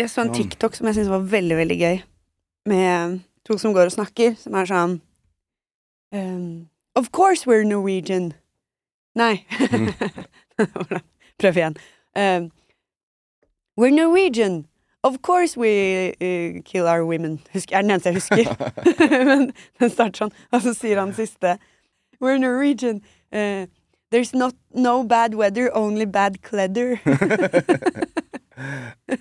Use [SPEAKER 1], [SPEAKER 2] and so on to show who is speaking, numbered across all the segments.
[SPEAKER 1] Jeg så en TikTok som jeg syntes var veldig, veldig gøy, med to som går og snakker, som er sånn ehm, Of course we're Norwegian. Nei. Prøv igjen. Ehm, we're Norwegian. Of course we eh, kill our women. Husker, er den eneste jeg husker. Men den starter sånn, og så sier han siste. We're Norwegian. Eh, there's not, no bad weather, only bad cleather.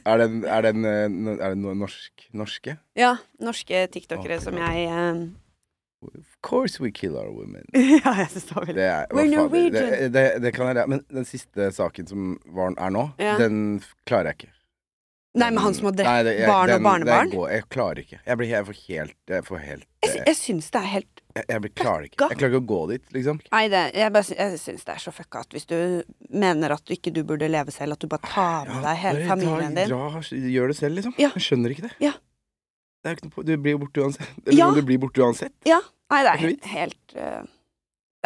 [SPEAKER 2] Er den, er den, eh, no- er den no- norsk, norske?
[SPEAKER 1] Ja, norske tiktokere
[SPEAKER 2] Ok.
[SPEAKER 1] som jeg eh,
[SPEAKER 2] Of course we kill our women.
[SPEAKER 1] Ja, jeg syns det var veldig
[SPEAKER 2] Det er, hva
[SPEAKER 1] We're
[SPEAKER 2] fader, det,
[SPEAKER 1] Norwegian.
[SPEAKER 2] det, det kan jeg lære. Men den siste saken som var, er nå,
[SPEAKER 1] Ja.
[SPEAKER 2] den f- klarer jeg ikke.
[SPEAKER 1] Nei, men han som har drept
[SPEAKER 2] Nei, det- jeg-
[SPEAKER 1] barn og
[SPEAKER 2] den-
[SPEAKER 1] barnebarn?
[SPEAKER 2] det går- Jeg klarer ikke. Jeg blir jeg får helt Jeg, får helt,
[SPEAKER 1] Jeg, sy-
[SPEAKER 2] eh,
[SPEAKER 1] jeg syns det er helt
[SPEAKER 2] jeg, jeg blir, klarer ikke.
[SPEAKER 1] fucka.
[SPEAKER 2] Jeg klarer ikke å gå dit, liksom.
[SPEAKER 1] Nei, det, jeg, bare sy- jeg syns det er så fucka at hvis du mener at du ikke du burde leve selv, at du bare tar med deg hele
[SPEAKER 2] bare
[SPEAKER 1] familien
[SPEAKER 2] dra-
[SPEAKER 1] din.
[SPEAKER 2] Dra, gjør det selv, liksom.
[SPEAKER 1] Ja.
[SPEAKER 2] Jeg skjønner ikke det.
[SPEAKER 1] Ja.
[SPEAKER 2] det er jo ikke noe, på- du blir jo borte uansett. Eller
[SPEAKER 1] Ja.
[SPEAKER 2] jo, du blir borte uansett.
[SPEAKER 1] Ja. Nei, det er
[SPEAKER 2] Det
[SPEAKER 1] helt, helt eh,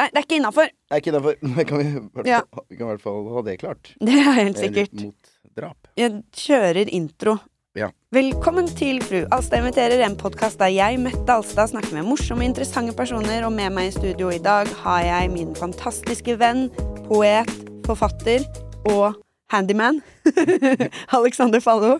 [SPEAKER 1] Nei, det er ikke innafor.
[SPEAKER 2] Det er ikke derfor. Men kan vi, i hvert
[SPEAKER 1] Ja.
[SPEAKER 2] fall- vi kan i hvert fall ha det klart.
[SPEAKER 1] Det er helt
[SPEAKER 2] Eller
[SPEAKER 1] sikkert.
[SPEAKER 2] Mot drap.
[SPEAKER 1] Jeg kjører intro.
[SPEAKER 2] Ja.
[SPEAKER 1] Velkommen til Fru Alstad inviterer, en podkast der jeg, Mette Alstad, snakker med morsomme, interessante personer, og med meg i studio i dag har jeg min fantastiske venn, poet, forfatter og handyman. Alexander Fallo.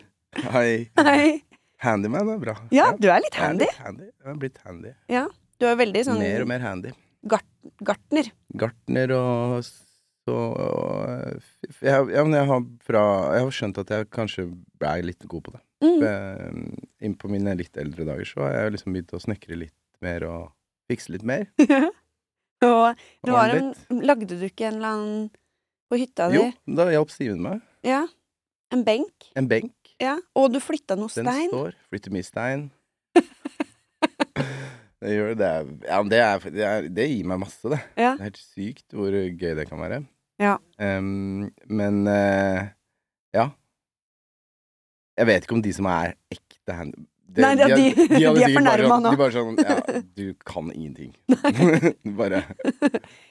[SPEAKER 2] Hei.
[SPEAKER 1] Hei.
[SPEAKER 2] Handyman er bra.
[SPEAKER 1] Ja, du er litt
[SPEAKER 2] Jeg er
[SPEAKER 1] handy.
[SPEAKER 2] litt handy. Jeg har blitt handy.
[SPEAKER 1] Ja, du er veldig sånn
[SPEAKER 2] Mer og mer handy.
[SPEAKER 1] gart- gartner.
[SPEAKER 2] Gartner og så og, f- jeg, ja, men jeg, har fra, jeg har skjønt at jeg kanskje er litt god på det.
[SPEAKER 1] Mm.
[SPEAKER 2] Mm. Innpå mine litt eldre dager så har jeg liksom begynt å snekre litt mer og fikse litt mer.
[SPEAKER 1] Og det var
[SPEAKER 2] Ordne
[SPEAKER 1] en Lagde du ikke en eller annen på hytta di?
[SPEAKER 2] Jo, da hjalp Simen meg.
[SPEAKER 1] Ja. En benk?
[SPEAKER 2] En benk.
[SPEAKER 1] Ja. Og du flytta noe
[SPEAKER 2] Den
[SPEAKER 1] stein?
[SPEAKER 2] står. Flytter mye stein. det gjør det. er- Ja, men det, er, det, er, det gir meg masse, det.
[SPEAKER 1] Ja.
[SPEAKER 2] Det er helt sykt hvor gøy det kan være.
[SPEAKER 1] Ja.
[SPEAKER 2] Em, men eh, ja. Jeg vet ikke om de som er ekte hand... det-
[SPEAKER 1] Nei, ja,
[SPEAKER 2] har-
[SPEAKER 1] de- de
[SPEAKER 2] har
[SPEAKER 1] er
[SPEAKER 2] sikkert bare
[SPEAKER 1] fornærma
[SPEAKER 2] sånn-
[SPEAKER 1] nå.
[SPEAKER 2] De bare sånn Ja, du kan ingenting. bare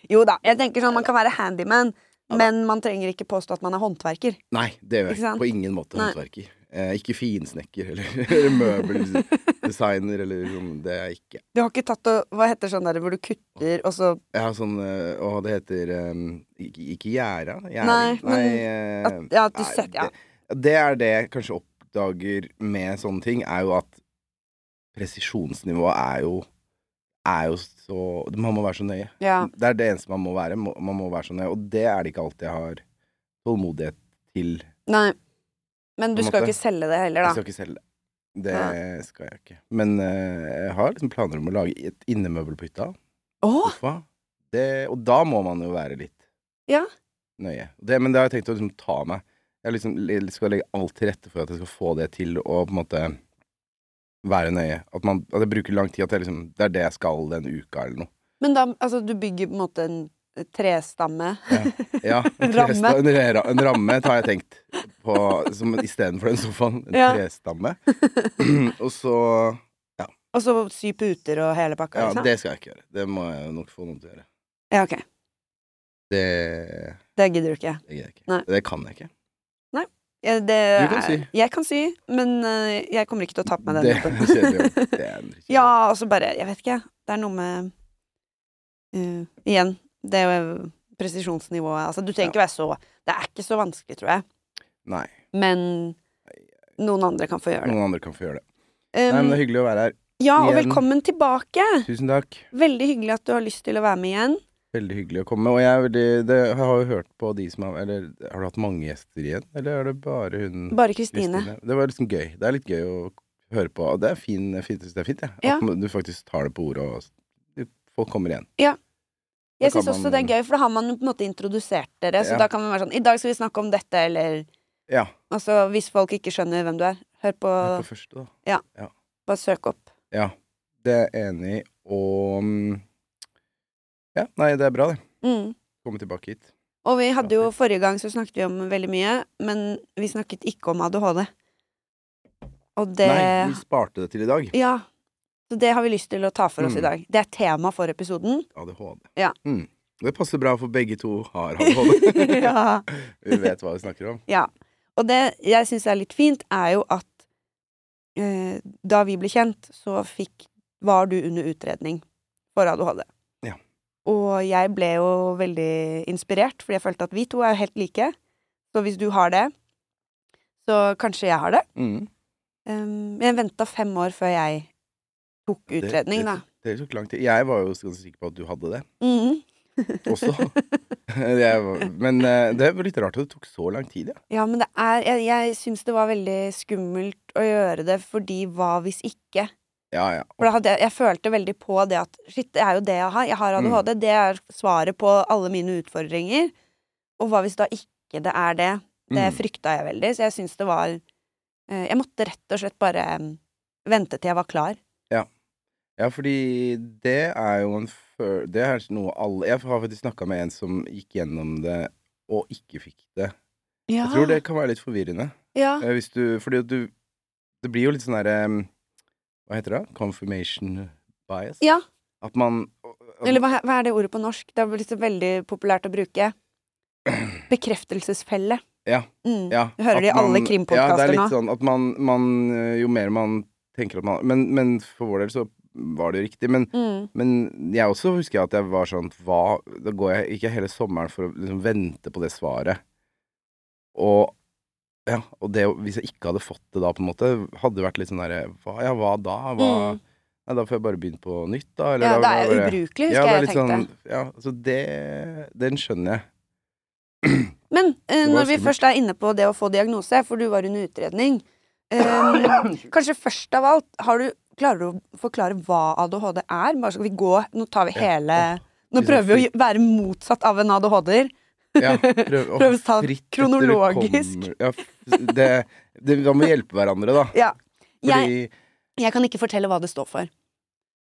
[SPEAKER 1] Jo da, jeg tenker sånn man kan være handyman,
[SPEAKER 2] Ja da.
[SPEAKER 1] men man trenger ikke påstå at man er håndverker.
[SPEAKER 2] Nei, det gjør jeg
[SPEAKER 1] Ikke
[SPEAKER 2] ikke.
[SPEAKER 1] sant?
[SPEAKER 2] På ingen måte
[SPEAKER 1] Nei.
[SPEAKER 2] håndverker. Eh, ikke finsnekker eller, eller møbeldesigner eller sånn. Det er jeg ikke.
[SPEAKER 1] Du har ikke tatt og Hva heter sånn der hvor du kutter, og så
[SPEAKER 2] Jeg har sånn eh, Å, det heter eh, Ikke, ikke gjerda? Gjerding?
[SPEAKER 1] Nei, men
[SPEAKER 2] eh,
[SPEAKER 1] at, Ja, at du
[SPEAKER 2] Nei,
[SPEAKER 1] setter Ja.
[SPEAKER 2] Det, det er det jeg kanskje oppdager med sånne ting, er jo at presisjonsnivået er jo er jo så Man må være så nøye.
[SPEAKER 1] ja.
[SPEAKER 2] Det er det eneste man må være. må- Man må være så nøye. Og det er det ikke alltid jeg har tålmodighet til.
[SPEAKER 1] Nei. Men
[SPEAKER 2] På
[SPEAKER 1] du
[SPEAKER 2] en
[SPEAKER 1] skal
[SPEAKER 2] måte.
[SPEAKER 1] jo ikke selge det heller,
[SPEAKER 2] Jeg
[SPEAKER 1] da.
[SPEAKER 2] skal ikke selge det. Det skal jeg ikke. Men eh, jeg har liksom planer om å lage et innemøbel på hytta.
[SPEAKER 1] Å!
[SPEAKER 2] Sofa. Det, og da må man jo være litt
[SPEAKER 1] Ja.
[SPEAKER 2] nøye. Det, men det har jeg tenkt å liksom ta meg Jeg liksom le- skal legge alt til rette for at jeg skal få det til å på en måte være nøye. At, man, at jeg bruker lang tid. At jeg liksom, det er det jeg skal den uka, eller noe.
[SPEAKER 1] Men da Altså, du bygger på en måte en eh, trestamme.
[SPEAKER 2] Ja, en,
[SPEAKER 1] Ramme.
[SPEAKER 2] tresta, en, ra- en ramme har jeg tenkt på som istedenfor den sofaen. En
[SPEAKER 1] Ja.
[SPEAKER 2] trestamme. og så
[SPEAKER 1] Og så sy puter og hele pakka,
[SPEAKER 2] Ja,
[SPEAKER 1] liksom?
[SPEAKER 2] det skal jeg ikke gjøre. Det må jeg nok få noen til å gjøre.
[SPEAKER 1] Ja, ok.
[SPEAKER 2] Det
[SPEAKER 1] Det gidder du ikke.
[SPEAKER 2] det gidder jeg ikke.
[SPEAKER 1] Nei.
[SPEAKER 2] Det kan jeg ikke.
[SPEAKER 1] Ja, det
[SPEAKER 2] Du kan
[SPEAKER 1] er-
[SPEAKER 2] sy.
[SPEAKER 1] Jeg kan sy, men eh, jeg kommer ikke til å ta på meg den.
[SPEAKER 2] det
[SPEAKER 1] jobben.
[SPEAKER 2] er kjedelig. jobb. Det er en dritt.
[SPEAKER 1] Ja, og så bare Jeg vet ikke. Det er noe med eh, Igjen, det er jo presisjonsnivået Altså, du trenger ikke være så Det er ikke så vanskelig, tror jeg.
[SPEAKER 2] Nei.
[SPEAKER 1] Men noen andre kan få gjøre det.
[SPEAKER 2] Noen andre kan få gjøre det.
[SPEAKER 1] Um,
[SPEAKER 2] Nei, men det er hyggelig å være her.
[SPEAKER 1] ja, og
[SPEAKER 2] igjen.
[SPEAKER 1] velkommen tilbake!
[SPEAKER 2] Tusen takk.
[SPEAKER 1] Veldig hyggelig at du har lyst til å være med igjen.
[SPEAKER 2] Veldig hyggelig å komme. Og jeg, er veldig, det, jeg har jo hørt på de som har Eller har du hatt mange gjester igjen? Eller er det bare hun
[SPEAKER 1] Bare Kristine.
[SPEAKER 2] Mm. Kristine? Det var liksom gøy. Det er litt gøy å høre på. Og det er fin, fint, det er fint, jeg.
[SPEAKER 1] Ja.
[SPEAKER 2] At du faktisk tar det på ordet, og du- folk kommer igjen.
[SPEAKER 1] Jeg
[SPEAKER 2] Da kan
[SPEAKER 1] syns også
[SPEAKER 2] man-
[SPEAKER 1] det er gøy, for da har man jo på en måte introdusert dere. Så
[SPEAKER 2] Ja.
[SPEAKER 1] da kan man være sånn I dag skal vi snakke om dette, eller
[SPEAKER 2] Ja.
[SPEAKER 1] Altså, hvis folk ikke skjønner hvem du er, hør på
[SPEAKER 2] Hør på første, da.
[SPEAKER 1] Bare søk opp.
[SPEAKER 2] Ja, det er jeg enig i, og mm, Ja, nei, det er bra, det.
[SPEAKER 1] Mm.
[SPEAKER 2] Komme tilbake hit.
[SPEAKER 1] Og vi hadde jo forrige gang så snakket vi om veldig mye, men vi snakket ikke om ADHD. Og det
[SPEAKER 2] Nei, vi sparte det til i dag.
[SPEAKER 1] Ja. Så det har vi lyst til å ta for oss
[SPEAKER 2] Mm.
[SPEAKER 1] i dag. Det er tema for episoden.
[SPEAKER 2] ADHD.
[SPEAKER 1] Ja.
[SPEAKER 2] Mm. Det passer bra, for begge to har ADHD.
[SPEAKER 1] ja.
[SPEAKER 2] vi vet hva vi snakker om.
[SPEAKER 1] ja. Og det jeg syns er litt fint, er jo at eh, da vi ble kjent, så fikk Var du under utredning for ADHD?
[SPEAKER 2] Ja.
[SPEAKER 1] Og jeg ble jo veldig inspirert, fordi jeg følte at vi to er jo helt like. Så hvis du har det, så kanskje jeg har det.
[SPEAKER 2] Mm.
[SPEAKER 1] Um, jeg venta fem år før jeg tok
[SPEAKER 2] Det-
[SPEAKER 1] utredning, da.
[SPEAKER 2] det, det tok lang tid. Jeg var jo ganske sikker på at du hadde det
[SPEAKER 1] Mhm.
[SPEAKER 2] også. jeg var, men eh, det er litt rart at det tok så lang tid, ja.
[SPEAKER 1] Ja, men det er Jeg, jeg syns det var veldig skummelt å gjøre det, fordi hva hvis ikke?
[SPEAKER 2] Ja, ja.
[SPEAKER 1] For da hadde jeg, jeg følte veldig på det at shit, det er jo det jeg har. Jeg har
[SPEAKER 2] Mm.
[SPEAKER 1] ADHD. Det er svaret på alle mine utfordringer. Og hva hvis da ikke det er det? Det
[SPEAKER 2] Mm.
[SPEAKER 1] frykta jeg veldig, så jeg syns det var eh, Jeg måtte rett og slett bare mm, vente til jeg var klar.
[SPEAKER 2] Ja, fordi det er jo en før... Det er noe alle Jeg har faktisk snakka med en som gikk gjennom det og ikke fikk det.
[SPEAKER 1] Ja.
[SPEAKER 2] Jeg tror det kan være litt forvirrende.
[SPEAKER 1] Ja.
[SPEAKER 2] Eh, Hvis du Fordi at du Det blir jo litt sånn derre Hva heter det? Confirmation bias?
[SPEAKER 1] Ja.
[SPEAKER 2] At man at-
[SPEAKER 1] Eller hva, hva er det ordet på norsk? Det er vel liksom veldig populært å bruke. Bekreftelsesfelle.
[SPEAKER 2] Ja.
[SPEAKER 1] Mm.
[SPEAKER 2] ja,
[SPEAKER 1] Du hører
[SPEAKER 2] at
[SPEAKER 1] det i alle
[SPEAKER 2] man- Ja, det
[SPEAKER 1] krimpodkaster
[SPEAKER 2] er
[SPEAKER 1] nå.
[SPEAKER 2] litt sånn at man, man eh, Jo mer man tenker at man Men, men for vår del så var det jo riktig. Men
[SPEAKER 1] Mm.
[SPEAKER 2] Men jeg også husker at jeg var sånn hva, Da går jeg ikke hele sommeren for å liksom vente på det svaret. Og, ja, og det, å- hvis jeg ikke hadde fått det da, på en måte, hadde det vært litt sånn derre hva, Ja, hva da? Hva,
[SPEAKER 1] Mm.
[SPEAKER 2] Nei, da får jeg bare begynne på nytt, da. Eller
[SPEAKER 1] Ja,
[SPEAKER 2] da
[SPEAKER 1] det er jo
[SPEAKER 2] bare-
[SPEAKER 1] ubrukelig,
[SPEAKER 2] ja,
[SPEAKER 1] husker
[SPEAKER 2] det er
[SPEAKER 1] jeg
[SPEAKER 2] litt
[SPEAKER 1] jeg tenkte.
[SPEAKER 2] sånn, ja, så det Den skjønner jeg.
[SPEAKER 1] Men eh,
[SPEAKER 2] Det var sånn-
[SPEAKER 1] når vi
[SPEAKER 2] skummelt.
[SPEAKER 1] først er inne på det å få diagnose, for du var under utredning eh, Kanskje først av alt, har du, klarer du å forklare hva ADHD er? Bare skal vi gå, Nå tar vi
[SPEAKER 2] Ja.
[SPEAKER 1] hele Nå
[SPEAKER 2] Liksom
[SPEAKER 1] prøver vi å være motsatt av en ADHD-er.
[SPEAKER 2] Ja, prøv, å,
[SPEAKER 1] Prøv å ta
[SPEAKER 2] fritt etter
[SPEAKER 1] kronologisk.
[SPEAKER 2] kommer- Ja, f- det, det, da må vi hjelpe hverandre, da.
[SPEAKER 1] Ja. Jeg,
[SPEAKER 2] Fordi
[SPEAKER 1] jeg kan ikke fortelle hva det står for.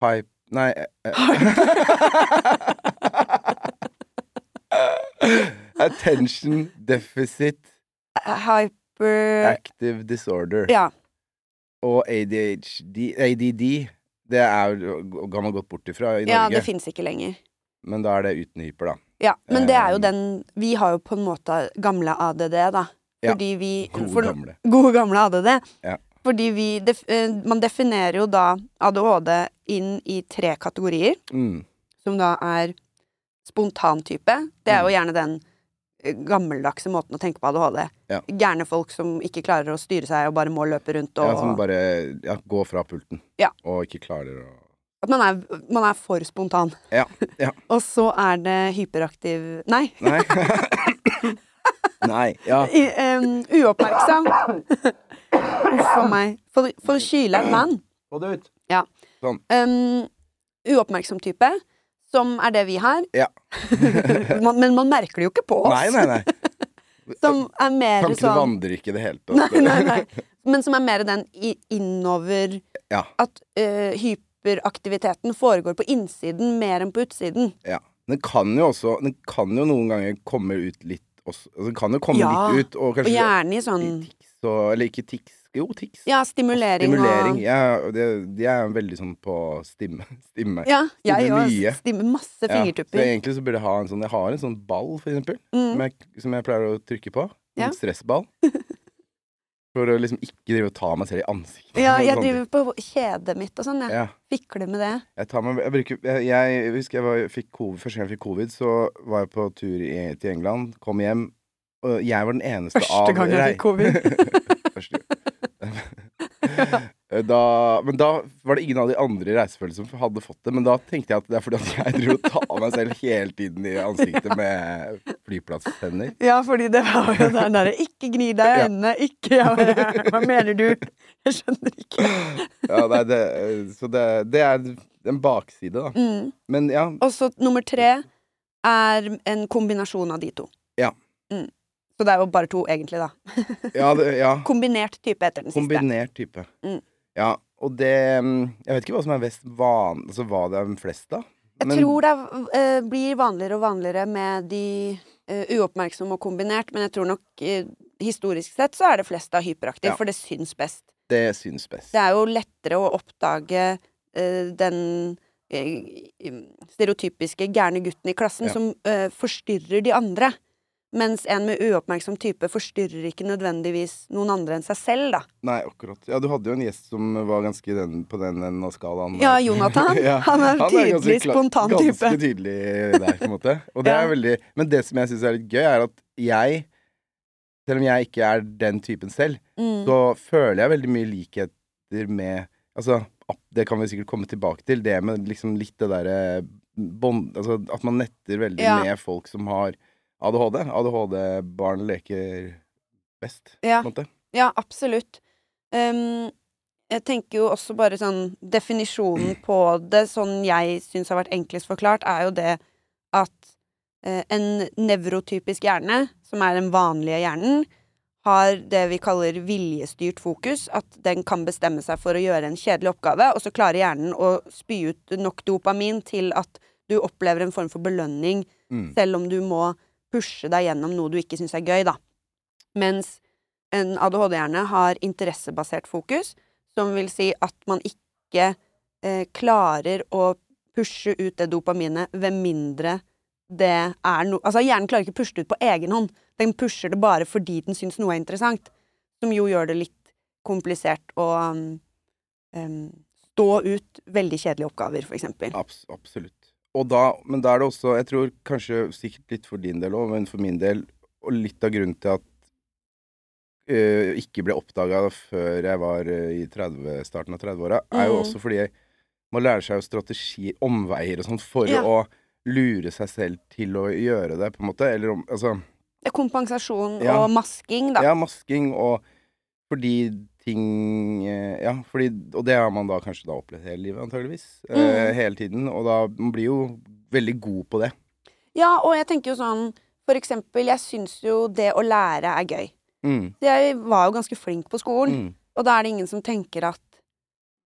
[SPEAKER 2] Hype Nei eh, eh. Attention Deficit
[SPEAKER 1] Hyper
[SPEAKER 2] Active Disorder
[SPEAKER 1] Eh. Ja.
[SPEAKER 2] og ADHD ADD. Det er jo kan man gått bort ifra i
[SPEAKER 1] ja
[SPEAKER 2] Norge,
[SPEAKER 1] det fins ikke lenger.
[SPEAKER 2] men da er det uten hyper, da.
[SPEAKER 1] Ja, men det er jo
[SPEAKER 2] Eh,
[SPEAKER 1] den Vi har jo på en måte gamle ADD, da.
[SPEAKER 2] Ja.
[SPEAKER 1] Fordi vi
[SPEAKER 2] Gode,
[SPEAKER 1] for-
[SPEAKER 2] gamle.
[SPEAKER 1] gode gamle ADD.
[SPEAKER 2] Ja.
[SPEAKER 1] Fordi vi def eh, Man definerer jo da ADHD inn i tre kategorier,
[SPEAKER 2] Mm.
[SPEAKER 1] som da er spontantype. Det
[SPEAKER 2] Mm.
[SPEAKER 1] er jo gjerne den eh, gammeldagse måten å tenke på ADHD.
[SPEAKER 2] Ja.
[SPEAKER 1] Gærne folk som ikke klarer å styre seg og bare må løpe rundt og
[SPEAKER 2] Ja, som bare ja, går fra pulten
[SPEAKER 1] Ja.
[SPEAKER 2] og ikke klarer å
[SPEAKER 1] At man er, man er for spontan.
[SPEAKER 2] Ja. ja.
[SPEAKER 1] Og så er det hyperaktiv Nei.
[SPEAKER 2] Nei. Nei. Ja.
[SPEAKER 1] I, em, uoppmerksom. Uff a meg. For, for kyla en mann.
[SPEAKER 2] Få det ut.
[SPEAKER 1] um, uoppmerksom type, som er det vi har.
[SPEAKER 2] Ja.
[SPEAKER 1] man, men man merker det jo ikke på oss.
[SPEAKER 2] Nei, nei, nei.
[SPEAKER 1] Som er mer
[SPEAKER 2] Tankene
[SPEAKER 1] sånn
[SPEAKER 2] vandrer ikke i det hele
[SPEAKER 1] nei,
[SPEAKER 2] tatt.
[SPEAKER 1] nei, nei. Men som er mer den i- innover
[SPEAKER 2] Ja.
[SPEAKER 1] At eh, hyperaktiviteten foregår på innsiden mer enn på utsiden.
[SPEAKER 2] Ja. Den kan jo også Den kan jo noen ganger komme ut litt også. Altså, Den kan jo komme
[SPEAKER 1] Ja,
[SPEAKER 2] litt ut, og
[SPEAKER 1] Og
[SPEAKER 2] kanskje
[SPEAKER 1] gjerne i sånn
[SPEAKER 2] i tics og Eller ikke tics. Jo, tics.
[SPEAKER 1] Ja, stimulering,
[SPEAKER 2] Stimulering.
[SPEAKER 1] og
[SPEAKER 2] Ja, og det, de er veldig sånn på stimme. stimme.
[SPEAKER 1] ja, jeg
[SPEAKER 2] Stimmer
[SPEAKER 1] òg.
[SPEAKER 2] mye.
[SPEAKER 1] Stimmer masse
[SPEAKER 2] Ja, Så
[SPEAKER 1] fingertupper.
[SPEAKER 2] egentlig så burde jeg ha en sånn Jeg har en sånn ball, for eksempel,
[SPEAKER 1] Mm.
[SPEAKER 2] som, jeg, som jeg pleier å trykke på. En sånn
[SPEAKER 1] Ja.
[SPEAKER 2] stressball. For å liksom ikke drive og ta meg selv i ansiktet.
[SPEAKER 1] Ja,
[SPEAKER 2] og
[SPEAKER 1] jeg
[SPEAKER 2] sånne ting.
[SPEAKER 1] driver på kjedet mitt og sånn. Jeg
[SPEAKER 2] ja.
[SPEAKER 1] fikler med det.
[SPEAKER 2] Jeg tar meg Jeg, bruker, jeg, jeg husker jeg var, fikk covid, første gang jeg fikk covid, så var jeg på tur i, til England, kom hjem, og jeg var den eneste av rei-
[SPEAKER 1] covid.
[SPEAKER 2] Første gang. da, men da var det ingen av de andre i reisefølget som hadde fått det. Men da tenkte jeg at det er fordi at jeg driver og tar meg selv hele tiden i ansiktet med flyplasstender.
[SPEAKER 1] Ja, fordi det var jo den derre 'ikke gni deg i
[SPEAKER 2] Ja.
[SPEAKER 1] øynene', ikke ja, Hva mener du? Jeg skjønner ikke.
[SPEAKER 2] Ja, nei, det, så det, det er en bakside, da.
[SPEAKER 1] Mm.
[SPEAKER 2] Men ja,
[SPEAKER 1] Og så nummer tre er en kombinasjon av de to.
[SPEAKER 2] Ja.
[SPEAKER 1] Mm. Så det er jo bare to, egentlig, da.
[SPEAKER 2] ja, det, ja.
[SPEAKER 1] Kombinert type etter den siste.
[SPEAKER 2] Kombinert type.
[SPEAKER 1] Mm.
[SPEAKER 2] Ja, og det mm, Jeg vet ikke hva som er mest van... Altså hva det er flest av.
[SPEAKER 1] Jeg tror det er, eh, blir vanligere og vanligere med de eh, uoppmerksomme og kombinert, men jeg tror nok eh, historisk sett så er det flest av hyperaktiv,
[SPEAKER 2] Ja.
[SPEAKER 1] for det syns best.
[SPEAKER 2] det syns best.
[SPEAKER 1] Det er jo lettere å oppdage eh, den eh, stereotypiske gærne gutten i klassen
[SPEAKER 2] Ja.
[SPEAKER 1] som eh, forstyrrer de andre. Mens en med uoppmerksom type forstyrrer ikke nødvendigvis noen andre enn seg selv, da.
[SPEAKER 2] Nei, akkurat. Ja, du hadde jo en gjest som var ganske den, på den enden av skalaen.
[SPEAKER 1] Ja, Jonathan.
[SPEAKER 2] Ja,
[SPEAKER 1] Han er
[SPEAKER 2] ganske
[SPEAKER 1] tydelig
[SPEAKER 2] klar-
[SPEAKER 1] spontan type.
[SPEAKER 2] Ganske tydelig der, på en måte. Og det
[SPEAKER 1] Ja.
[SPEAKER 2] er veldig, men det som jeg syns er litt gøy, er at jeg, selv om jeg ikke er den typen selv,
[SPEAKER 1] Mm.
[SPEAKER 2] så føler jeg veldig mye likheter med Altså, ap- det kan vi sikkert komme tilbake til, det med liksom litt det derre bånd... Altså at man netter veldig
[SPEAKER 1] Ja.
[SPEAKER 2] med folk som har ADHD. ADHD-barn leker best,
[SPEAKER 1] Ja.
[SPEAKER 2] på en måte.
[SPEAKER 1] Ja, absolutt. Ehm, jeg tenker jo også bare sånn Definisjonen på det, sånn jeg syns har vært enklest forklart, er jo det at eh, en nevrotypisk hjerne, som er den vanlige hjernen, har det vi kaller viljestyrt fokus. At den kan bestemme seg for å gjøre en kjedelig oppgave, og så klarer hjernen å spy ut nok dopamin til at du opplever en form for belønning
[SPEAKER 2] Mm.
[SPEAKER 1] selv om du må pushe deg gjennom noe du ikke syns er gøy, da. Mens en ADHD-hjerne har interessebasert fokus, som vil si at man ikke eh, klarer å pushe ut det dopaminet ved mindre det er noe Altså, hjernen klarer ikke å pushe det ut på egen hånd. Den pusher det bare fordi den syns noe er interessant. Som jo gjør det litt komplisert å um, um, stå ut veldig kjedelige oppgaver, for eksempel.
[SPEAKER 2] Abs absolutt. Og da, men da er det også, jeg tror kanskje sikkert litt for din del òg, men for min del, og litt av grunnen til at øh, ikke ble oppdaga før jeg var øh, i 30, starten av 30-åra, er jo
[SPEAKER 1] Mm.
[SPEAKER 2] også fordi man lærer seg jo strategi, omveier og sånn, for
[SPEAKER 1] Ja.
[SPEAKER 2] å lure seg selv til å gjøre det, på en måte. Eller om Altså,
[SPEAKER 1] Det er kompensasjon
[SPEAKER 2] Ja.
[SPEAKER 1] og masking, da.
[SPEAKER 2] ja, masking og fordi ting eh, Ja, fordi, og det har man da kanskje da opplevd hele livet, antageligvis. Eh,
[SPEAKER 1] Mm.
[SPEAKER 2] hele tiden. Og da man blir jo veldig god på det.
[SPEAKER 1] Ja, og jeg tenker jo sånn For eksempel, jeg syns jo det å lære er gøy.
[SPEAKER 2] Mm.
[SPEAKER 1] Jeg var jo ganske flink på skolen,
[SPEAKER 2] Mm.
[SPEAKER 1] og da er det ingen som tenker at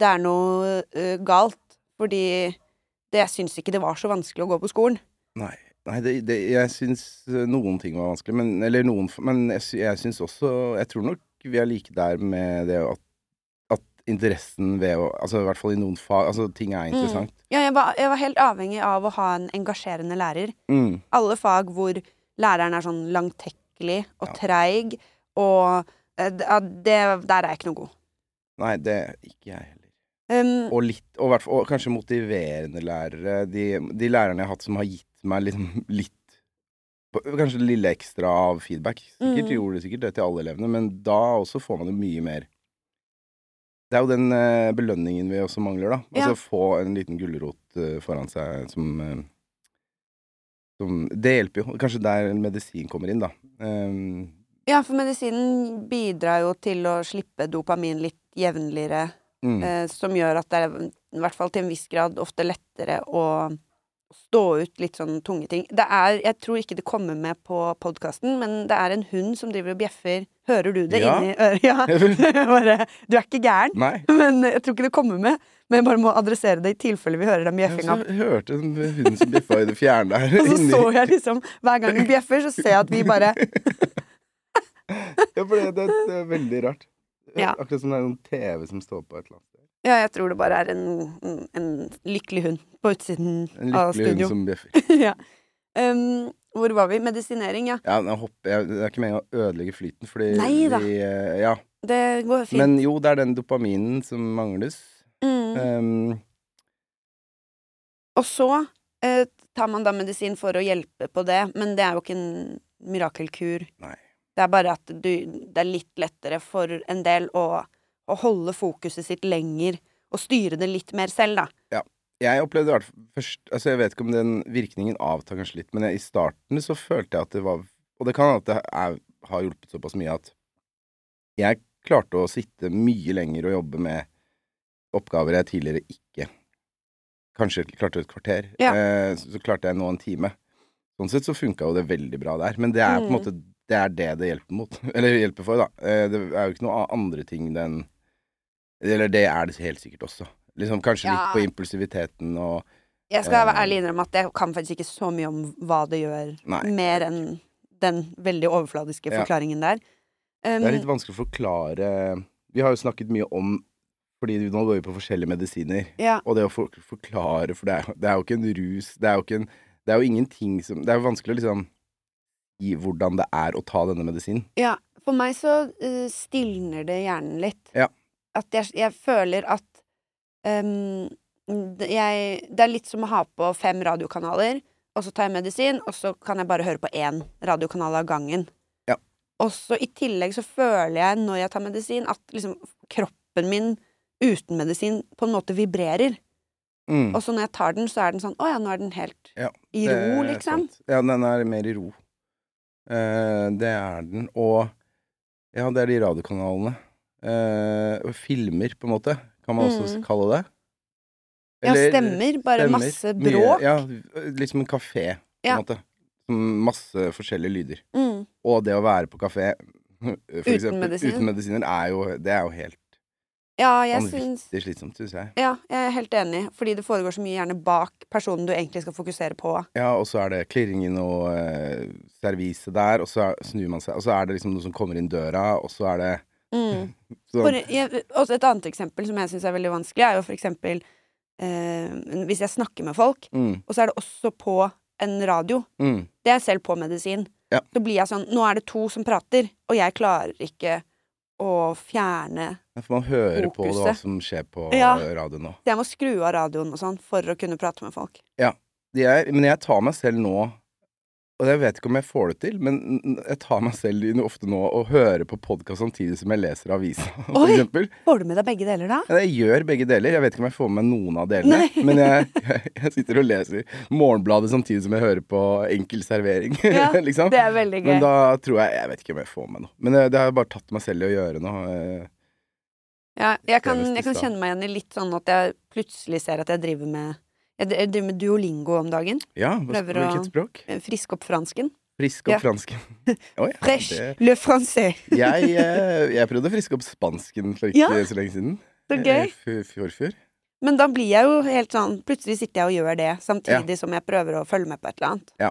[SPEAKER 1] det er noe ø, galt. Fordi det, jeg syns ikke det var så vanskelig å gå på skolen.
[SPEAKER 2] Nei, nei det, det, jeg syns eh, noen ting var vanskelig, men, eller noen, f- men jeg, sy- jeg syns også Jeg tror nok vi er like der med det at, at interessen ved å Altså i hvert fall i noen fag Altså ting
[SPEAKER 1] Mm.
[SPEAKER 2] er interessant.
[SPEAKER 1] Ja, jeg, var, jeg var helt avhengig av å ha en engasjerende lærer.
[SPEAKER 2] Mm.
[SPEAKER 1] Alle fag hvor læreren er sånn langtekkelig og
[SPEAKER 2] Ja.
[SPEAKER 1] treig, og ø, d- ja, det, der er jeg ikke noe god.
[SPEAKER 2] Nei, det ikke jeg heller.
[SPEAKER 1] Um,
[SPEAKER 2] Og litt, og, hvert fall- og kanskje motiverende lærere. De, de lærerne jeg har hatt som har gitt meg liksom litt Kanskje det lille ekstra av feedback. Sikkert
[SPEAKER 1] Mm.
[SPEAKER 2] gjorde de sikkert det til alle elevene, men da også får man jo mye mer. Det er jo den eh, belønningen vi også mangler, da.
[SPEAKER 1] Ja.
[SPEAKER 2] Altså få en liten gulrot eh, foran seg som, eh, som Det hjelper jo. Kanskje der en medisin kommer inn, da. Eh,
[SPEAKER 1] Ja, for medisinen bidrar jo til å slippe dopamin litt jevnligere,
[SPEAKER 2] mm.
[SPEAKER 1] eh, som gjør at det er, i hvert fall til en viss grad, ofte lettere å stå ut litt sånn tunge ting. Det er, jeg tror ikke det kommer med på podkasten, men det er en hund som driver og bjeffer. Hører du det
[SPEAKER 2] Ja.
[SPEAKER 1] inni øret? Ja. Jeg Bare, du er ikke gæren,
[SPEAKER 2] Nei.
[SPEAKER 1] men jeg tror ikke det kommer med. Men jeg bare må adressere det i tilfelle vi hører den
[SPEAKER 2] Jeg
[SPEAKER 1] bjeffinga.
[SPEAKER 2] så hørte en hund som bjeffa i det fjerne der.
[SPEAKER 1] Og så
[SPEAKER 2] inni-
[SPEAKER 1] så jeg liksom, hver gang den bjeffer, så ser jeg at vi bare
[SPEAKER 2] Ja, for det, det, det er eh, veldig rart. Eh,
[SPEAKER 1] Ja.
[SPEAKER 2] Akkurat som det er noen TV som står på et eller annet sted.
[SPEAKER 1] Ja, jeg tror det bare er en, en lykkelig hund på utsiden
[SPEAKER 2] En
[SPEAKER 1] av
[SPEAKER 2] lykkelig hund
[SPEAKER 1] studio.
[SPEAKER 2] som bjeffer.
[SPEAKER 1] ja. um, hvor var vi? Medisinering, ja.
[SPEAKER 2] Ja, nå hopper jeg, det er ikke meningen å ødelegge flyten, fordi
[SPEAKER 1] Neida.
[SPEAKER 2] vi eh, Ja.
[SPEAKER 1] Det går fint.
[SPEAKER 2] Men jo, det er den dopaminen som mangles.
[SPEAKER 1] mm.
[SPEAKER 2] Um,
[SPEAKER 1] Og så eh, tar man da medisin for å hjelpe på det, men det er jo ikke en mirakelkur.
[SPEAKER 2] Nei.
[SPEAKER 1] Det er bare at du, det er litt lettere for en del å, å holde fokuset sitt lenger og styre det litt mer selv, da.
[SPEAKER 2] jeg opplevde i hvert fall først Altså, jeg vet ikke om den virkningen avtar kanskje litt, men jeg, i starten så følte jeg at det var Og det kan hende at det er, har hjulpet såpass mye at jeg klarte å sitte mye lenger og jobbe med oppgaver jeg tidligere ikke Kanskje klarte et kvarter.
[SPEAKER 1] Ja.
[SPEAKER 2] Eh, så, så klarte jeg nå en time. Sånn sett så funka jo det veldig bra der. Men det er på en
[SPEAKER 1] Mm.
[SPEAKER 2] måte det er det det hjelper mot. Eller hjelper for, da. Eh, det er jo ikke noe a- andre ting den Eller det er det helt sikkert også. Liksom Kanskje
[SPEAKER 1] Ja.
[SPEAKER 2] litt på impulsiviteten og
[SPEAKER 1] Jeg skal
[SPEAKER 2] Eh.
[SPEAKER 1] være ærlig innrømme at jeg kan faktisk ikke så mye om hva det gjør,
[SPEAKER 2] Nei.
[SPEAKER 1] mer enn den veldig overfladiske
[SPEAKER 2] Ja.
[SPEAKER 1] forklaringen der. Um,
[SPEAKER 2] Det er litt vanskelig å forklare Vi har jo snakket mye om Fordi nå går vi på forskjellige medisiner.
[SPEAKER 1] ja.
[SPEAKER 2] Og det å for, forklare For det er, jo- det er jo ikke en rus. Det er jo ikke en Det er jo ingenting som Det er jo vanskelig å liksom i hvordan det er å ta denne medisinen.
[SPEAKER 1] Ja, for meg så eh, stilner det hjernen litt.
[SPEAKER 2] Ja.
[SPEAKER 1] At jeg, jeg føler at ehm, det- jeg, Det er litt som å ha på fem radiokanaler, og så tar jeg medisin, og så kan jeg bare høre på én radiokanal av gangen.
[SPEAKER 2] Ja.
[SPEAKER 1] Og så i tillegg så føler jeg når jeg tar medisin, at liksom kroppen min uten medisin på en måte vibrerer.
[SPEAKER 2] Mm.
[SPEAKER 1] Og så når jeg tar den, så er den sånn Å ja, nå er den helt
[SPEAKER 2] Ja,
[SPEAKER 1] i
[SPEAKER 2] Det
[SPEAKER 1] ro,
[SPEAKER 2] er
[SPEAKER 1] liksom.
[SPEAKER 2] sant. Ja, den er mer i ro. Eh, det er den. Og ja, det er de radiokanalene. Eh, og filmer, på en måte, kan man også
[SPEAKER 1] Mm.
[SPEAKER 2] kalle det.
[SPEAKER 1] Ja,
[SPEAKER 2] Eller-
[SPEAKER 1] stemmer. Bare
[SPEAKER 2] stemmer.
[SPEAKER 1] masse
[SPEAKER 2] Mye-
[SPEAKER 1] bråk.
[SPEAKER 2] Ja, liksom en kafé, på en
[SPEAKER 1] Ja.
[SPEAKER 2] måte. Mm, Masse forskjellige lyder.
[SPEAKER 1] Mm.
[SPEAKER 2] Og det å være på kafé for uten, eksempel,
[SPEAKER 1] medisin.
[SPEAKER 2] uten medisiner er jo, det er jo helt
[SPEAKER 1] Ja, jeg syns
[SPEAKER 2] vanvittig slitsomt, syns jeg.
[SPEAKER 1] Ja, jeg er helt enig. Fordi det foregår så mye gjerne bak personen du egentlig skal fokusere på.
[SPEAKER 2] Ja, og så er det klirringen og eh, serviset der, og så er, snur man seg, og så er det liksom noe som kommer inn døra, og så er det
[SPEAKER 1] Mm.
[SPEAKER 2] sånn-
[SPEAKER 1] For, jeg, også et annet eksempel som jeg syns er veldig vanskelig, er jo for eksempel eh, hvis jeg snakker med folk,
[SPEAKER 2] mm,
[SPEAKER 1] og så er det også på en radio.
[SPEAKER 2] mm,
[SPEAKER 1] Det er selv på medisin.
[SPEAKER 2] Ja.
[SPEAKER 1] Så blir jeg sånn Nå er det to som prater, og jeg klarer ikke å fjerne
[SPEAKER 2] Ja, For man hører på hva
[SPEAKER 1] Fokuset.
[SPEAKER 2] som skjer på
[SPEAKER 1] Ja.
[SPEAKER 2] radioen nå.
[SPEAKER 1] Så Jeg må skru av radioen og sånn for å kunne prate med folk.
[SPEAKER 2] De er, men jeg tar meg selv nå Og jeg vet ikke om jeg får det til, men n- jeg tar meg selv i- ofte nå og hører på podkast samtidig som jeg leser avisa, for
[SPEAKER 1] Oi!
[SPEAKER 2] eksempel.
[SPEAKER 1] Får du med deg begge deler, da?
[SPEAKER 2] Ja, Jeg gjør begge deler. Jeg vet ikke om jeg får med noen av delene.
[SPEAKER 1] Nei.
[SPEAKER 2] Men jeg, jeg sitter og leser Morgenbladet samtidig som jeg hører på Enkel servering.
[SPEAKER 1] Ja,
[SPEAKER 2] liksom.
[SPEAKER 1] Det er veldig gøy.
[SPEAKER 2] Men da tror jeg Jeg vet ikke om jeg får med noe. Men eh, det, det har jeg bare tatt meg selv i å gjøre nå. eh.
[SPEAKER 1] Ja, jeg kan,
[SPEAKER 2] Senest i
[SPEAKER 1] jeg kan
[SPEAKER 2] stad.
[SPEAKER 1] kjenne meg igjen i litt sånn at jeg plutselig ser at jeg driver med Jeg dri- jeg driver med duolingo om dagen.
[SPEAKER 2] Ja, hva,
[SPEAKER 1] Prøver å-
[SPEAKER 2] hvilket språk?
[SPEAKER 1] Eh, Frisk opp fransken.
[SPEAKER 2] Frisk opp
[SPEAKER 1] Ja.
[SPEAKER 2] fransken. Å ja,
[SPEAKER 1] Fresh
[SPEAKER 2] det-
[SPEAKER 1] le français.
[SPEAKER 2] Jeg, eh, jeg prøvde å friske opp spansken for ikke
[SPEAKER 1] Ja.
[SPEAKER 2] så lenge siden.
[SPEAKER 1] Så
[SPEAKER 2] Eh,
[SPEAKER 1] gøy.
[SPEAKER 2] Fjorfjor.
[SPEAKER 1] Men da blir jeg jo helt sånn Plutselig sitter jeg og gjør det, samtidig som jeg prøver å følge med på et eller annet.
[SPEAKER 2] Ja.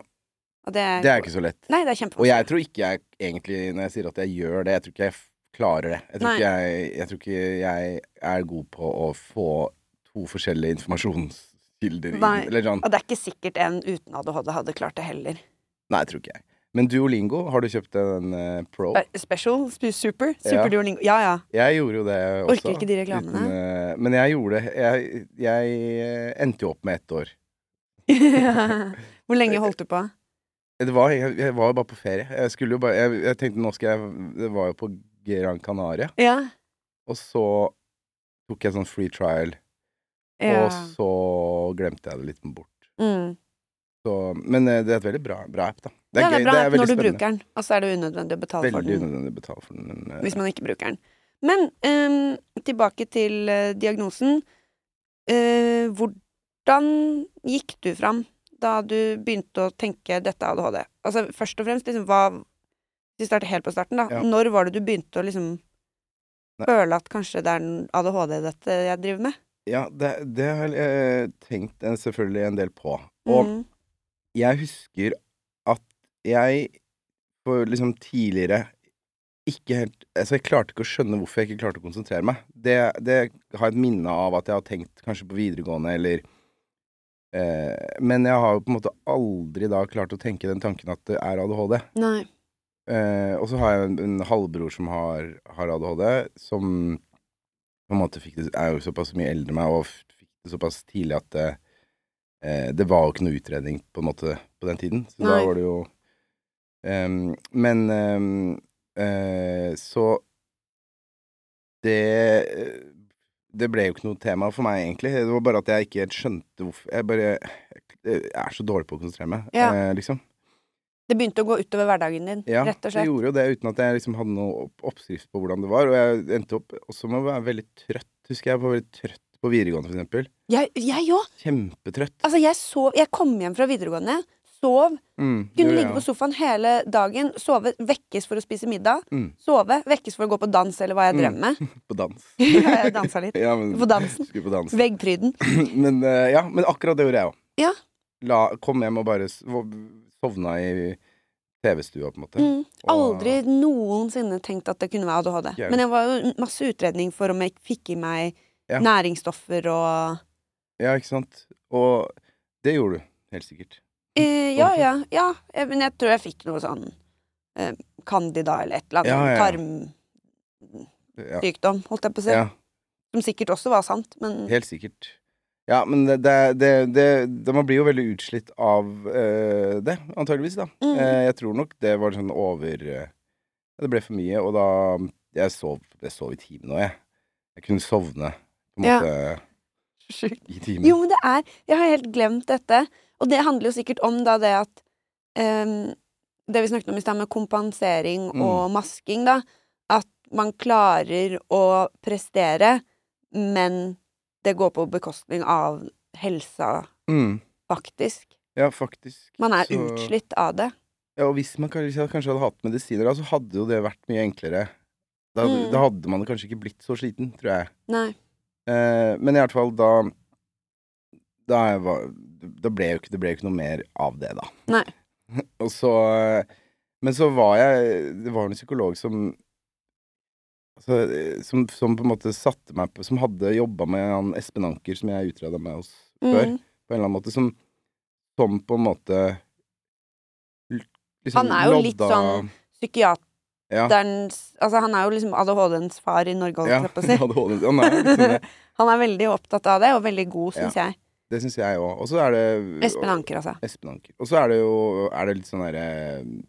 [SPEAKER 1] Og det er,
[SPEAKER 2] Det er ikke så lett.
[SPEAKER 1] Nei, det er
[SPEAKER 2] Og
[SPEAKER 1] kjempevanskelig.
[SPEAKER 2] jeg tror ikke jeg egentlig, når jeg sier at jeg gjør det, jeg tror ikke jeg f- klarer det. Jeg tror,
[SPEAKER 1] Nei.
[SPEAKER 2] ikke jeg, jeg tror ikke jeg er god på å få to forskjellige informasjonskilder inn.
[SPEAKER 1] Nei.
[SPEAKER 2] Eller sånn.
[SPEAKER 1] Og det er ikke sikkert en uten ADHD hadde klart det heller.
[SPEAKER 2] Nei, jeg tror ikke jeg. Men Duolingo, har du kjøpt en eh, pro?
[SPEAKER 1] Bare Special? sp- Super?
[SPEAKER 2] Ja.
[SPEAKER 1] Super duolingo? Ja ja.
[SPEAKER 2] Jeg gjorde jo det også.
[SPEAKER 1] Orker ikke de reklamene.
[SPEAKER 2] eh, men jeg gjorde det. Jeg, jeg eh, endte jo opp med ett år.
[SPEAKER 1] Hvor lenge holdt du på?
[SPEAKER 2] Det var, jeg, jeg var jo bare på ferie. Jeg, skulle jo bare, jeg, jeg tenkte nå skal jeg Det var jo på Gran Canaria.
[SPEAKER 1] Ja.
[SPEAKER 2] Og så tok jeg sånn free trial.
[SPEAKER 1] ja.
[SPEAKER 2] Og så glemte jeg det litt bort.
[SPEAKER 1] Mm.
[SPEAKER 2] Så, men eh, det er et veldig bra, bra app, da.
[SPEAKER 1] ja, det er bra
[SPEAKER 2] veldig
[SPEAKER 1] når du
[SPEAKER 2] spennende.
[SPEAKER 1] bruker den, og så er det unødvendig å betale for
[SPEAKER 2] Veldig
[SPEAKER 1] den.
[SPEAKER 2] unødvendig å betale for den, men eh,
[SPEAKER 1] hvis man ikke bruker den. Men ehm, tilbake til eh, diagnosen. Eh, hvordan gikk du fram da du begynte å tenke 'dette er ADHD'? Altså først og fremst, liksom, hva Vi starter helt på starten, da.
[SPEAKER 2] Ja.
[SPEAKER 1] Når var det du begynte å liksom
[SPEAKER 2] Nei.
[SPEAKER 1] føle at kanskje det er en ADHD dette jeg driver med?
[SPEAKER 2] Ja, det, det har jeg tenkt eh, selvfølgelig en del på. Og
[SPEAKER 1] Mm.
[SPEAKER 2] jeg husker at jeg for liksom tidligere ikke helt Altså, jeg klarte ikke å skjønne hvorfor jeg ikke klarte å konsentrere meg. Det, det har jeg et minne av at jeg har tenkt kanskje på videregående eller eh, Men jeg har jo på en måte aldri da klart å tenke den tanken at det er ADHD.
[SPEAKER 1] Nei.
[SPEAKER 2] Eh, og så har jeg en, en halvbror som har, har ADHD, som på en måte fikk det, er jo såpass mye eldre enn meg, og f- fikk det såpass tidlig at det, eh, det var jo ikke noe utredning på en måte på den tiden. Så da
[SPEAKER 1] Nei.
[SPEAKER 2] var det jo ehm, Men ehm, eh, så det eh, det ble jo ikke noe tema for meg, egentlig. Det var bare at jeg ikke helt skjønte hvorfor Jeg bare jeg er så dårlig på å konsentrere meg,
[SPEAKER 1] Ja.
[SPEAKER 2] eh, liksom.
[SPEAKER 1] Det begynte å gå utover hverdagen din,
[SPEAKER 2] Ja,
[SPEAKER 1] rett og
[SPEAKER 2] jeg
[SPEAKER 1] slett.
[SPEAKER 2] gjorde jo det uten at jeg liksom hadde noe opp oppskrift på hvordan det var. Og jeg endte opp også med å være veldig trøtt. Husker jeg var veldig trøtt på videregående, for eksempel.
[SPEAKER 1] Jeg jeg òg!
[SPEAKER 2] Kjempetrøtt.
[SPEAKER 1] Altså, jeg sov Jeg kom hjem fra videregående, sov
[SPEAKER 2] Mm,
[SPEAKER 1] Kunne
[SPEAKER 2] det gjorde
[SPEAKER 1] ligge
[SPEAKER 2] jeg
[SPEAKER 1] på
[SPEAKER 2] også.
[SPEAKER 1] sofaen hele dagen, sove, vekkes for å spise middag.
[SPEAKER 2] Mm.
[SPEAKER 1] Sove, vekkes for å gå på dans, eller hva jeg drev med.
[SPEAKER 2] på dans.
[SPEAKER 1] jeg dansa litt.
[SPEAKER 2] Ja, men,
[SPEAKER 1] På dansen.
[SPEAKER 2] Skulle på dans.
[SPEAKER 1] Veggpryden.
[SPEAKER 2] men, eh, ja, men akkurat det gjorde jeg òg.
[SPEAKER 1] Ja.
[SPEAKER 2] Kom hjem og bare s- vå- sovna i TV-stua, på en måte.
[SPEAKER 1] Mm.
[SPEAKER 2] Og-
[SPEAKER 1] Aldri noensinne tenkt at det kunne være ADHD.
[SPEAKER 2] Ikke jeg.
[SPEAKER 1] Men det var jo masse utredning for om jeg fikk i meg
[SPEAKER 2] Ja.
[SPEAKER 1] næringsstoffer og
[SPEAKER 2] Ja, ikke sant. Og det gjorde du, helt sikkert. Mm.
[SPEAKER 1] eh, Ja, ja. ja. eh, Men jeg tror jeg fikk noe sånn eh, candida eller et eller annet.
[SPEAKER 2] Ja, ja, ja. Ja.
[SPEAKER 1] Tarmsykdom, holdt jeg på å si.
[SPEAKER 2] ja.
[SPEAKER 1] Som sikkert også var sant, men
[SPEAKER 2] Helt sikkert. Ja, men det, det, det, det, det Man blir jo veldig utslitt av eh, det, antageligvis, da.
[SPEAKER 1] Mm.
[SPEAKER 2] Eh, jeg tror nok det var sånn over eh, Det ble for mye, og da Jeg sov, jeg sov i timen òg, jeg. Jeg kunne sovne på en
[SPEAKER 1] Ja.
[SPEAKER 2] måte
[SPEAKER 1] sjukt.
[SPEAKER 2] i timen.
[SPEAKER 1] Jo, men det er Jeg har helt glemt dette. Og det handler jo sikkert om da det at ehm, Det vi snakket om i stad med kompensering
[SPEAKER 2] Mm.
[SPEAKER 1] og masking, da. At man klarer å prestere, men det går på bekostning av helsa,
[SPEAKER 2] Mm.
[SPEAKER 1] faktisk.
[SPEAKER 2] Ja, faktisk.
[SPEAKER 1] Man er
[SPEAKER 2] Så-
[SPEAKER 1] utslitt av det.
[SPEAKER 2] Ja, og hvis man kanskje, kanskje hadde hatt medisiner, da, så hadde jo det vært mye enklere. Da,
[SPEAKER 1] Mm.
[SPEAKER 2] da hadde man kanskje ikke blitt så sliten, tror jeg.
[SPEAKER 1] Nei.
[SPEAKER 2] Eh, men i hvert fall da Da, jeg var, da ble jo ikke, det ble jo ikke noe mer av det, da.
[SPEAKER 1] Nei.
[SPEAKER 2] Og så eh, Men så var jeg Det var en psykolog som altså, eh, som, som på en måte satte meg på Som hadde jobba med han Espen Anker, som jeg utreda med oss før,
[SPEAKER 1] Mm.
[SPEAKER 2] på en eller annen måte, som, som på en måte l- liksom
[SPEAKER 1] Han er jo litt
[SPEAKER 2] lodda-
[SPEAKER 1] sånn
[SPEAKER 2] Ja.
[SPEAKER 1] Psykiaterens Altså, han er jo liksom ADHD-ens far i Norge, holdt
[SPEAKER 2] ja,
[SPEAKER 1] jeg på å si.
[SPEAKER 2] ADHD. Han er jo liksom det.
[SPEAKER 1] Han er veldig opptatt av det, og veldig god, syns jeg.
[SPEAKER 2] Det syns jeg òg. Og så er det
[SPEAKER 1] Espen Anker, altså.
[SPEAKER 2] Espen Anker. Og så er det jo er det litt sånn derre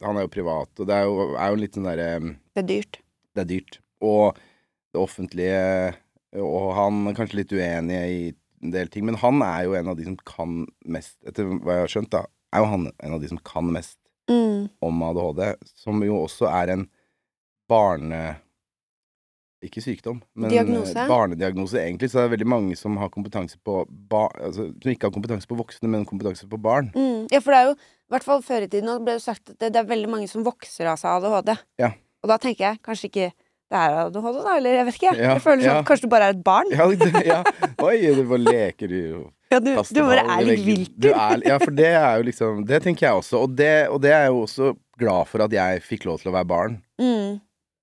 [SPEAKER 2] Han er jo privat, og det er jo, er jo litt sånn derre
[SPEAKER 1] Det er dyrt.
[SPEAKER 2] Det er dyrt. Og det offentlige Og han er kanskje litt uenig i en del ting, men han er jo en av de som kan mest, etter hva jeg har skjønt, da, er jo han en av de som kan mest
[SPEAKER 1] Mm.
[SPEAKER 2] om ADHD, som jo også er en barne... Ikke sykdom, men
[SPEAKER 1] Diagnose?
[SPEAKER 2] eh, barnediagnose, egentlig. Så det er veldig mange som har kompetanse på ba altså, Som ikke har kompetanse på voksne, men kompetanse på barn.
[SPEAKER 1] Mm. Ja, for det er jo, i hvert fall før i tiden, og det ble jo sagt at det, det er veldig mange som vokser av seg ADHD.
[SPEAKER 2] Ja.
[SPEAKER 1] Og da tenker jeg kanskje ikke det er ADHD, da, eller jeg vet ikke.
[SPEAKER 2] Ja,
[SPEAKER 1] jeg føler sånn,
[SPEAKER 2] ja.
[SPEAKER 1] Kanskje du bare er et barn?
[SPEAKER 2] Ja, det, ja. Oi, du bare leker du
[SPEAKER 1] Ja, du,
[SPEAKER 2] kaster
[SPEAKER 1] du bare
[SPEAKER 2] ball i
[SPEAKER 1] er litt
[SPEAKER 2] veggen.
[SPEAKER 1] vilt.
[SPEAKER 2] Du er- Ja, for det er jo liksom Det tenker jeg også. Og det, og det er jeg jo også glad for at jeg fikk lov til å være barn.
[SPEAKER 1] Mm.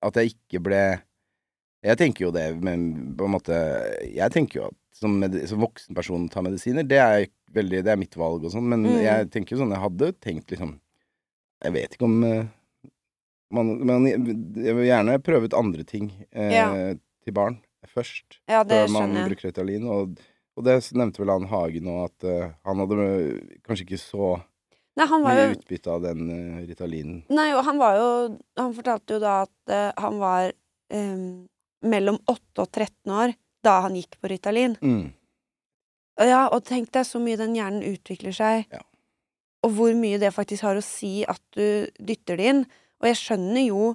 [SPEAKER 2] At jeg ikke ble Jeg tenker jo det, men på en måte Jeg tenker jo at som, med, som voksen person tar medisiner, det er, veldig, det er mitt valg og sånn, men
[SPEAKER 1] Mm.
[SPEAKER 2] jeg tenker jo sånn Jeg hadde tenkt liksom Jeg vet ikke om eh, man, man, Jeg vil gjerne prøve ut andre ting eh,
[SPEAKER 1] Ja.
[SPEAKER 2] til barn først
[SPEAKER 1] Ja, det
[SPEAKER 2] før man
[SPEAKER 1] skjønner jeg.
[SPEAKER 2] bruker Ritalin. Og, og det nevnte vel han Hagen òg, at eh, han hadde eh, kanskje ikke så
[SPEAKER 1] Nei, han var
[SPEAKER 2] mye
[SPEAKER 1] jo
[SPEAKER 2] utbytte av den eh, Ritalinen.
[SPEAKER 1] Nei, og han var jo Han fortalte jo da at eh, han var em, mellom 8 og 13 år da han gikk på Ritalin.
[SPEAKER 2] Mm.
[SPEAKER 1] Og Ja, og tenk deg så mye den hjernen utvikler seg.
[SPEAKER 2] Ja.
[SPEAKER 1] Og hvor mye det faktisk har å si at du dytter det inn. Og jeg skjønner jo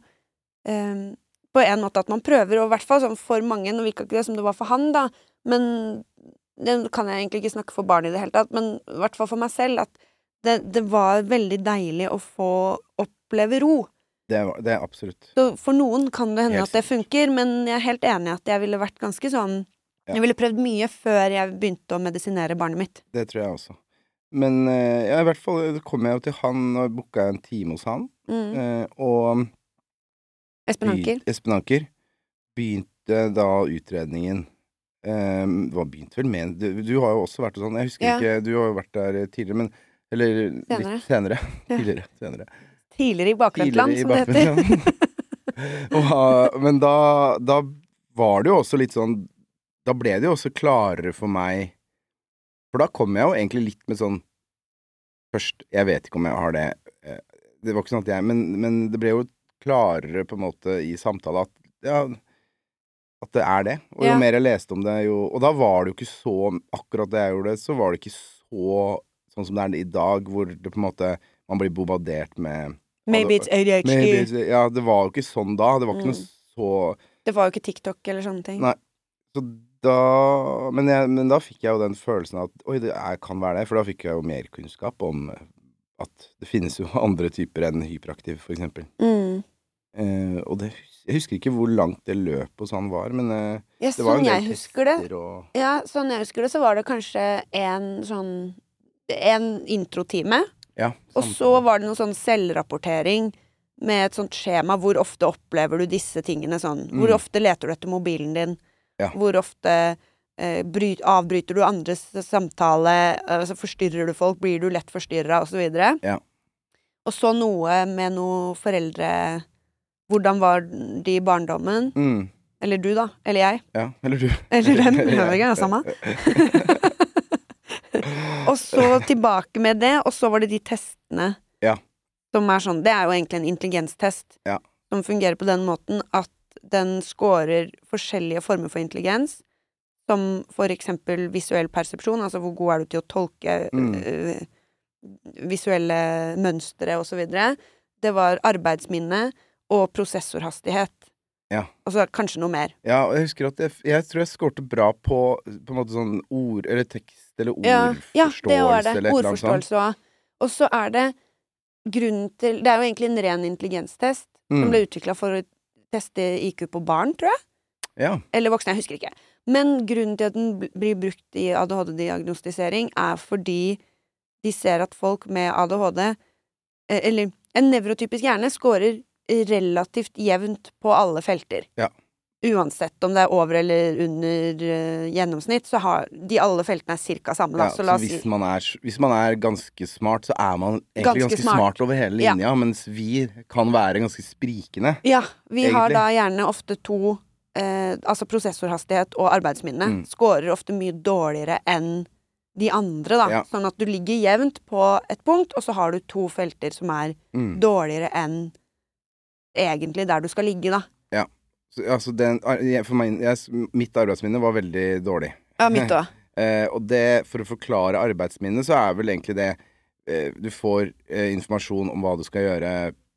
[SPEAKER 1] em, på en måte at man prøver, og i hvert fall sånn for mange, nå virka ikke det som det var for han, da, men det kan jeg egentlig ikke snakke for barn i det hele tatt, men i hvert fall for meg selv, at det, det var veldig deilig å få oppleve ro.
[SPEAKER 2] Det, var- det er absolutt
[SPEAKER 1] Så for noen kan det hende
[SPEAKER 2] Helt
[SPEAKER 1] at det funker, men jeg er helt enig i at jeg ville vært ganske sånn
[SPEAKER 2] Ja.
[SPEAKER 1] Jeg ville prøvd mye før jeg begynte å medisinere barnet mitt.
[SPEAKER 2] Det tror jeg også. Men eh, ja, i hvert fall eh, kom jeg jo til han og booka en time hos han.
[SPEAKER 1] Mm.
[SPEAKER 2] eh, og
[SPEAKER 1] Espen Anker.
[SPEAKER 2] Begy- Espen Anker begynte da utredningen. Um, det var begynt vel med du, du har jo også vært hos han. Jeg husker
[SPEAKER 1] Ja.
[SPEAKER 2] ikke, du har jo vært der eh, tidligere, men Eller
[SPEAKER 1] Senere.
[SPEAKER 2] litt senere.
[SPEAKER 1] Ja.
[SPEAKER 2] tidligere. Senere.
[SPEAKER 1] Tidligere i bakvendtland, som det
[SPEAKER 2] Tidligere i
[SPEAKER 1] heter.
[SPEAKER 2] bakvendtland. Og, uh, Men da, da var det jo også litt sånn Da ble det jo også klarere for meg For da kom jeg jo egentlig litt med sånn Først Jeg vet ikke om jeg har det eh, Det var ikke sånn at jeg Men, men det ble jo klarere på en måte i samtale at ja, at det er det. Og jo
[SPEAKER 1] Ja.
[SPEAKER 2] mer jeg leste om det, jo Og da var det jo ikke så Akkurat da jeg gjorde det, så var det ikke så sånn som det er i dag, hvor det på en måte Man blir bombardert med
[SPEAKER 1] Maybe it's ADHD.
[SPEAKER 2] Maybe it's- ja, det var jo ikke sånn da. Det var ikke
[SPEAKER 1] Mm.
[SPEAKER 2] noe så
[SPEAKER 1] Det var jo ikke TikTok eller sånne ting.
[SPEAKER 2] Nei. Så da men, jeg, men da fikk jeg jo den følelsen av at oi, det er, kan være det. For da fikk jeg jo mer kunnskap om eh, at det finnes jo andre typer enn hyperaktiv, for eksempel.
[SPEAKER 1] Mm.
[SPEAKER 2] Eh, og det, hus- jeg husker ikke hvor langt det løpet hos han var, men eh,
[SPEAKER 1] Ja,
[SPEAKER 2] det var
[SPEAKER 1] sånn
[SPEAKER 2] jo en
[SPEAKER 1] jeg
[SPEAKER 2] del
[SPEAKER 1] husker det,
[SPEAKER 2] tester og
[SPEAKER 1] ja, sånn jeg husker det, så var det kanskje en sånn En introtime,
[SPEAKER 2] ja,
[SPEAKER 1] og så var det noe sånn selvrapportering med et sånt skjema. Hvor ofte opplever du disse tingene sånn? Hvor
[SPEAKER 2] Mm.
[SPEAKER 1] ofte leter du etter mobilen din?
[SPEAKER 2] Ja.
[SPEAKER 1] Hvor ofte eh, bry, avbryter du andres samtale? Altså, forstyrrer du folk? Blir du lett forstyrra? Og så videre.
[SPEAKER 2] Ja.
[SPEAKER 1] Og så noe med noe foreldre Hvordan var de i barndommen?
[SPEAKER 2] Mm.
[SPEAKER 1] Eller du, da. Eller jeg.
[SPEAKER 2] Ja, eller du.
[SPEAKER 1] Eller den. Det er ikke det samme. og så tilbake med det, og så var det de testene
[SPEAKER 2] Ja.
[SPEAKER 1] som er sånn Det er jo egentlig en intelligenstest
[SPEAKER 2] Ja.
[SPEAKER 1] som fungerer på den måten at den scorer forskjellige former for intelligens, som for eksempel visuell persepsjon, altså hvor god er du til å tolke
[SPEAKER 2] Mm.
[SPEAKER 1] øh, visuelle mønstre og så videre. Det var arbeidsminne og prosessorhastighet.
[SPEAKER 2] Ja.
[SPEAKER 1] Altså kanskje noe mer.
[SPEAKER 2] Ja, og jeg husker at jeg, jeg tror jeg skårte bra på På en måte sånn ord Eller tekst eller
[SPEAKER 1] Ja,
[SPEAKER 2] ordforståelse
[SPEAKER 1] ja det var det.
[SPEAKER 2] eller et eller annet sånt.
[SPEAKER 1] Ordforståelse òg. Og så er det grunnen til Det er jo egentlig en ren intelligenstest som
[SPEAKER 2] Mm.
[SPEAKER 1] ble utvikla for å teste IQ på barn, tror jeg.
[SPEAKER 2] Ja.
[SPEAKER 1] Eller voksne, jeg husker ikke. Men grunnen til at den bl- blir brukt i ADHD-diagnostisering, er fordi de ser at folk med ADHD, eh, eller en nevrotypisk hjerne, scorer relativt jevnt på alle felter.
[SPEAKER 2] Ja.
[SPEAKER 1] Uansett om det er over eller under eh, gjennomsnitt, så har de alle feltene er ca. samme. Da.
[SPEAKER 2] Ja,
[SPEAKER 1] så
[SPEAKER 2] så
[SPEAKER 1] la oss si
[SPEAKER 2] hvis, man er, hvis man er ganske smart, så er man egentlig
[SPEAKER 1] Ganske
[SPEAKER 2] ganske,
[SPEAKER 1] smart.
[SPEAKER 2] smart. over hele
[SPEAKER 1] Ja.
[SPEAKER 2] linja, mens vi kan være ganske sprikende.
[SPEAKER 1] Ja, vi har
[SPEAKER 2] Egentlig.
[SPEAKER 1] da gjerne ofte to eh, Altså prosessorhastighet og arbeidsminne
[SPEAKER 2] Mm.
[SPEAKER 1] scorer ofte mye dårligere enn de andre, da.
[SPEAKER 2] Ja.
[SPEAKER 1] Sånn at du ligger jevnt på et punkt, og så har du to felter som er
[SPEAKER 2] Mm.
[SPEAKER 1] dårligere enn egentlig der du skal ligge, da.
[SPEAKER 2] Så, altså, den, jeg- for meg, jeg, mitt arbeidsminne var veldig dårlig.
[SPEAKER 1] Ja, mitt òg.
[SPEAKER 2] Eh, og det, for å forklare arbeidsminnet, så er vel egentlig det eh, Du får eh, informasjon om hva du skal gjøre,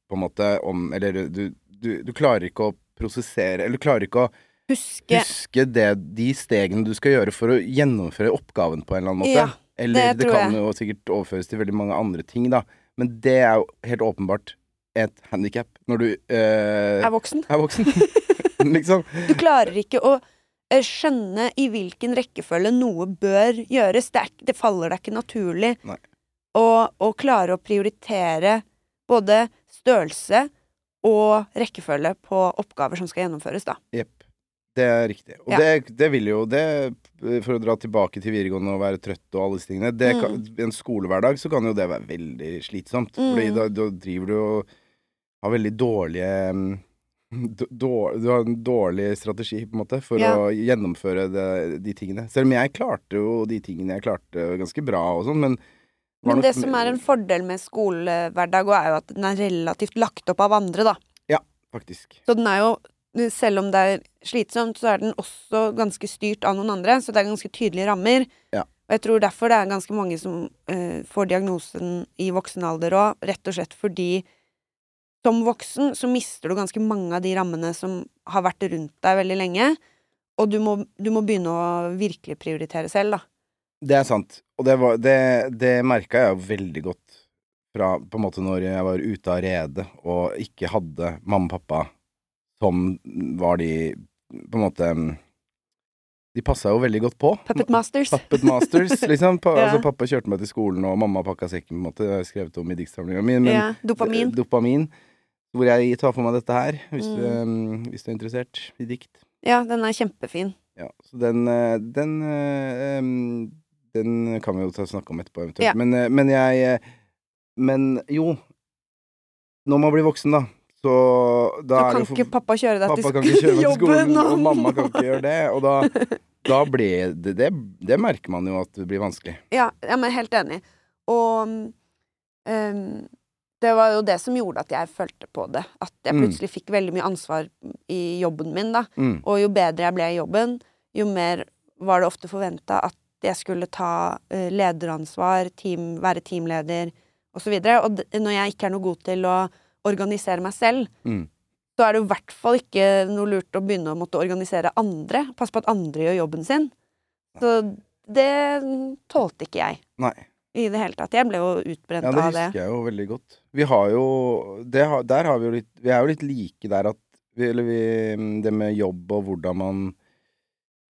[SPEAKER 2] på en måte, om Eller du, du, du klarer ikke å prosessere Eller du klarer ikke å
[SPEAKER 1] Huske
[SPEAKER 2] huske det, de stegene du skal gjøre for å gjennomføre oppgaven på en eller annen måte.
[SPEAKER 1] Ja,
[SPEAKER 2] eller
[SPEAKER 1] det
[SPEAKER 2] det,
[SPEAKER 1] tror
[SPEAKER 2] kan
[SPEAKER 1] jeg.
[SPEAKER 2] jo sikkert overføres til veldig mange andre ting, da. Men det er jo helt åpenbart et handikap når du eh,
[SPEAKER 1] er voksen.
[SPEAKER 2] er voksen. liksom.
[SPEAKER 1] Du klarer ikke å eh, skjønne i hvilken rekkefølge noe bør gjøres. Det, er, ikke- det faller deg ikke naturlig
[SPEAKER 2] Nei.
[SPEAKER 1] å, å klare å prioritere både størrelse og rekkefølge på oppgaver som skal gjennomføres, da.
[SPEAKER 2] Jepp. Det er riktig. Og
[SPEAKER 1] Ja.
[SPEAKER 2] det, det vil jo det, for å dra tilbake til videregående og være trøtt og alle disse tingene det
[SPEAKER 1] Mm.
[SPEAKER 2] kan, I en skolehverdag så kan jo det være veldig slitsomt.
[SPEAKER 1] Mm.
[SPEAKER 2] Fordi da, da driver du og har veldig dårlige mm, d- dår- Du har en dårlig strategi, på en måte, for
[SPEAKER 1] Ja.
[SPEAKER 2] å gjennomføre det, de tingene. Selv om jeg klarte jo de tingene jeg klarte ganske bra og sånn, men var
[SPEAKER 1] Men
[SPEAKER 2] nok
[SPEAKER 1] det som er en fordel med skolehverdag, også er jo at den er relativt lagt opp av andre, da.
[SPEAKER 2] Faktisk.
[SPEAKER 1] Så den er jo selv om det er slitsomt, så er den også ganske styrt av noen andre. Så det er ganske tydelige rammer.
[SPEAKER 2] Ja.
[SPEAKER 1] Og jeg tror derfor det er ganske mange som eh, får diagnosen i voksen alder òg, rett og slett fordi som voksen så mister du ganske mange av de rammene som har vært rundt deg veldig lenge. Og du må, du må begynne å virkelig prioritere selv, da.
[SPEAKER 2] Det er sant. Og det, var- det, det merka jeg jo veldig godt fra på en måte når jeg var ute av redet og ikke hadde mamma og pappa som var de på en måte De passa jo veldig godt på.
[SPEAKER 1] Puppet Masters.
[SPEAKER 2] Puppet Masters, liksom. Pa,
[SPEAKER 1] Ja.
[SPEAKER 2] altså, pappa kjørte meg til skolen, og mamma pakka sekken, på en måte. Det har jeg skrevet om i diktsamlinga mi. Men
[SPEAKER 1] ja, dopamin.
[SPEAKER 2] dopamin. Hvor jeg tar for meg dette her, hvis,
[SPEAKER 1] Mm.
[SPEAKER 2] du, eh, hvis du er interessert i dikt.
[SPEAKER 1] Ja, den er kjempefin.
[SPEAKER 2] Ja, så den eh, Den, eh, em, den kan vi jo ta snakke om etterpå, eventuelt.
[SPEAKER 1] Ja.
[SPEAKER 2] Men, eh, men jeg eh, Men jo Når man blir voksen, da, så da
[SPEAKER 1] Så
[SPEAKER 2] er det
[SPEAKER 1] kan
[SPEAKER 2] jo for-
[SPEAKER 1] ikke pappa kjøre deg
[SPEAKER 2] Pappa kan
[SPEAKER 1] til
[SPEAKER 2] ikke kjøre meg til skolen,
[SPEAKER 1] jobben,
[SPEAKER 2] og mamma kan ikke gjøre det. Og da, da ble det, det Det merker man jo at det blir vanskelig.
[SPEAKER 1] Ja, ja men helt enig. Og mm, ehm, det var jo det som gjorde at jeg følte på det. At jeg
[SPEAKER 2] Mm.
[SPEAKER 1] plutselig fikk veldig mye ansvar i jobben min, da.
[SPEAKER 2] Mm.
[SPEAKER 1] Og jo bedre jeg ble i jobben, jo mer var det ofte forventa at jeg skulle ta eh, lederansvar, team, være teamleder osv. Og, så og d når jeg ikke er noe god til å organisere meg selv,
[SPEAKER 2] Mm.
[SPEAKER 1] så er det jo i hvert fall ikke noe lurt å begynne å måtte organisere andre. Passe på at andre gjør jobben sin. Så det tålte ikke jeg
[SPEAKER 2] Nei.
[SPEAKER 1] i det hele tatt. Jeg ble jo utbrent
[SPEAKER 2] Ja, det
[SPEAKER 1] av det.
[SPEAKER 2] husker jeg jo veldig godt. Vi har jo det har, Der har vi jo litt Vi er jo litt like der at vi, Eller vi Det med jobb og hvordan man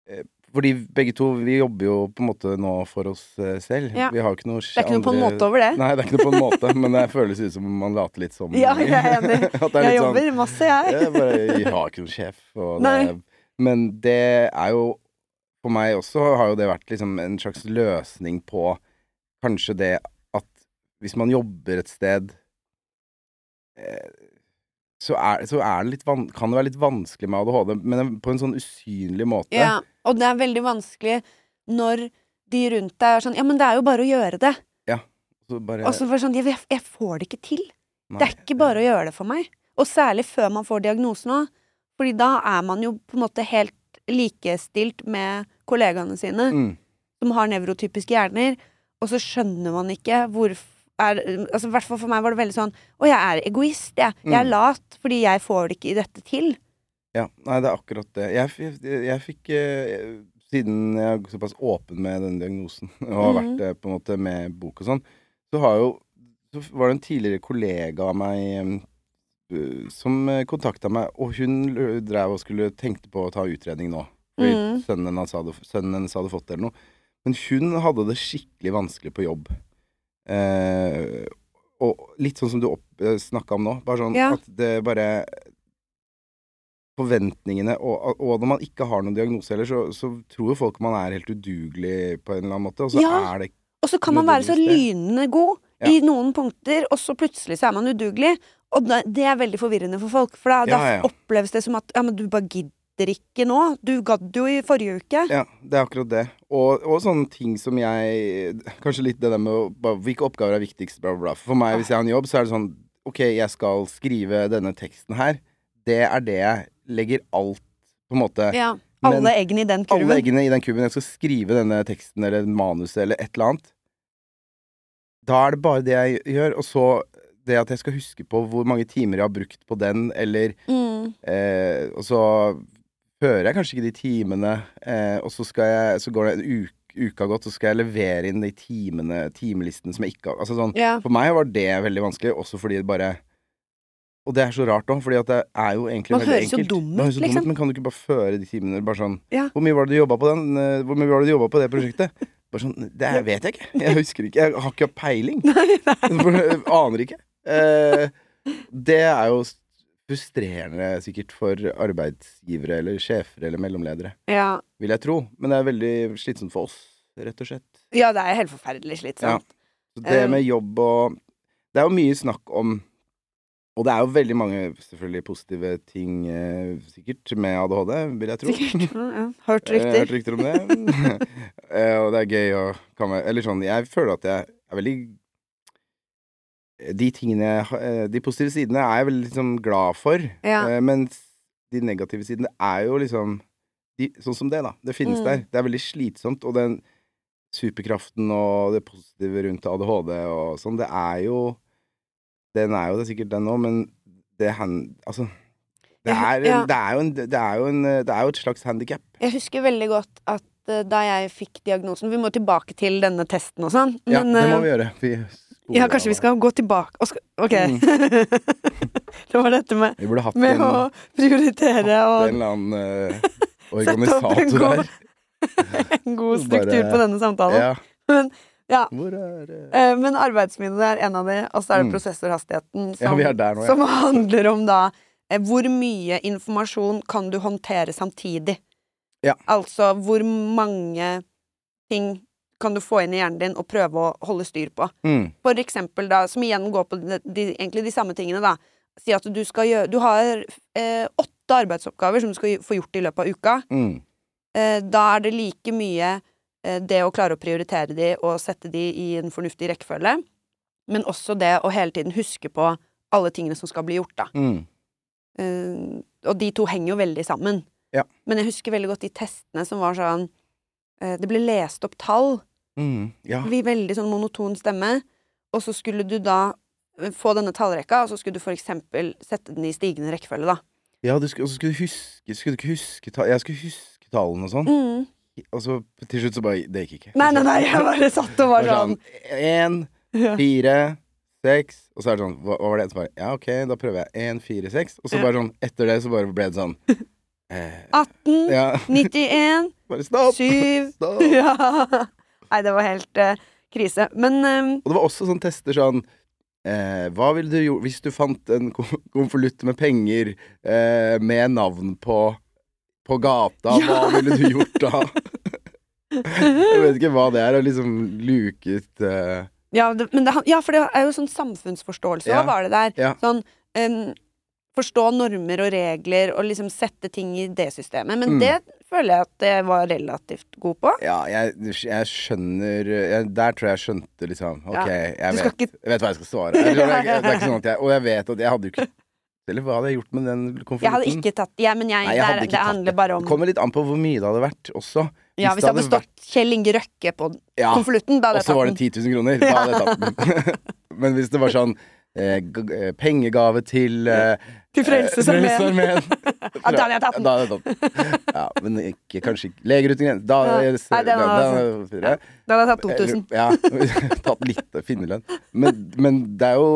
[SPEAKER 2] eh, Fordi begge to Vi jobber jo på en måte nå for oss eh, selv.
[SPEAKER 1] Ja.
[SPEAKER 2] Vi har jo ikke noe
[SPEAKER 1] Det er ikke noe på en måte over det.
[SPEAKER 2] Nei, det er ikke noe på en måte, men det føles ut som man later litt som
[SPEAKER 1] Ja, jeg er enig.
[SPEAKER 2] At det er
[SPEAKER 1] Jeg
[SPEAKER 2] litt sånn
[SPEAKER 1] jobber masse, jeg.
[SPEAKER 2] jeg bare jeg har ikke noen sjef. Og det,
[SPEAKER 1] Nei.
[SPEAKER 2] men det er jo For meg også har jo det vært liksom en slags løsning på kanskje det at hvis man jobber et sted eh, så, er, så er det litt van kan det være litt vanskelig med ADHD, men på en sånn usynlig måte.
[SPEAKER 1] Ja, og det er veldig vanskelig når de rundt deg er sånn Ja, men det er jo bare å gjøre det.
[SPEAKER 2] Så bare,
[SPEAKER 1] Og så bare sånn jeg, jeg får det ikke til.
[SPEAKER 2] nei.
[SPEAKER 1] Det er ikke bare å gjøre det for meg. Og særlig før man får diagnosen òg. Fordi da er man jo på en måte helt likestilt med kollegaene sine
[SPEAKER 2] mm.
[SPEAKER 1] som har nevrotypiske hjerner, og så skjønner man ikke hvorfor er, altså, I hvert fall for meg var det veldig sånn Å, jeg er egoist, jeg. Jeg er
[SPEAKER 2] Mm.
[SPEAKER 1] lat, fordi jeg får det ikke dette til.
[SPEAKER 2] Ja, nei, det er akkurat det. Jeg, f- jeg, jeg fikk eh, Siden jeg er såpass åpen med denne diagnosen, og har vært
[SPEAKER 1] Mhm.
[SPEAKER 2] det på en måte med bok og sånn, så har jo Så f- var det en tidligere kollega av meg eh, som kontakta meg, og hun l- drev og skulle tenkte på å ta utredning nå. Fordi
[SPEAKER 1] Mhm.
[SPEAKER 2] sønnen, hennes hadde, sønnen hennes hadde fått det eller noe. Men hun hadde det skikkelig vanskelig på jobb. Eh, og litt sånn som du opp- eh, snakka om nå. Bare sånn
[SPEAKER 1] Ja.
[SPEAKER 2] at det bare Forventningene og, og når man ikke har noen diagnose heller, så, så tror jo folk man er helt udugelig på en eller annen måte. Og så
[SPEAKER 1] Ja.
[SPEAKER 2] er det
[SPEAKER 1] Og så kan man være så
[SPEAKER 2] Nødvendigvis
[SPEAKER 1] lynende god
[SPEAKER 2] Ja.
[SPEAKER 1] i noen punkter, og så plutselig så er man udugelig. Og da, det er veldig forvirrende for folk, for da,
[SPEAKER 2] Ja, ja, ja.
[SPEAKER 1] da oppleves det som at ja, men du bare gidder ikke nå. Du gadd jo i forrige uke.
[SPEAKER 2] Ja, det er akkurat det. Og, og sånne ting som jeg Kanskje litt det der med å, bare, hvilke oppgaver er viktigst, bla, bla, bla. For meg, hvis jeg har en jobb, så er det sånn OK, jeg skal skrive denne teksten her. Det er det jeg legger alt på en måte
[SPEAKER 1] Ja.
[SPEAKER 2] Men-
[SPEAKER 1] Alle eggene i den
[SPEAKER 2] Alle
[SPEAKER 1] kurven.
[SPEAKER 2] eggene i den kuben. Jeg skal skrive denne teksten eller manuset eller et eller annet. Da er det bare det jeg gjør. Og så det at jeg skal huske på hvor mange timer jeg har brukt på den, eller
[SPEAKER 1] Mm.
[SPEAKER 2] Eh, og så hører jeg kanskje ikke de timene, eh, og så, skal jeg, så går det en uke, uka gått, så skal jeg levere inn de timene, timelistene som jeg ikke har altså sånn,
[SPEAKER 1] Ja.
[SPEAKER 2] For meg var det veldig vanskelig, også fordi det bare Og det er så rart òg, fordi at det er jo egentlig
[SPEAKER 1] Man
[SPEAKER 2] veldig
[SPEAKER 1] høres jo
[SPEAKER 2] enkelt.
[SPEAKER 1] dum ut,
[SPEAKER 2] Man høres jo
[SPEAKER 1] liksom.
[SPEAKER 2] Men kan du ikke bare føre de timene bare sånn
[SPEAKER 1] Ja.
[SPEAKER 2] Hvor mye var det du jobba på den? eh, Hvor mye var det du jobba på det prosjektet? Bare sånn Det her vet jeg ikke. Jeg husker ikke. Jeg har ikke peiling. For jeg Aner ikke. Eh, det er jo s- frustrerende sikkert for arbeidsgivere eller sjefer eller mellomledere,
[SPEAKER 1] ja.
[SPEAKER 2] vil jeg tro. Men det er veldig slitsomt for oss, rett og slett.
[SPEAKER 1] Ja, det er helt forferdelig
[SPEAKER 2] Ja.
[SPEAKER 1] slitsomt.
[SPEAKER 2] Så det
[SPEAKER 1] Um,
[SPEAKER 2] med jobb og Det er jo mye snakk om og det er jo veldig mange selvfølgelig positive ting eh, sikkert med ADHD, vil jeg tro. Eh,
[SPEAKER 1] Sikkert. Mm, ja. Hørt
[SPEAKER 2] Jeg har
[SPEAKER 1] rykter.
[SPEAKER 2] hørt rykter om det. Eh, og det er gøy å komme Eller sånn, jeg føler at jeg er veldig De tingene jeg har- eh, De positive sidene er jeg veldig liksom glad for.
[SPEAKER 1] Ja.
[SPEAKER 2] Eh, mens de negative sidene er jo liksom de, Sånn som det, da. Det finnes
[SPEAKER 1] Mm.
[SPEAKER 2] der. Det er veldig slitsomt. Og den superkraften og det positive rundt ADHD og sånn, det er jo Den er jo det sikkert, den òg, men det han... Altså det
[SPEAKER 1] Ja,
[SPEAKER 2] er,
[SPEAKER 1] ja.
[SPEAKER 2] det, er jo en, det, er jo en, det er jo et slags handikap.
[SPEAKER 1] Jeg husker veldig godt at eh, da jeg fikk diagnosen Vi må tilbake til denne testen og sånn.
[SPEAKER 2] Ja,
[SPEAKER 1] men,
[SPEAKER 2] det
[SPEAKER 1] eh,
[SPEAKER 2] må vi gjøre. Vi spoler
[SPEAKER 1] Ja, kanskje vi
[SPEAKER 2] av
[SPEAKER 1] skal gå tilbake og skal, Ok.
[SPEAKER 2] Mm.
[SPEAKER 1] det var dette med,
[SPEAKER 2] det. Vi burde hatt
[SPEAKER 1] med
[SPEAKER 2] en,
[SPEAKER 1] å prioritere
[SPEAKER 2] en
[SPEAKER 1] og
[SPEAKER 2] eller annen eh,
[SPEAKER 1] Sette opp en
[SPEAKER 2] organisator
[SPEAKER 1] god-
[SPEAKER 2] her.
[SPEAKER 1] en god struktur
[SPEAKER 2] bare-
[SPEAKER 1] på denne samtalen.
[SPEAKER 2] Ja.
[SPEAKER 1] Men, ja.
[SPEAKER 2] Hvor er eh,
[SPEAKER 1] Eh, Men arbeidsmiddel er en av de, og så er det
[SPEAKER 2] Mm.
[SPEAKER 1] prosessorhastigheten
[SPEAKER 2] Ja,
[SPEAKER 1] som,
[SPEAKER 2] vi er der nå, ja.
[SPEAKER 1] som handler om da eh, hvor mye informasjon kan du håndtere samtidig.
[SPEAKER 2] Ja.
[SPEAKER 1] Altså hvor mange ting kan du få inn i hjernen din og prøve å holde styr på.
[SPEAKER 2] mm,
[SPEAKER 1] For eksempel da, som igjen går på de, de, egentlig de samme tingene da. Si at du skal gjøre, du har eh, åtte arbeidsoppgaver som du skal få gjort i løpet av uka
[SPEAKER 2] mm,
[SPEAKER 1] eh, da er det like mye eh, det å klare å prioritere de og sette de i en fornuftig rekkefølge, men også det å hele tiden huske på alle tingene som skal bli gjort, da.
[SPEAKER 2] mm.
[SPEAKER 1] Eh, og de to henger jo veldig sammen.
[SPEAKER 2] Ja.
[SPEAKER 1] Men jeg husker veldig godt de testene som var sånn eh, Det ble lest opp tall
[SPEAKER 2] Mm, ja.
[SPEAKER 1] vi veldig sånn monoton stemme, og så skulle du da eh, få denne tallrekka, og så skulle du for eksempel sette den i stigende rekkefølge, da.
[SPEAKER 2] ja, du skulle, og så skulle du huske Skulle du ikke huske ta, Jeg skulle huske tallene og sånn, og så til slutt så bare Det gikk ikke.
[SPEAKER 1] Mm. Nei, nei, nei, jeg bare satt og var
[SPEAKER 2] Bare sånn
[SPEAKER 1] sånn
[SPEAKER 2] Én,
[SPEAKER 1] ja.
[SPEAKER 2] fire, seks Og så er det sånn Hva, hva var det? Så bare Ja, OK, da prøver jeg. Én, fire, seks. Og så
[SPEAKER 1] Ja.
[SPEAKER 2] bare sånn Etter det så bare ble det sånn eh,
[SPEAKER 1] 18,
[SPEAKER 2] Ja.
[SPEAKER 1] 91,
[SPEAKER 2] Bare stopp!
[SPEAKER 1] 7
[SPEAKER 2] Stopp!
[SPEAKER 1] Ja. Nei, det var helt eh, krise. Men eh,
[SPEAKER 2] Og det var også sånn tester sånn eh, Hva ville du gjort hvis du fant en kon- konvolutt med penger eh, med navn på, på gata?
[SPEAKER 1] Ja.
[SPEAKER 2] Hva ville du gjort da? Jeg vet ikke hva det er. Og liksom luket eh,
[SPEAKER 1] ja, det, men det, han- ja, for det er jo sånn samfunnsforståelse
[SPEAKER 2] Ja.
[SPEAKER 1] òg, var det der.
[SPEAKER 2] Ja.
[SPEAKER 1] Sånn em, forstå normer og regler og liksom sette ting i det systemet.
[SPEAKER 2] Mm.
[SPEAKER 1] Men det føler jeg at jeg var relativt god på.
[SPEAKER 2] Ja, jeg, jeg skjønner jeg, Der tror jeg jeg skjønte liksom OK,
[SPEAKER 1] Ja.
[SPEAKER 2] jeg
[SPEAKER 1] Du
[SPEAKER 2] vet,
[SPEAKER 1] skal ikke
[SPEAKER 2] jeg vet hva jeg skal svare. Eller sånn, jeg- Det er ikke sånn at jeg, og jeg vet at jeg hadde jo ikke Eller hva hadde jeg gjort med den konvolutten?
[SPEAKER 1] Jeg hadde ikke tatt Ja, men jeg,
[SPEAKER 2] Nei, jeg hadde
[SPEAKER 1] det, er-
[SPEAKER 2] ikke
[SPEAKER 1] det
[SPEAKER 2] tatt
[SPEAKER 1] handler bare om
[SPEAKER 2] Det kommer litt an på hvor mye det hadde vært også.
[SPEAKER 1] Ja, hvis det hadde
[SPEAKER 2] vært-
[SPEAKER 1] stått Kjell Inge Røkke på
[SPEAKER 2] ja,
[SPEAKER 1] konvolutten, da
[SPEAKER 2] Og
[SPEAKER 1] hadde jeg
[SPEAKER 2] så var det
[SPEAKER 1] tatt den.
[SPEAKER 2] 10 000 kroner. Da hadde jeg tatt den. Men hvis det var sånn eh, g- eh, pengegave til eh,
[SPEAKER 1] Til Frelsesarmeen.
[SPEAKER 2] Frelsesarmeen.
[SPEAKER 1] Ja, da hadde jeg tatt den.
[SPEAKER 2] Da hadde jeg tatt den. Ja, men ikke, kanskje ikke Leger uten grenser. Da hadde
[SPEAKER 1] Ja.
[SPEAKER 2] jeg
[SPEAKER 1] Nei, den hadde-
[SPEAKER 2] den hadde-
[SPEAKER 1] Da hadde jeg tatt 2000.
[SPEAKER 2] Ja, tatt litt finnerlønn. Men, men det, er jo,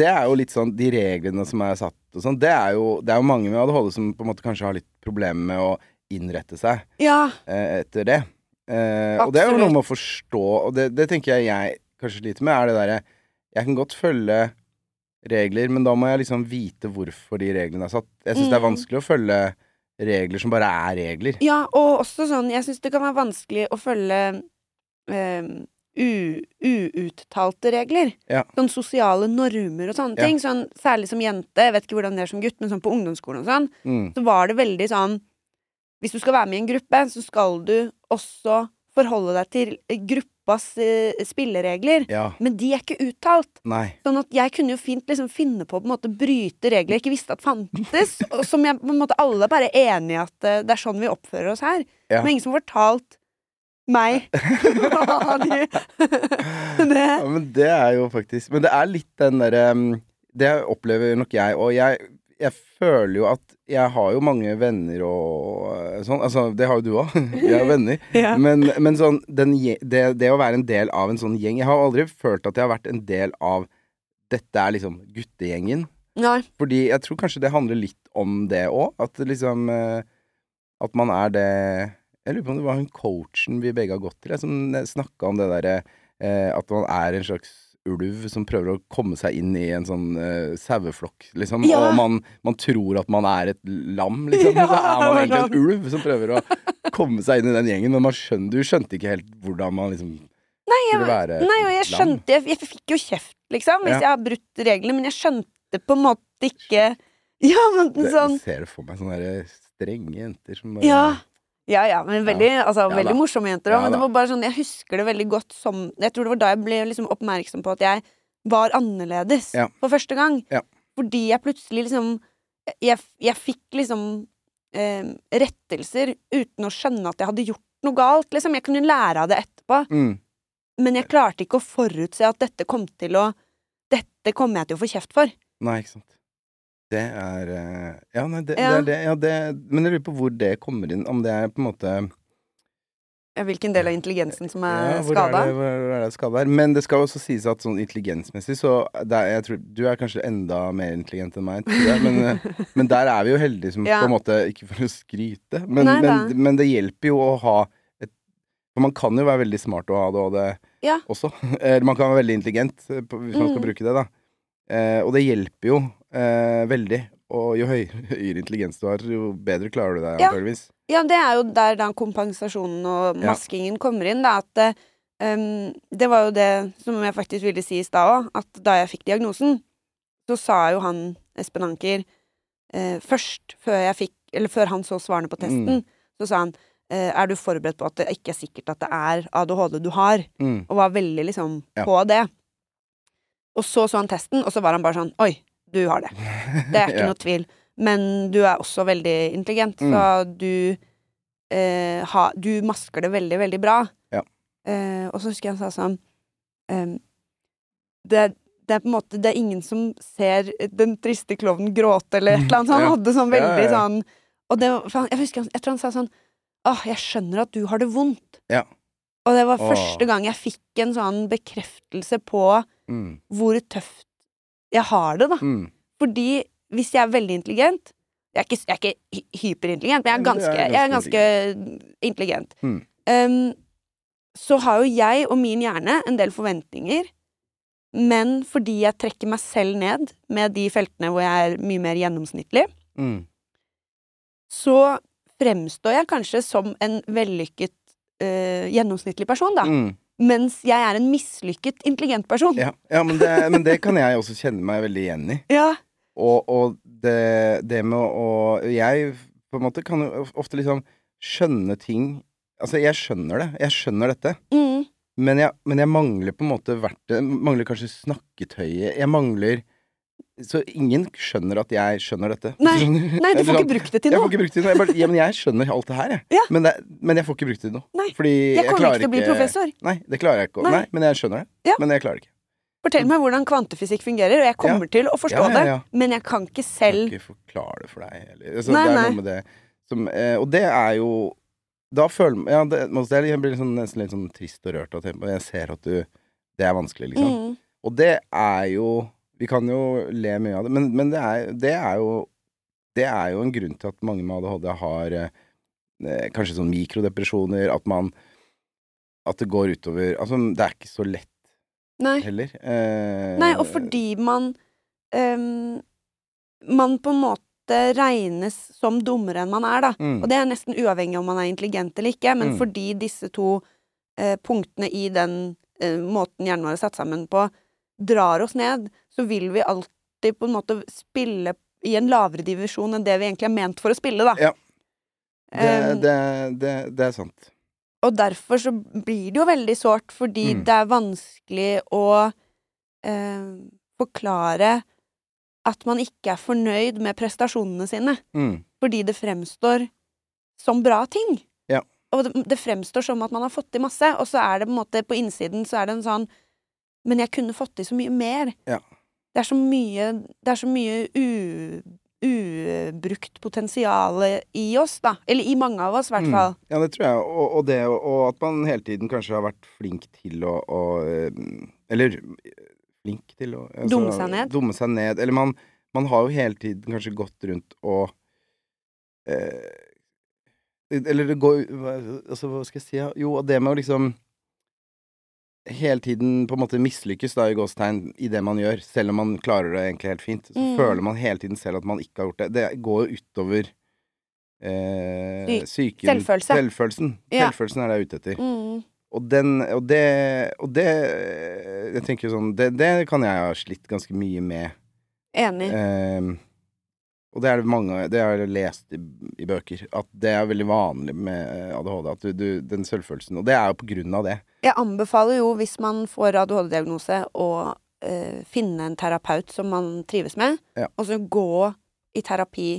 [SPEAKER 2] det er jo litt sånn De reglene som er satt og sånn, det er jo, det er jo mange med ADHD som på en måte kanskje har litt problemer med å innrette seg
[SPEAKER 1] Ja.
[SPEAKER 2] eh, etter det. Eh, og det er jo
[SPEAKER 1] Absolutt.
[SPEAKER 2] noe med å forstå, og det, det tenker jeg jeg kanskje sliter med, er det derre Jeg kan godt følge regler, men da må jeg liksom vite hvorfor de reglene er satt. Jeg syns det er
[SPEAKER 1] Mm.
[SPEAKER 2] vanskelig å følge regler som bare er regler.
[SPEAKER 1] ja, og også sånn Jeg syns det kan være vanskelig å følge em, u, uuttalte regler.
[SPEAKER 2] Ja.
[SPEAKER 1] Sånn sosiale normer og sånne
[SPEAKER 2] Ja.
[SPEAKER 1] ting. Sånn, særlig som jente. Jeg vet ikke hvordan det er som gutt, men sånn på ungdomsskolen og sånn,
[SPEAKER 2] Mm.
[SPEAKER 1] så var det veldig sånn Hvis du skal være med i en gruppe, så skal du også forholde deg til eh, gruppas eh, spilleregler.
[SPEAKER 2] Ja.
[SPEAKER 1] Men de er ikke uttalt.
[SPEAKER 2] Nei.
[SPEAKER 1] Sånn at jeg kunne jo fint liksom finne på å på en måte bryte regler jeg ikke visste at fantes. Og som jeg på en måte alle er bare enig i at eh, det er sånn vi oppfører oss her.
[SPEAKER 2] Ja.
[SPEAKER 1] Men ingen som har fortalt meg hva de det.
[SPEAKER 2] Ja, men det er jo faktisk Men det er litt den derre um, Det opplever nok jeg, og jeg, jeg føler jo at jeg har jo mange venner og eh, sånn. Altså, det har jo du òg. Vi er jo venner.
[SPEAKER 1] Ja.
[SPEAKER 2] Men, men sånn, den, gje- det, det å være en del av en sånn gjeng Jeg har aldri følt at jeg har vært en del av Dette er liksom guttegjengen.
[SPEAKER 1] Nei.
[SPEAKER 2] Fordi jeg tror kanskje det handler litt om det òg. At det liksom eh, At man er det Jeg lurer på om det var hun coachen vi begge har gått til, jeg, som snakka om det derre eh, At man er en slags ulv som prøver å komme seg inn i en sånn eh, saueflokk, liksom.
[SPEAKER 1] Ja.
[SPEAKER 2] Og man, man tror at man er et lam, liksom.
[SPEAKER 1] Ja,
[SPEAKER 2] Men så er man
[SPEAKER 1] det var
[SPEAKER 2] egentlig en ulv som prøver å komme seg inn i den gjengen. Men man skjønner, du skjønte ikke helt hvordan man liksom skulle være et
[SPEAKER 1] Nei, og jeg
[SPEAKER 2] lam.
[SPEAKER 1] skjønte Jeg, jeg fikk jo kjeft, liksom, hvis
[SPEAKER 2] Ja.
[SPEAKER 1] jeg har brutt reglene, men jeg skjønte på en måte ikke Ja, men
[SPEAKER 2] Det,
[SPEAKER 1] sånn
[SPEAKER 2] Jeg ser det for meg sånne der strenge jenter som bare
[SPEAKER 1] Ja. Ja, ja, men veldig, Altså,
[SPEAKER 2] Ja
[SPEAKER 1] veldig
[SPEAKER 2] da.
[SPEAKER 1] morsomme jenter
[SPEAKER 2] Ja
[SPEAKER 1] òg. men det
[SPEAKER 2] da.
[SPEAKER 1] var bare sånn, jeg husker det veldig godt som Jeg tror det var da jeg ble liksom oppmerksom på at jeg var annerledes
[SPEAKER 2] Ja.
[SPEAKER 1] for første gang.
[SPEAKER 2] Ja.
[SPEAKER 1] Fordi jeg plutselig liksom Jeg, jeg fikk liksom eh, rettelser uten å skjønne at jeg hadde gjort noe galt. Liksom. Jeg kunne lære av det etterpå,
[SPEAKER 2] Mm.
[SPEAKER 1] men jeg klarte ikke å forutse at dette kom til å Dette kommer jeg til å få kjeft for.
[SPEAKER 2] Nei, ikke sant. Det er eh, Ja, nei, det,
[SPEAKER 1] Ja.
[SPEAKER 2] det er det. Ja, det Men jeg lurer på hvor det kommer inn. Om det er på en måte
[SPEAKER 1] Ja, Hvilken del av intelligensen som er
[SPEAKER 2] ja, hvor
[SPEAKER 1] skada.
[SPEAKER 2] Er det, hvor er det skada er? Men det skal jo også sies at sånn intelligensmessig så det er, jeg tror, Du er kanskje enda mer intelligent enn meg, tror jeg. Men, eh, men der er vi jo heldige som
[SPEAKER 1] Ja.
[SPEAKER 2] på en måte Ikke for å skryte, men,
[SPEAKER 1] Nei da.
[SPEAKER 2] men, men det hjelper jo å ha et For man kan jo være veldig smart og ha det og det
[SPEAKER 1] Ja.
[SPEAKER 2] også. Eller man kan være veldig intelligent, eh, på- hvis man
[SPEAKER 1] Mm.
[SPEAKER 2] skal bruke det, da. Eh, og det hjelper jo eh, veldig. Og jo høy- høyere intelligens du har, jo bedre klarer du deg,
[SPEAKER 1] Ja.
[SPEAKER 2] antageligvis.
[SPEAKER 1] Ja, det er jo der da kompensasjonen og
[SPEAKER 2] Ja.
[SPEAKER 1] maskingen kommer inn, da. At eh, em, Det var jo det som jeg faktisk ville si i stad òg, at da jeg fikk diagnosen, så sa jo han Espen Anker eh, først, før jeg fikk Eller før han så svarene på testen, så sa han eh, Er du forberedt på at det ikke er sikkert at det er ADHD du har?
[SPEAKER 2] Mm.
[SPEAKER 1] Og var veldig liksom
[SPEAKER 2] Ja.
[SPEAKER 1] på det. Og så så han testen, og så var han bare sånn Oi, du har det. Det er ikke
[SPEAKER 2] Ja. Mm.
[SPEAKER 1] noe tvil. Men du er også veldig intelligent, så du eh, ha, Du masker det veldig, veldig bra.
[SPEAKER 2] Ja.
[SPEAKER 1] Eh, og så husker jeg han sa sånn ehm, det, det er på en måte Det er ingen som ser den triste klovnen gråte, eller et eller annet. Så han
[SPEAKER 2] Ja.
[SPEAKER 1] hadde sånn
[SPEAKER 2] Ja,
[SPEAKER 1] veldig
[SPEAKER 2] ja, ja.
[SPEAKER 1] sånn Og det, var- for han, jeg husker han, jeg tror han sa sånn Åh, jeg skjønner at du har det vondt.
[SPEAKER 2] Ja.
[SPEAKER 1] Og det var
[SPEAKER 2] Åh.
[SPEAKER 1] første gang jeg fikk en sånn bekreftelse på
[SPEAKER 2] Mm.
[SPEAKER 1] hvor tøft jeg har det, da.
[SPEAKER 2] Mm.
[SPEAKER 1] Fordi hvis jeg er veldig intelligent Jeg er ikke, jeg er ikke hy- hyperintelligent, men jeg er
[SPEAKER 2] Men du er
[SPEAKER 1] ganske, jeg er
[SPEAKER 2] ganske
[SPEAKER 1] ganske intelligent.
[SPEAKER 2] Mm.
[SPEAKER 1] Ehm, så har jo jeg og min hjerne en del forventninger. Men fordi jeg trekker meg selv ned med de feltene hvor jeg er mye mer gjennomsnittlig,
[SPEAKER 2] Mm.
[SPEAKER 1] så fremstår jeg kanskje som en vellykket eh, gjennomsnittlig person, da.
[SPEAKER 2] Mm.
[SPEAKER 1] Mens jeg er en mislykket intelligent person.
[SPEAKER 2] Ja, ja men, det, men det kan jeg også kjenne meg veldig igjen i.
[SPEAKER 1] Ja,
[SPEAKER 2] Og, og det, det med å Jeg på en måte kan jo ofte liksom skjønne ting Altså, jeg skjønner det. Jeg skjønner dette.
[SPEAKER 1] Mm.
[SPEAKER 2] Men jeg, men jeg mangler på en måte verktøy Mangler kanskje snakketøyet. Jeg mangler Så ingen skjønner at jeg skjønner dette.
[SPEAKER 1] Nei,
[SPEAKER 2] Skjønner?
[SPEAKER 1] Nei, du
[SPEAKER 2] Eller
[SPEAKER 1] får
[SPEAKER 2] sånn,
[SPEAKER 1] ikke brukt det til
[SPEAKER 2] Jeg får
[SPEAKER 1] noe.
[SPEAKER 2] ikke brukt det til noe. Jeg, bare, ja, men jeg skjønner alt det her, jeg.
[SPEAKER 1] Ja.
[SPEAKER 2] Men, det, men jeg får ikke brukt det til noe.
[SPEAKER 1] Nei,
[SPEAKER 2] Fordi
[SPEAKER 1] Jeg kommer ikke til å bli professor.
[SPEAKER 2] Nei, det klarer jeg ikke. å-
[SPEAKER 1] Nei.
[SPEAKER 2] Nei, men jeg skjønner det.
[SPEAKER 1] Ja.
[SPEAKER 2] Men jeg klarer det ikke.
[SPEAKER 1] Fortell meg hvordan kvantefysikk fungerer, og jeg kommer til å forstå
[SPEAKER 2] Ja, ja, ja.
[SPEAKER 1] det, men jeg kan ikke
[SPEAKER 2] Jeg
[SPEAKER 1] selv
[SPEAKER 2] kan ikke forklare det for deg heller. Altså,
[SPEAKER 1] Nei,
[SPEAKER 2] det er
[SPEAKER 1] nei.
[SPEAKER 2] noe med det som eh, Og det er jo Da føler ja, det, Jeg blir liksom nesten litt sånn trist og rørt av tempo. Jeg ser at du Det er vanskelig, liksom.
[SPEAKER 1] mm.
[SPEAKER 2] Og det er jo Vi kan jo le mye av det, men, men det, er, det er jo Det er jo en grunn til at mange med ADHD har eh, eh, kanskje sånn mikrodepresjoner, at man At det går utover Altså, det er ikke så lett
[SPEAKER 1] Nei.
[SPEAKER 2] heller. Eh,
[SPEAKER 1] Nei, og fordi man ehm, Man på en måte regnes som dummere enn man er, da.
[SPEAKER 2] Mm.
[SPEAKER 1] Og det er nesten uavhengig om man er intelligent eller ikke, men
[SPEAKER 2] Mm.
[SPEAKER 1] fordi disse to eh, punktene i den eh, måten hjernen vår er satt sammen på, drar oss ned, så vil vi alltid på en måte spille i en lavere divisjon enn det vi egentlig er ment for å spille, da.
[SPEAKER 2] Ja. det,
[SPEAKER 1] Ehm,
[SPEAKER 2] det, det, det er sant.
[SPEAKER 1] og derfor så blir det jo veldig sårt, fordi
[SPEAKER 2] Mm.
[SPEAKER 1] det er vanskelig å eh, forklare at man ikke er fornøyd med prestasjonene sine,
[SPEAKER 2] Mm.
[SPEAKER 1] fordi det fremstår som bra ting.
[SPEAKER 2] Ja.
[SPEAKER 1] Og det, det fremstår som at man har fått til masse, og så er det på en måte på innsiden så er det en sånn Men jeg kunne fått til så mye mer.
[SPEAKER 2] Ja.
[SPEAKER 1] Det er så mye, det er så mye u, ubrukt potensial i oss, da. Eller i mange av oss, i hvert
[SPEAKER 2] Mm.
[SPEAKER 1] fall.
[SPEAKER 2] Ja, det tror jeg. Og, og, det, og at man hele tiden kanskje har vært flink til å, å eh, Eller eh, flink til å altså,
[SPEAKER 1] Dumme seg ned.
[SPEAKER 2] Dumme seg ned. Eller man, man har jo hele tiden kanskje gått rundt og eh, Eller det går hva- altså, Hva skal jeg si? ja? Jo, og det med å liksom Hele tiden på en måte mislykkes da i gåstegn i det man gjør, selv om man klarer det egentlig helt fint. Så
[SPEAKER 1] Mm.
[SPEAKER 2] føler man hele tiden selv at man ikke har gjort det. Det går jo utover eh, psyken
[SPEAKER 1] Selvfølelse.
[SPEAKER 2] Selvfølelsen.
[SPEAKER 1] Ja.
[SPEAKER 2] Selvfølelsen er det jeg er ute etter.
[SPEAKER 1] Mm.
[SPEAKER 2] Og, den, og det Og det Jeg tenker sånn Det, det kan jeg ha slitt ganske mye med.
[SPEAKER 1] Enig.
[SPEAKER 2] Ehm, og det er det mange Det har jeg lest i, i bøker. At det er veldig vanlig med eh, ADHD. At du, du, den selvfølelsen Og det er jo på grunn av det.
[SPEAKER 1] Jeg anbefaler jo, hvis man får ADHD-diagnose, å eh, finne en terapeut som man trives med,
[SPEAKER 2] Ja.
[SPEAKER 1] og så gå i terapi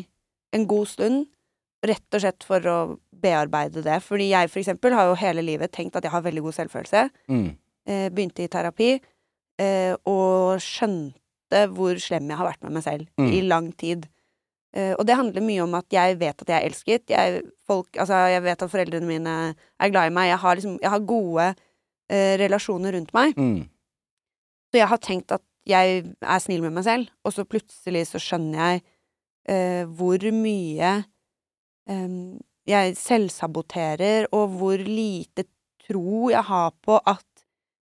[SPEAKER 1] en god stund, rett og slett for å bearbeide det. Fordi jeg for eksempel har jo hele livet tenkt at jeg har veldig god selvfølelse.
[SPEAKER 2] Mm.
[SPEAKER 1] Eh, begynte i terapi, eh, og skjønte hvor slem jeg har vært med meg selv
[SPEAKER 2] Mm.
[SPEAKER 1] i lang tid. Eh, og det handler mye om at jeg vet at jeg er elsket. Jeg, folk, altså, jeg vet at foreldrene mine er glad i meg. Jeg har, liksom, jeg har gode eh, relasjoner rundt meg.
[SPEAKER 2] Mm.
[SPEAKER 1] Så jeg har tenkt at jeg er snill med meg selv, og så plutselig så skjønner jeg eh, hvor mye eh, jeg selvsaboterer, og hvor lite tro jeg har på at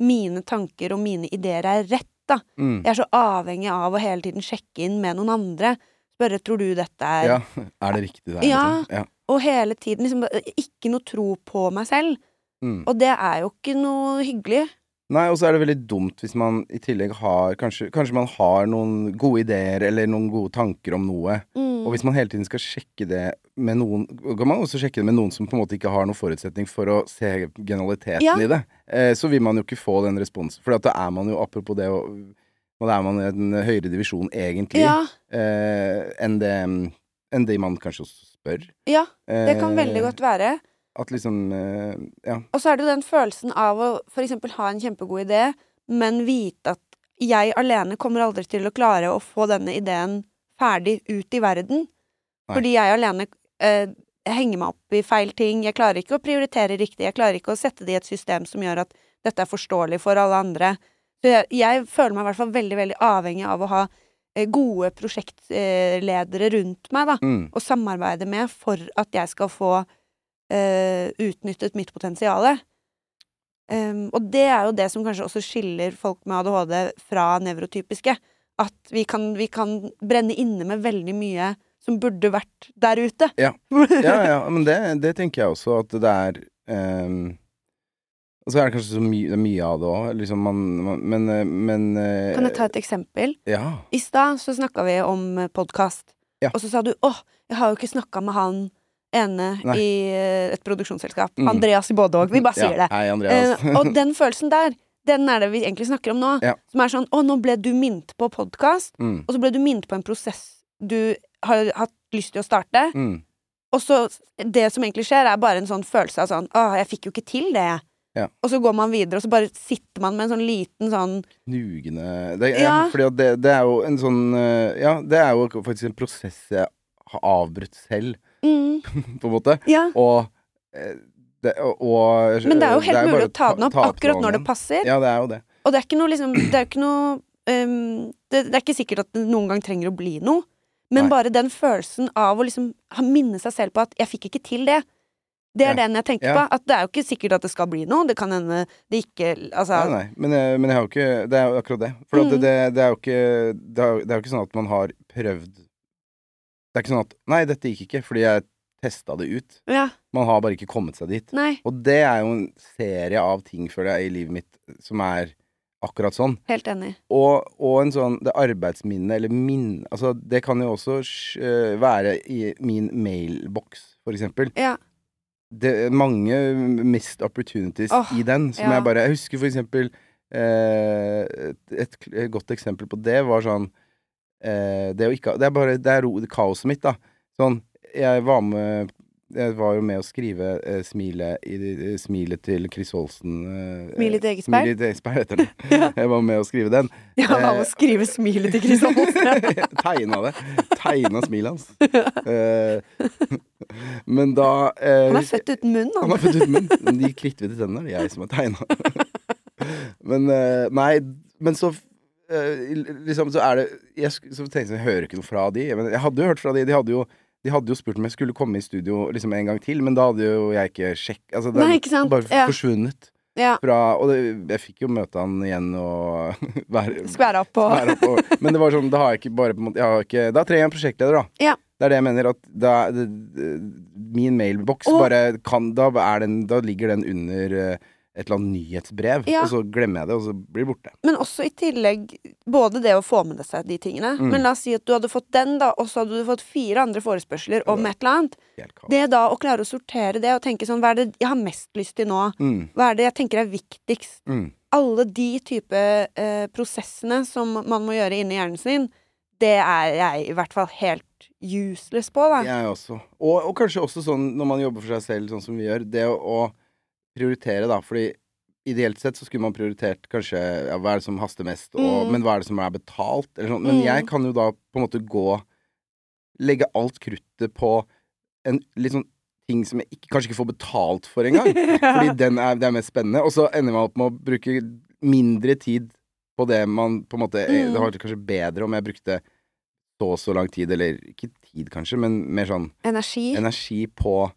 [SPEAKER 1] mine tanker og mine ideer er rett, da.
[SPEAKER 2] Mm.
[SPEAKER 1] Jeg er så avhengig av å hele tiden sjekke inn med noen andre. Spørre 'tror du dette er
[SPEAKER 2] Ja. Er det riktig, det her?
[SPEAKER 1] Ja.
[SPEAKER 2] liksom? ja.
[SPEAKER 1] Og hele tiden liksom ikke noe tro på meg selv.
[SPEAKER 2] Mm.
[SPEAKER 1] Og det er jo ikke noe hyggelig.
[SPEAKER 2] Nei, og så er det veldig dumt hvis man i tillegg har Kanskje, kanskje man har noen gode ideer eller noen gode tanker om noe.
[SPEAKER 1] Mm.
[SPEAKER 2] Og hvis man hele tiden skal sjekke det med noen Kan man også sjekke det med noen som på en måte ikke har noen forutsetning for å se generaliteten
[SPEAKER 1] Ja.
[SPEAKER 2] i det. Eh, så vil man jo ikke få den responsen. For da er man jo, apropos det og, og da er man i en høyere divisjon egentlig
[SPEAKER 1] ja,
[SPEAKER 2] eh, enn det enn de man kanskje også spør.
[SPEAKER 1] ja,
[SPEAKER 2] Eh,
[SPEAKER 1] det kan veldig godt være.
[SPEAKER 2] At liksom eh, Ja.
[SPEAKER 1] Og så er det jo den følelsen av å for eksempel ha en kjempegod idé, men vite at jeg alene kommer aldri til å klare å få denne ideen ferdig ut i verden.
[SPEAKER 2] Nei.
[SPEAKER 1] Fordi jeg alene eh, henger meg opp i feil ting. Jeg klarer ikke å prioritere riktig. Jeg klarer ikke å sette det i et system som gjør at dette er forståelig for alle andre. Så jeg, jeg føler meg i hvert fall veldig, veldig avhengig av å ha eh, gode prosjektledere rundt meg, da
[SPEAKER 2] Mm.
[SPEAKER 1] å samarbeide med for at jeg skal få eh, utnyttet mitt potensial. Em, og det er jo det som kanskje også skiller folk med ADHD fra nevrotypiske. At vi kan, vi kan brenne inne med veldig mye som burde vært der ute.
[SPEAKER 2] Ja. Ja, ja, men det, det tenker jeg også at det er ehm, eh, Og så er det kanskje så mye, det er mye av det òg. Liksom man, man, men, eh, men eh,
[SPEAKER 1] Kan jeg ta et eksempel?
[SPEAKER 2] Ja.
[SPEAKER 1] I stad så snakka vi om podkast,
[SPEAKER 2] Ja.
[SPEAKER 1] og så sa du 'Å, jeg har jo ikke snakka med han ene
[SPEAKER 2] Nei.
[SPEAKER 1] i eh, et produksjonsselskap'.
[SPEAKER 2] Mm.
[SPEAKER 1] Andreas i Bådåg. Vi bare sier
[SPEAKER 2] ja.
[SPEAKER 1] det.
[SPEAKER 2] Hei, Andreas.
[SPEAKER 1] Eh, og den følelsen der, den er det vi egentlig snakker om nå.
[SPEAKER 2] Ja.
[SPEAKER 1] Som er sånn 'Å, nå ble du minnet på podkast',
[SPEAKER 2] mm,
[SPEAKER 1] og så ble du minnet på en prosess du har hatt lyst til å starte,
[SPEAKER 2] mm,
[SPEAKER 1] og så Det som egentlig skjer, er bare en sånn følelse av sånn 'Å, jeg fikk jo ikke til det',
[SPEAKER 2] Ja.
[SPEAKER 1] og så går man videre, og så bare sitter man med en sånn liten sånn
[SPEAKER 2] knugende det, ja.
[SPEAKER 1] Ja.
[SPEAKER 2] Fordi at det, det er jo en sånn eh, Ja, det er jo faktisk en prosess jeg har avbrutt selv,
[SPEAKER 1] mm,
[SPEAKER 2] på en måte.
[SPEAKER 1] Ja.
[SPEAKER 2] Og, eh, det, og, og eh,
[SPEAKER 1] Men det er jo helt
[SPEAKER 2] bare
[SPEAKER 1] mulig å ta den opp
[SPEAKER 2] opp
[SPEAKER 1] akkurat når det
[SPEAKER 2] tråden.
[SPEAKER 1] passer.
[SPEAKER 2] Ja, det er jo det.
[SPEAKER 1] Og det er ikke noe liksom Det er ikke noe ehm, det, det er ikke sikkert at det noen gang trenger å bli noe. Men
[SPEAKER 2] Nei.
[SPEAKER 1] bare den følelsen av å liksom ha minne seg selv på at 'jeg fikk ikke til det', det er
[SPEAKER 2] Ja.
[SPEAKER 1] den jeg tenker
[SPEAKER 2] Ja.
[SPEAKER 1] på. At det er jo ikke sikkert at det skal bli noe. Det kan hende det ikke Altså
[SPEAKER 2] Nei, nei. Men, jeg- men jeg har jo ikke Det er jo akkurat det. For at det,
[SPEAKER 1] Mm.
[SPEAKER 2] det, det er jo ikke det er, det er jo ikke sånn at man har prøvd Det er ikke sånn at Nei, dette gikk ikke, fordi jeg testa det ut.
[SPEAKER 1] Ja.
[SPEAKER 2] Man har bare ikke kommet seg dit.
[SPEAKER 1] Nei.
[SPEAKER 2] Og det er jo en serie av ting, føler jeg, i livet mitt som er akkurat sånn.
[SPEAKER 1] Helt enig.
[SPEAKER 2] Og, og en sånn Det arbeidsminnet, eller minn Altså, det kan jo også sj- øh, være i min mailboks, for eksempel.
[SPEAKER 1] Ja.
[SPEAKER 2] Det er mange missed opportunities
[SPEAKER 1] Åh,
[SPEAKER 2] i den, som
[SPEAKER 1] ja.
[SPEAKER 2] jeg bare Jeg husker for eksempel eh, et, et kl- et godt eksempel på det var sånn eh, Det å ikke ha- Det er bare Det er ro, kaoset mitt, da. Sånn Jeg var med Jeg var jo med å skrive eh, smilet, i, de- Smilet til Chris Holsten eh,
[SPEAKER 1] Smil i ditt eget
[SPEAKER 2] Smil
[SPEAKER 1] speil.
[SPEAKER 2] i ditt eget speil heter den. Jeg var med å skrive den.
[SPEAKER 1] Ja, hva med å skrive smilet til Chris Holsten?
[SPEAKER 2] Tegna det. Tegna smilet hans. Eh, men da eh,
[SPEAKER 1] Han er født uten munn,
[SPEAKER 2] han
[SPEAKER 1] han.
[SPEAKER 2] er født uten munn. Men De kritthvite tennene er jeg som har tegna. Men eh, nei, men så eh, liksom så er det jeg, sk- Så tenkte jeg jeg hører ikke noe fra de. Men jeg hadde jo hørt fra de. De hadde jo, de hadde jo spurt om jeg skulle komme i studio liksom en gang til, men da hadde jo jeg ikke sjekk... Altså, det
[SPEAKER 1] Nei, ikke sant?
[SPEAKER 2] bare
[SPEAKER 1] Ja.
[SPEAKER 2] forsvunnet.
[SPEAKER 1] Ja.
[SPEAKER 2] Fra, og det, jeg fikk jo møte han igjen og være
[SPEAKER 1] Skværa opp på
[SPEAKER 2] være opp og- Men det var sånn, da har jeg ikke bare på en måte jeg har ikke, Da trenger jeg en prosjektleder, da.
[SPEAKER 1] Ja.
[SPEAKER 2] Det er det jeg mener. At da, det, det- min mailboks
[SPEAKER 1] Og-
[SPEAKER 2] bare kan da, er den, da ligger den under eh, et eller annet nyhetsbrev,
[SPEAKER 1] Ja.
[SPEAKER 2] og så glemmer jeg det, og så blir det borte.
[SPEAKER 1] Men også i tillegg både det å få med seg de tingene.
[SPEAKER 2] Mm.
[SPEAKER 1] Men la oss si at du hadde fått den, da, og så hadde du fått fire andre forespørsler om et eller annet.
[SPEAKER 2] Helt kaos.
[SPEAKER 1] Det da å klare å sortere det og tenke sånn Hva er det jeg har mest lyst til nå?
[SPEAKER 2] Mm,
[SPEAKER 1] Hva er det jeg tenker er viktigst?
[SPEAKER 2] mm,
[SPEAKER 1] Alle de type eh, prosessene som man må gjøre inni hjernen sin, det er jeg i hvert fall helt useless på, da.
[SPEAKER 2] jeg også. Og, og kanskje også sånn når man jobber for seg selv, sånn som vi gjør, det å, å prioritere, da. Fordi ideelt sett så skulle man prioritert kanskje ja, hva er det som haster mest, og,
[SPEAKER 1] Mm.
[SPEAKER 2] men hva er det som er betalt, eller sånn.
[SPEAKER 1] Mm.
[SPEAKER 2] Men jeg kan jo da på en måte gå legge alt kruttet på en litt sånn ting som jeg ikke, kanskje ikke får betalt for engang. Fordi den er, det er mest spennende. Og så ender man opp med å bruke mindre tid på det man på en måte
[SPEAKER 1] Mm.
[SPEAKER 2] Det var kanskje bedre om jeg brukte så og så lang tid, eller ikke tid kanskje, men mer sånn
[SPEAKER 1] Energi.
[SPEAKER 2] energi på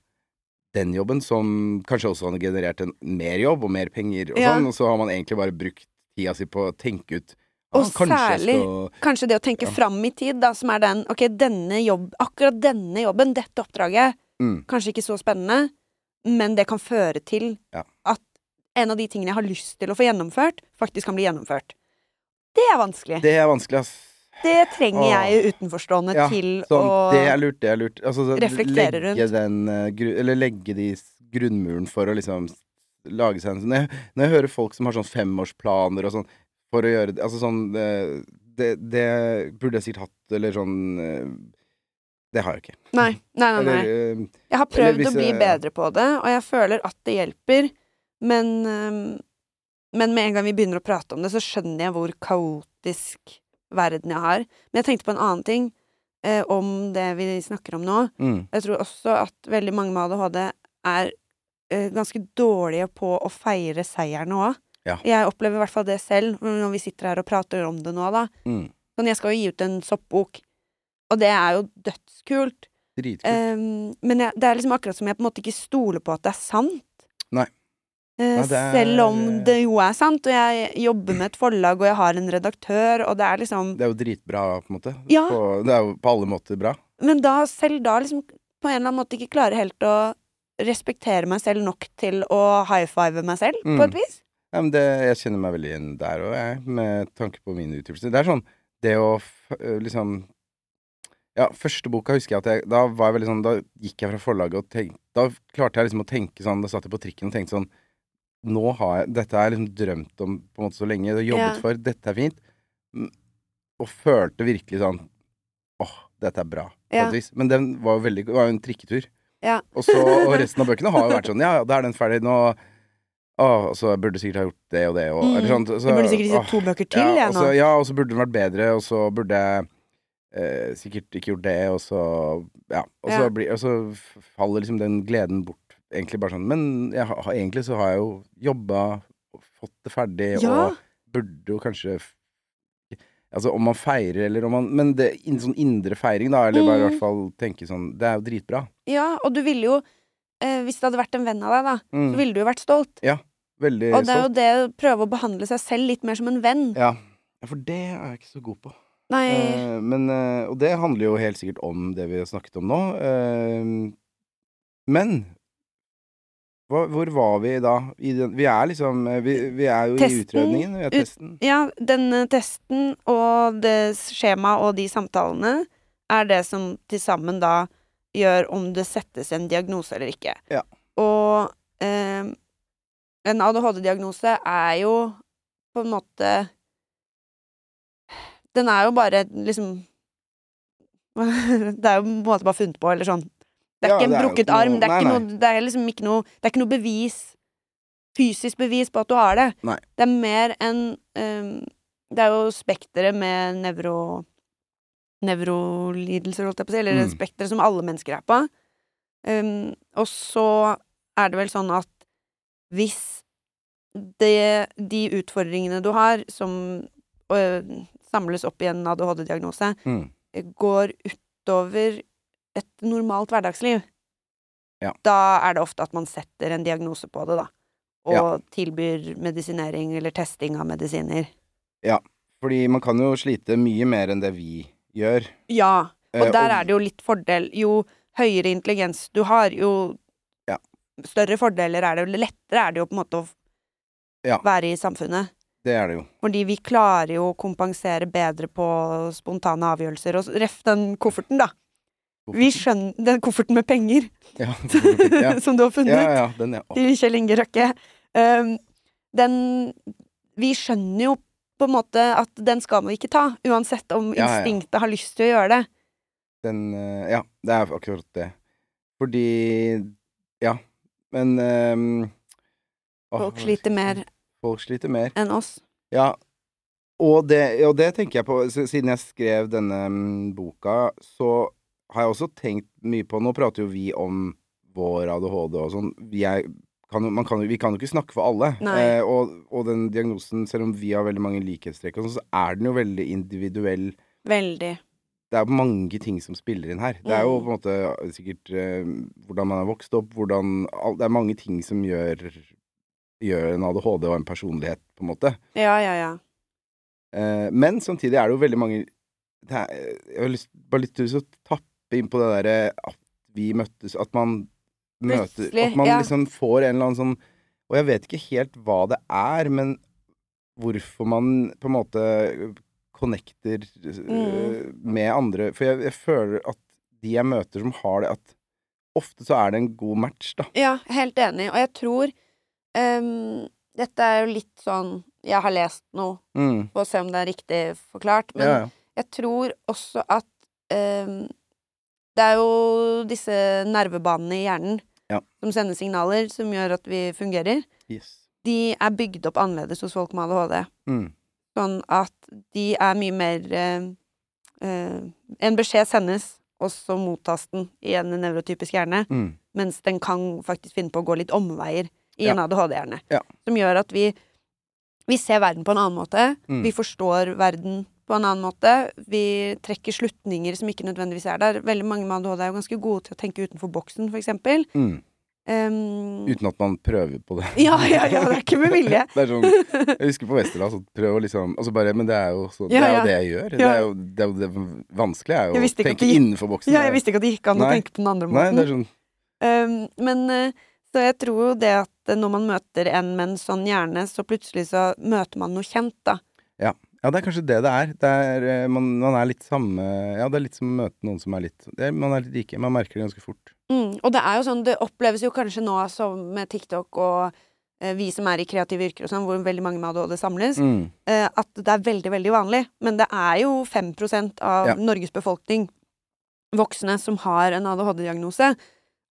[SPEAKER 2] den jobben, som kanskje også hadde generert en mer jobb og mer penger og
[SPEAKER 1] Ja.
[SPEAKER 2] sånn, og så har man egentlig bare brukt tida si på å tenke ut
[SPEAKER 1] Og
[SPEAKER 2] «Ah, kanskje jeg
[SPEAKER 1] særlig-
[SPEAKER 2] skal-
[SPEAKER 1] Kanskje det å tenke fram i tid, da, som er den Ok, denne jobb, akkurat denne jobben, dette oppdraget,
[SPEAKER 2] Mm.
[SPEAKER 1] kanskje ikke så spennende, men det kan føre til
[SPEAKER 2] Ja.
[SPEAKER 1] at en av de tingene jeg har lyst til å få gjennomført, faktisk kan bli gjennomført. Det er vanskelig.
[SPEAKER 2] Det er vanskelig, ass.
[SPEAKER 1] Det trenger
[SPEAKER 2] Åh.
[SPEAKER 1] jeg utenforstående til
[SPEAKER 2] sånn,
[SPEAKER 1] å
[SPEAKER 2] Det er lurt, det er lurt. Altså, så
[SPEAKER 1] reflektere
[SPEAKER 2] legge Den, eh, gru, eller legge de s- grunnmuren for å liksom s- lage seg en sånn når, jeg- når jeg hører folk som har sånn femårsplaner og sånn for å gjøre det Altså sånn eh, det, det burde jeg sikkert hatt, eller sånn eh, Det har jeg ikke.
[SPEAKER 1] Nei, nei, nei. nei.
[SPEAKER 2] Eller, eh,
[SPEAKER 1] Jeg har
[SPEAKER 2] eller
[SPEAKER 1] prøvd å
[SPEAKER 2] hvis
[SPEAKER 1] bli
[SPEAKER 2] jeg-
[SPEAKER 1] bedre på det, og jeg føler at det hjelper, men øhm, Men med en gang vi begynner å prate om det, så skjønner jeg hvor kaotisk verden jeg har. Men jeg tenkte på en annen ting eh, om det vi snakker om nå.
[SPEAKER 2] mm,
[SPEAKER 1] Jeg tror også at veldig mange med ADHD er eh, ganske dårlige på å feire seierne òg.
[SPEAKER 2] Ja.
[SPEAKER 1] Jeg opplever i hvert fall det selv når vi sitter her og prater om det nå, da.
[SPEAKER 2] mm,
[SPEAKER 1] Sånn, jeg skal jo gi ut en soppbok, og det er jo dødskult.
[SPEAKER 2] dritkult.
[SPEAKER 1] Ehm, men jeg, det er liksom akkurat som jeg på en måte ikke stoler på at det er sant.
[SPEAKER 2] Nei.
[SPEAKER 1] Eh,
[SPEAKER 2] Nei, det er-
[SPEAKER 1] Selv om det jo er sant, og jeg jobber med et forlag, og jeg har en redaktør, og det er liksom
[SPEAKER 2] det er jo dritbra, på en måte.
[SPEAKER 1] Ja.
[SPEAKER 2] På, det er jo på alle måter bra.
[SPEAKER 1] Men da, selv da liksom på en eller annen måte ikke klarer helt å respektere meg selv nok til å high five meg selv,
[SPEAKER 2] Mm.
[SPEAKER 1] på et vis.
[SPEAKER 2] Ja, men det, jeg kjenner meg veldig igjen der òg, jeg, med tanke på mine utgivelser. Det er sånn, det å f øh, liksom Ja, første boka husker jeg at jeg Da var jeg veldig sånn Da gikk jeg fra forlaget og tenkte Da klarte jeg liksom å tenke sånn Da satt jeg på trikken og tenkte sånn Nå har jeg Dette har jeg liksom drømt om på en måte så lenge, det har jeg jobbet
[SPEAKER 1] Ja.
[SPEAKER 2] for, dette er fint. Mm, Og følte virkelig sånn Åh, dette er bra, på
[SPEAKER 1] Ja.
[SPEAKER 2] et vis. Men den var jo veldig Det var jo en trikketur.
[SPEAKER 1] Ja.
[SPEAKER 2] Og, så, og resten av bøkene har jo vært sånn Ja, ja, da er den ferdig. Nå Åh, og så burde jeg sikkert ha gjort det og det og
[SPEAKER 1] Mm.
[SPEAKER 2] eller sånn, så,
[SPEAKER 1] Jeg burde sikkert gitt
[SPEAKER 2] åh,
[SPEAKER 1] to bøker til,
[SPEAKER 2] ja,
[SPEAKER 1] jeg
[SPEAKER 2] og
[SPEAKER 1] nå.
[SPEAKER 2] så, ja, og så burde den vært bedre, og så burde jeg eh, sikkert ikke gjort det, og så Ja. Og så,
[SPEAKER 1] Ja.
[SPEAKER 2] blir, og så f- faller liksom den gleden bort, egentlig bare sånn. Men jeg, har- egentlig så har jeg jo jobba, fått det ferdig,
[SPEAKER 1] Ja.
[SPEAKER 2] og burde jo kanskje f- Altså om man feirer, eller om man Men det inn- sånn indre feiring, da, eller bare i
[SPEAKER 1] Mm.
[SPEAKER 2] hvert fall tenke sånn Det er jo dritbra.
[SPEAKER 1] ja, og du ville jo eh, Hvis det hadde vært en venn av deg, da, så
[SPEAKER 2] Mm.
[SPEAKER 1] ville du jo vært stolt.
[SPEAKER 2] Veldig
[SPEAKER 1] Og det er
[SPEAKER 2] stolt.
[SPEAKER 1] jo det å prøve å behandle seg selv litt mer som en venn.
[SPEAKER 2] Ja. ja, for det er jeg ikke så god på.
[SPEAKER 1] Nei,
[SPEAKER 2] Eh, men, eh, og det handler jo helt sikkert om det vi har snakket om nå. Eh, men hva, hvor var vi da? I den, vi er liksom eh, Vi, vi er jo
[SPEAKER 1] Testen,
[SPEAKER 2] i utredningen. Vi er
[SPEAKER 1] ut-
[SPEAKER 2] testen.
[SPEAKER 1] Ja, denne testen og det skjemaet og de samtalene er det som til sammen da gjør om det settes en diagnose eller ikke.
[SPEAKER 2] Ja.
[SPEAKER 1] Og eh, en ADHD-diagnose er jo på en måte Den er jo bare liksom Det er jo på en måte bare funnet på, eller sånn. Det er
[SPEAKER 2] Ja,
[SPEAKER 1] ikke en
[SPEAKER 2] det er jo
[SPEAKER 1] brukket
[SPEAKER 2] ikke noe-
[SPEAKER 1] arm. Det er,
[SPEAKER 2] nei,
[SPEAKER 1] ikke
[SPEAKER 2] nei.
[SPEAKER 1] noe, det er liksom ikke noe Det er ikke noe bevis, fysisk bevis på at du har det.
[SPEAKER 2] Nei.
[SPEAKER 1] Det er mer en ehm, Det er jo spekteret med nevro... Nevrolidelser, holdt jeg på å si. Eller
[SPEAKER 2] Mm.
[SPEAKER 1] det spekteret som alle mennesker er på. Ehm, og så er det vel sånn at hvis det, de utfordringene du har, som øh, samles opp i en ADHD-diagnose,
[SPEAKER 2] Mm.
[SPEAKER 1] eh, går utover et normalt hverdagsliv,
[SPEAKER 2] Ja.
[SPEAKER 1] da er det ofte at man setter en diagnose på det, da. Og
[SPEAKER 2] Ja.
[SPEAKER 1] tilbyr medisinering eller testing av medisiner.
[SPEAKER 2] Fordi man kan jo slite mye mer enn det vi gjør.
[SPEAKER 1] Ja, og
[SPEAKER 2] Eh,
[SPEAKER 1] der er det jo litt fordel. Jo høyere intelligens du har, jo
[SPEAKER 2] Ja.
[SPEAKER 1] større fordeler er det, jo lettere er det jo på en måte å f-
[SPEAKER 2] Ja.
[SPEAKER 1] være i samfunnet.
[SPEAKER 2] det er det jo.
[SPEAKER 1] Fordi vi klarer jo å kompensere bedre på spontane avgjørelser. Og s- ref den kofferten, da. Vi skjønner, Den kofferten med penger
[SPEAKER 2] Ja,
[SPEAKER 1] Sånn
[SPEAKER 2] ja.
[SPEAKER 1] som du har
[SPEAKER 2] ja,
[SPEAKER 1] funnet
[SPEAKER 2] ja den er, å,
[SPEAKER 1] til Kjell Inge Røkke. Um, den Vi skjønner jo på en måte at den skal man ikke ta, uansett om
[SPEAKER 2] Ja, ja.
[SPEAKER 1] instinktet har lyst til å gjøre det.
[SPEAKER 2] den eh, Ja, det er akkurat det. Fordi Ja. Men eh, åh,
[SPEAKER 1] Folk
[SPEAKER 2] hva var det jeg
[SPEAKER 1] sliter
[SPEAKER 2] skulle si?
[SPEAKER 1] mer
[SPEAKER 2] Folk sliter mer.
[SPEAKER 1] enn oss.
[SPEAKER 2] Ja, og det, og det tenker jeg på s- Siden jeg skrev denne mm, boka, så har jeg også tenkt mye på Nå prater jo vi om vår ADHD og sånn. Vi, er, kan, jo- man kan, jo- vi kan jo ikke snakke for alle. eh,
[SPEAKER 1] Nei.
[SPEAKER 2] og, og den diagnosen, selv om vi har veldig mange likhetstrekk, og sånn, så er den jo veldig individuell.
[SPEAKER 1] Veldig.
[SPEAKER 2] Det er mange ting som spiller inn her. Det er jo
[SPEAKER 1] Mm.
[SPEAKER 2] på en måte sikkert eh, hvordan man er vokst opp, hvordan all- Det er mange ting som gjør, gjør en ADHD og en personlighet, på en måte.
[SPEAKER 1] Ja, ja, ja.
[SPEAKER 2] Eh, men samtidig er det jo veldig mange det er, eh, Jeg har lyst, bare litt lyst til å tappe inn på det derre at vi møttes At man møter
[SPEAKER 1] Plutselig,
[SPEAKER 2] At man
[SPEAKER 1] ja.
[SPEAKER 2] liksom får en eller annen sånn Og jeg vet ikke helt hva det er, men hvorfor man på en måte connecter eh,
[SPEAKER 1] Mm.
[SPEAKER 2] med andre For jeg, jeg føler at de jeg møter som har det, at ofte så er det en god match, da.
[SPEAKER 1] Ja, helt enig. Og jeg tror ehm, Dette er jo litt sånn Jeg har lest noe,
[SPEAKER 2] Mm.
[SPEAKER 1] for å se om det er riktig forklart, men
[SPEAKER 2] Ja, ja.
[SPEAKER 1] Jeg tror også at ehm, det er jo disse nervebanene i hjernen
[SPEAKER 2] Ja.
[SPEAKER 1] som sender signaler som gjør at vi fungerer.
[SPEAKER 2] Yes.
[SPEAKER 1] De er bygd opp annerledes hos folk med ADHD.
[SPEAKER 2] Mm.
[SPEAKER 1] Sånn at de er mye mer eh, eh, En beskjed sendes, og så mottas den i en nevrotypisk hjerne.
[SPEAKER 2] Mm.
[SPEAKER 1] Mens den kan faktisk finne på å gå litt omveier i en ADHD-hjerne.
[SPEAKER 2] Ja.
[SPEAKER 1] Som gjør at vi, vi ser verden på en annen måte.
[SPEAKER 2] Mm.
[SPEAKER 1] Vi forstår verden på en annen måte. Vi trekker slutninger som ikke nødvendigvis er der. Veldig mange med ADHD er jo ganske gode til å tenke utenfor boksen, for eksempel.
[SPEAKER 2] Mm.
[SPEAKER 1] Ehm,
[SPEAKER 2] Uten at man prøver på det.
[SPEAKER 1] ja, ja, ja, det er ikke med vilje.
[SPEAKER 2] Det er sånn, jeg husker på Westerdals at prøv å liksom altså bare, Men det er jo, sånn-
[SPEAKER 1] Ja,
[SPEAKER 2] det, er jo
[SPEAKER 1] ja.
[SPEAKER 2] det jeg gjør. Det,
[SPEAKER 1] Ja.
[SPEAKER 2] er jo, det, er jo det vanskelige er
[SPEAKER 1] Jeg
[SPEAKER 2] jo å
[SPEAKER 1] visste ikke at
[SPEAKER 2] tenke
[SPEAKER 1] det gikk-
[SPEAKER 2] innenfor boksen.
[SPEAKER 1] Ja, jeg visste ikke at det gikk an å
[SPEAKER 2] Nei.
[SPEAKER 1] tenke på den andre
[SPEAKER 2] Nei,
[SPEAKER 1] måten.
[SPEAKER 2] det er sånn
[SPEAKER 1] Um, men eh, så jeg tror jo det at eh, når man møter en med en sånn hjerne, så plutselig så møter man noe kjent, da.
[SPEAKER 2] Ja, det er kanskje det det er. Det er eh, man, man er litt samme Ja, det er litt som å møte noen som er litt det, er- Man er litt like. Man merker det ganske fort.
[SPEAKER 1] Mm, og det er jo sånn, det oppleves jo kanskje nå som med TikTok og eh, vi som er i kreative yrker og sånn, hvor veldig mange med ADHD samles,
[SPEAKER 2] Mm.
[SPEAKER 1] eh, at det er veldig, veldig vanlig. Men det er jo 5 av
[SPEAKER 2] Ja.
[SPEAKER 1] Norges befolkning voksne som har en ADHD-diagnose,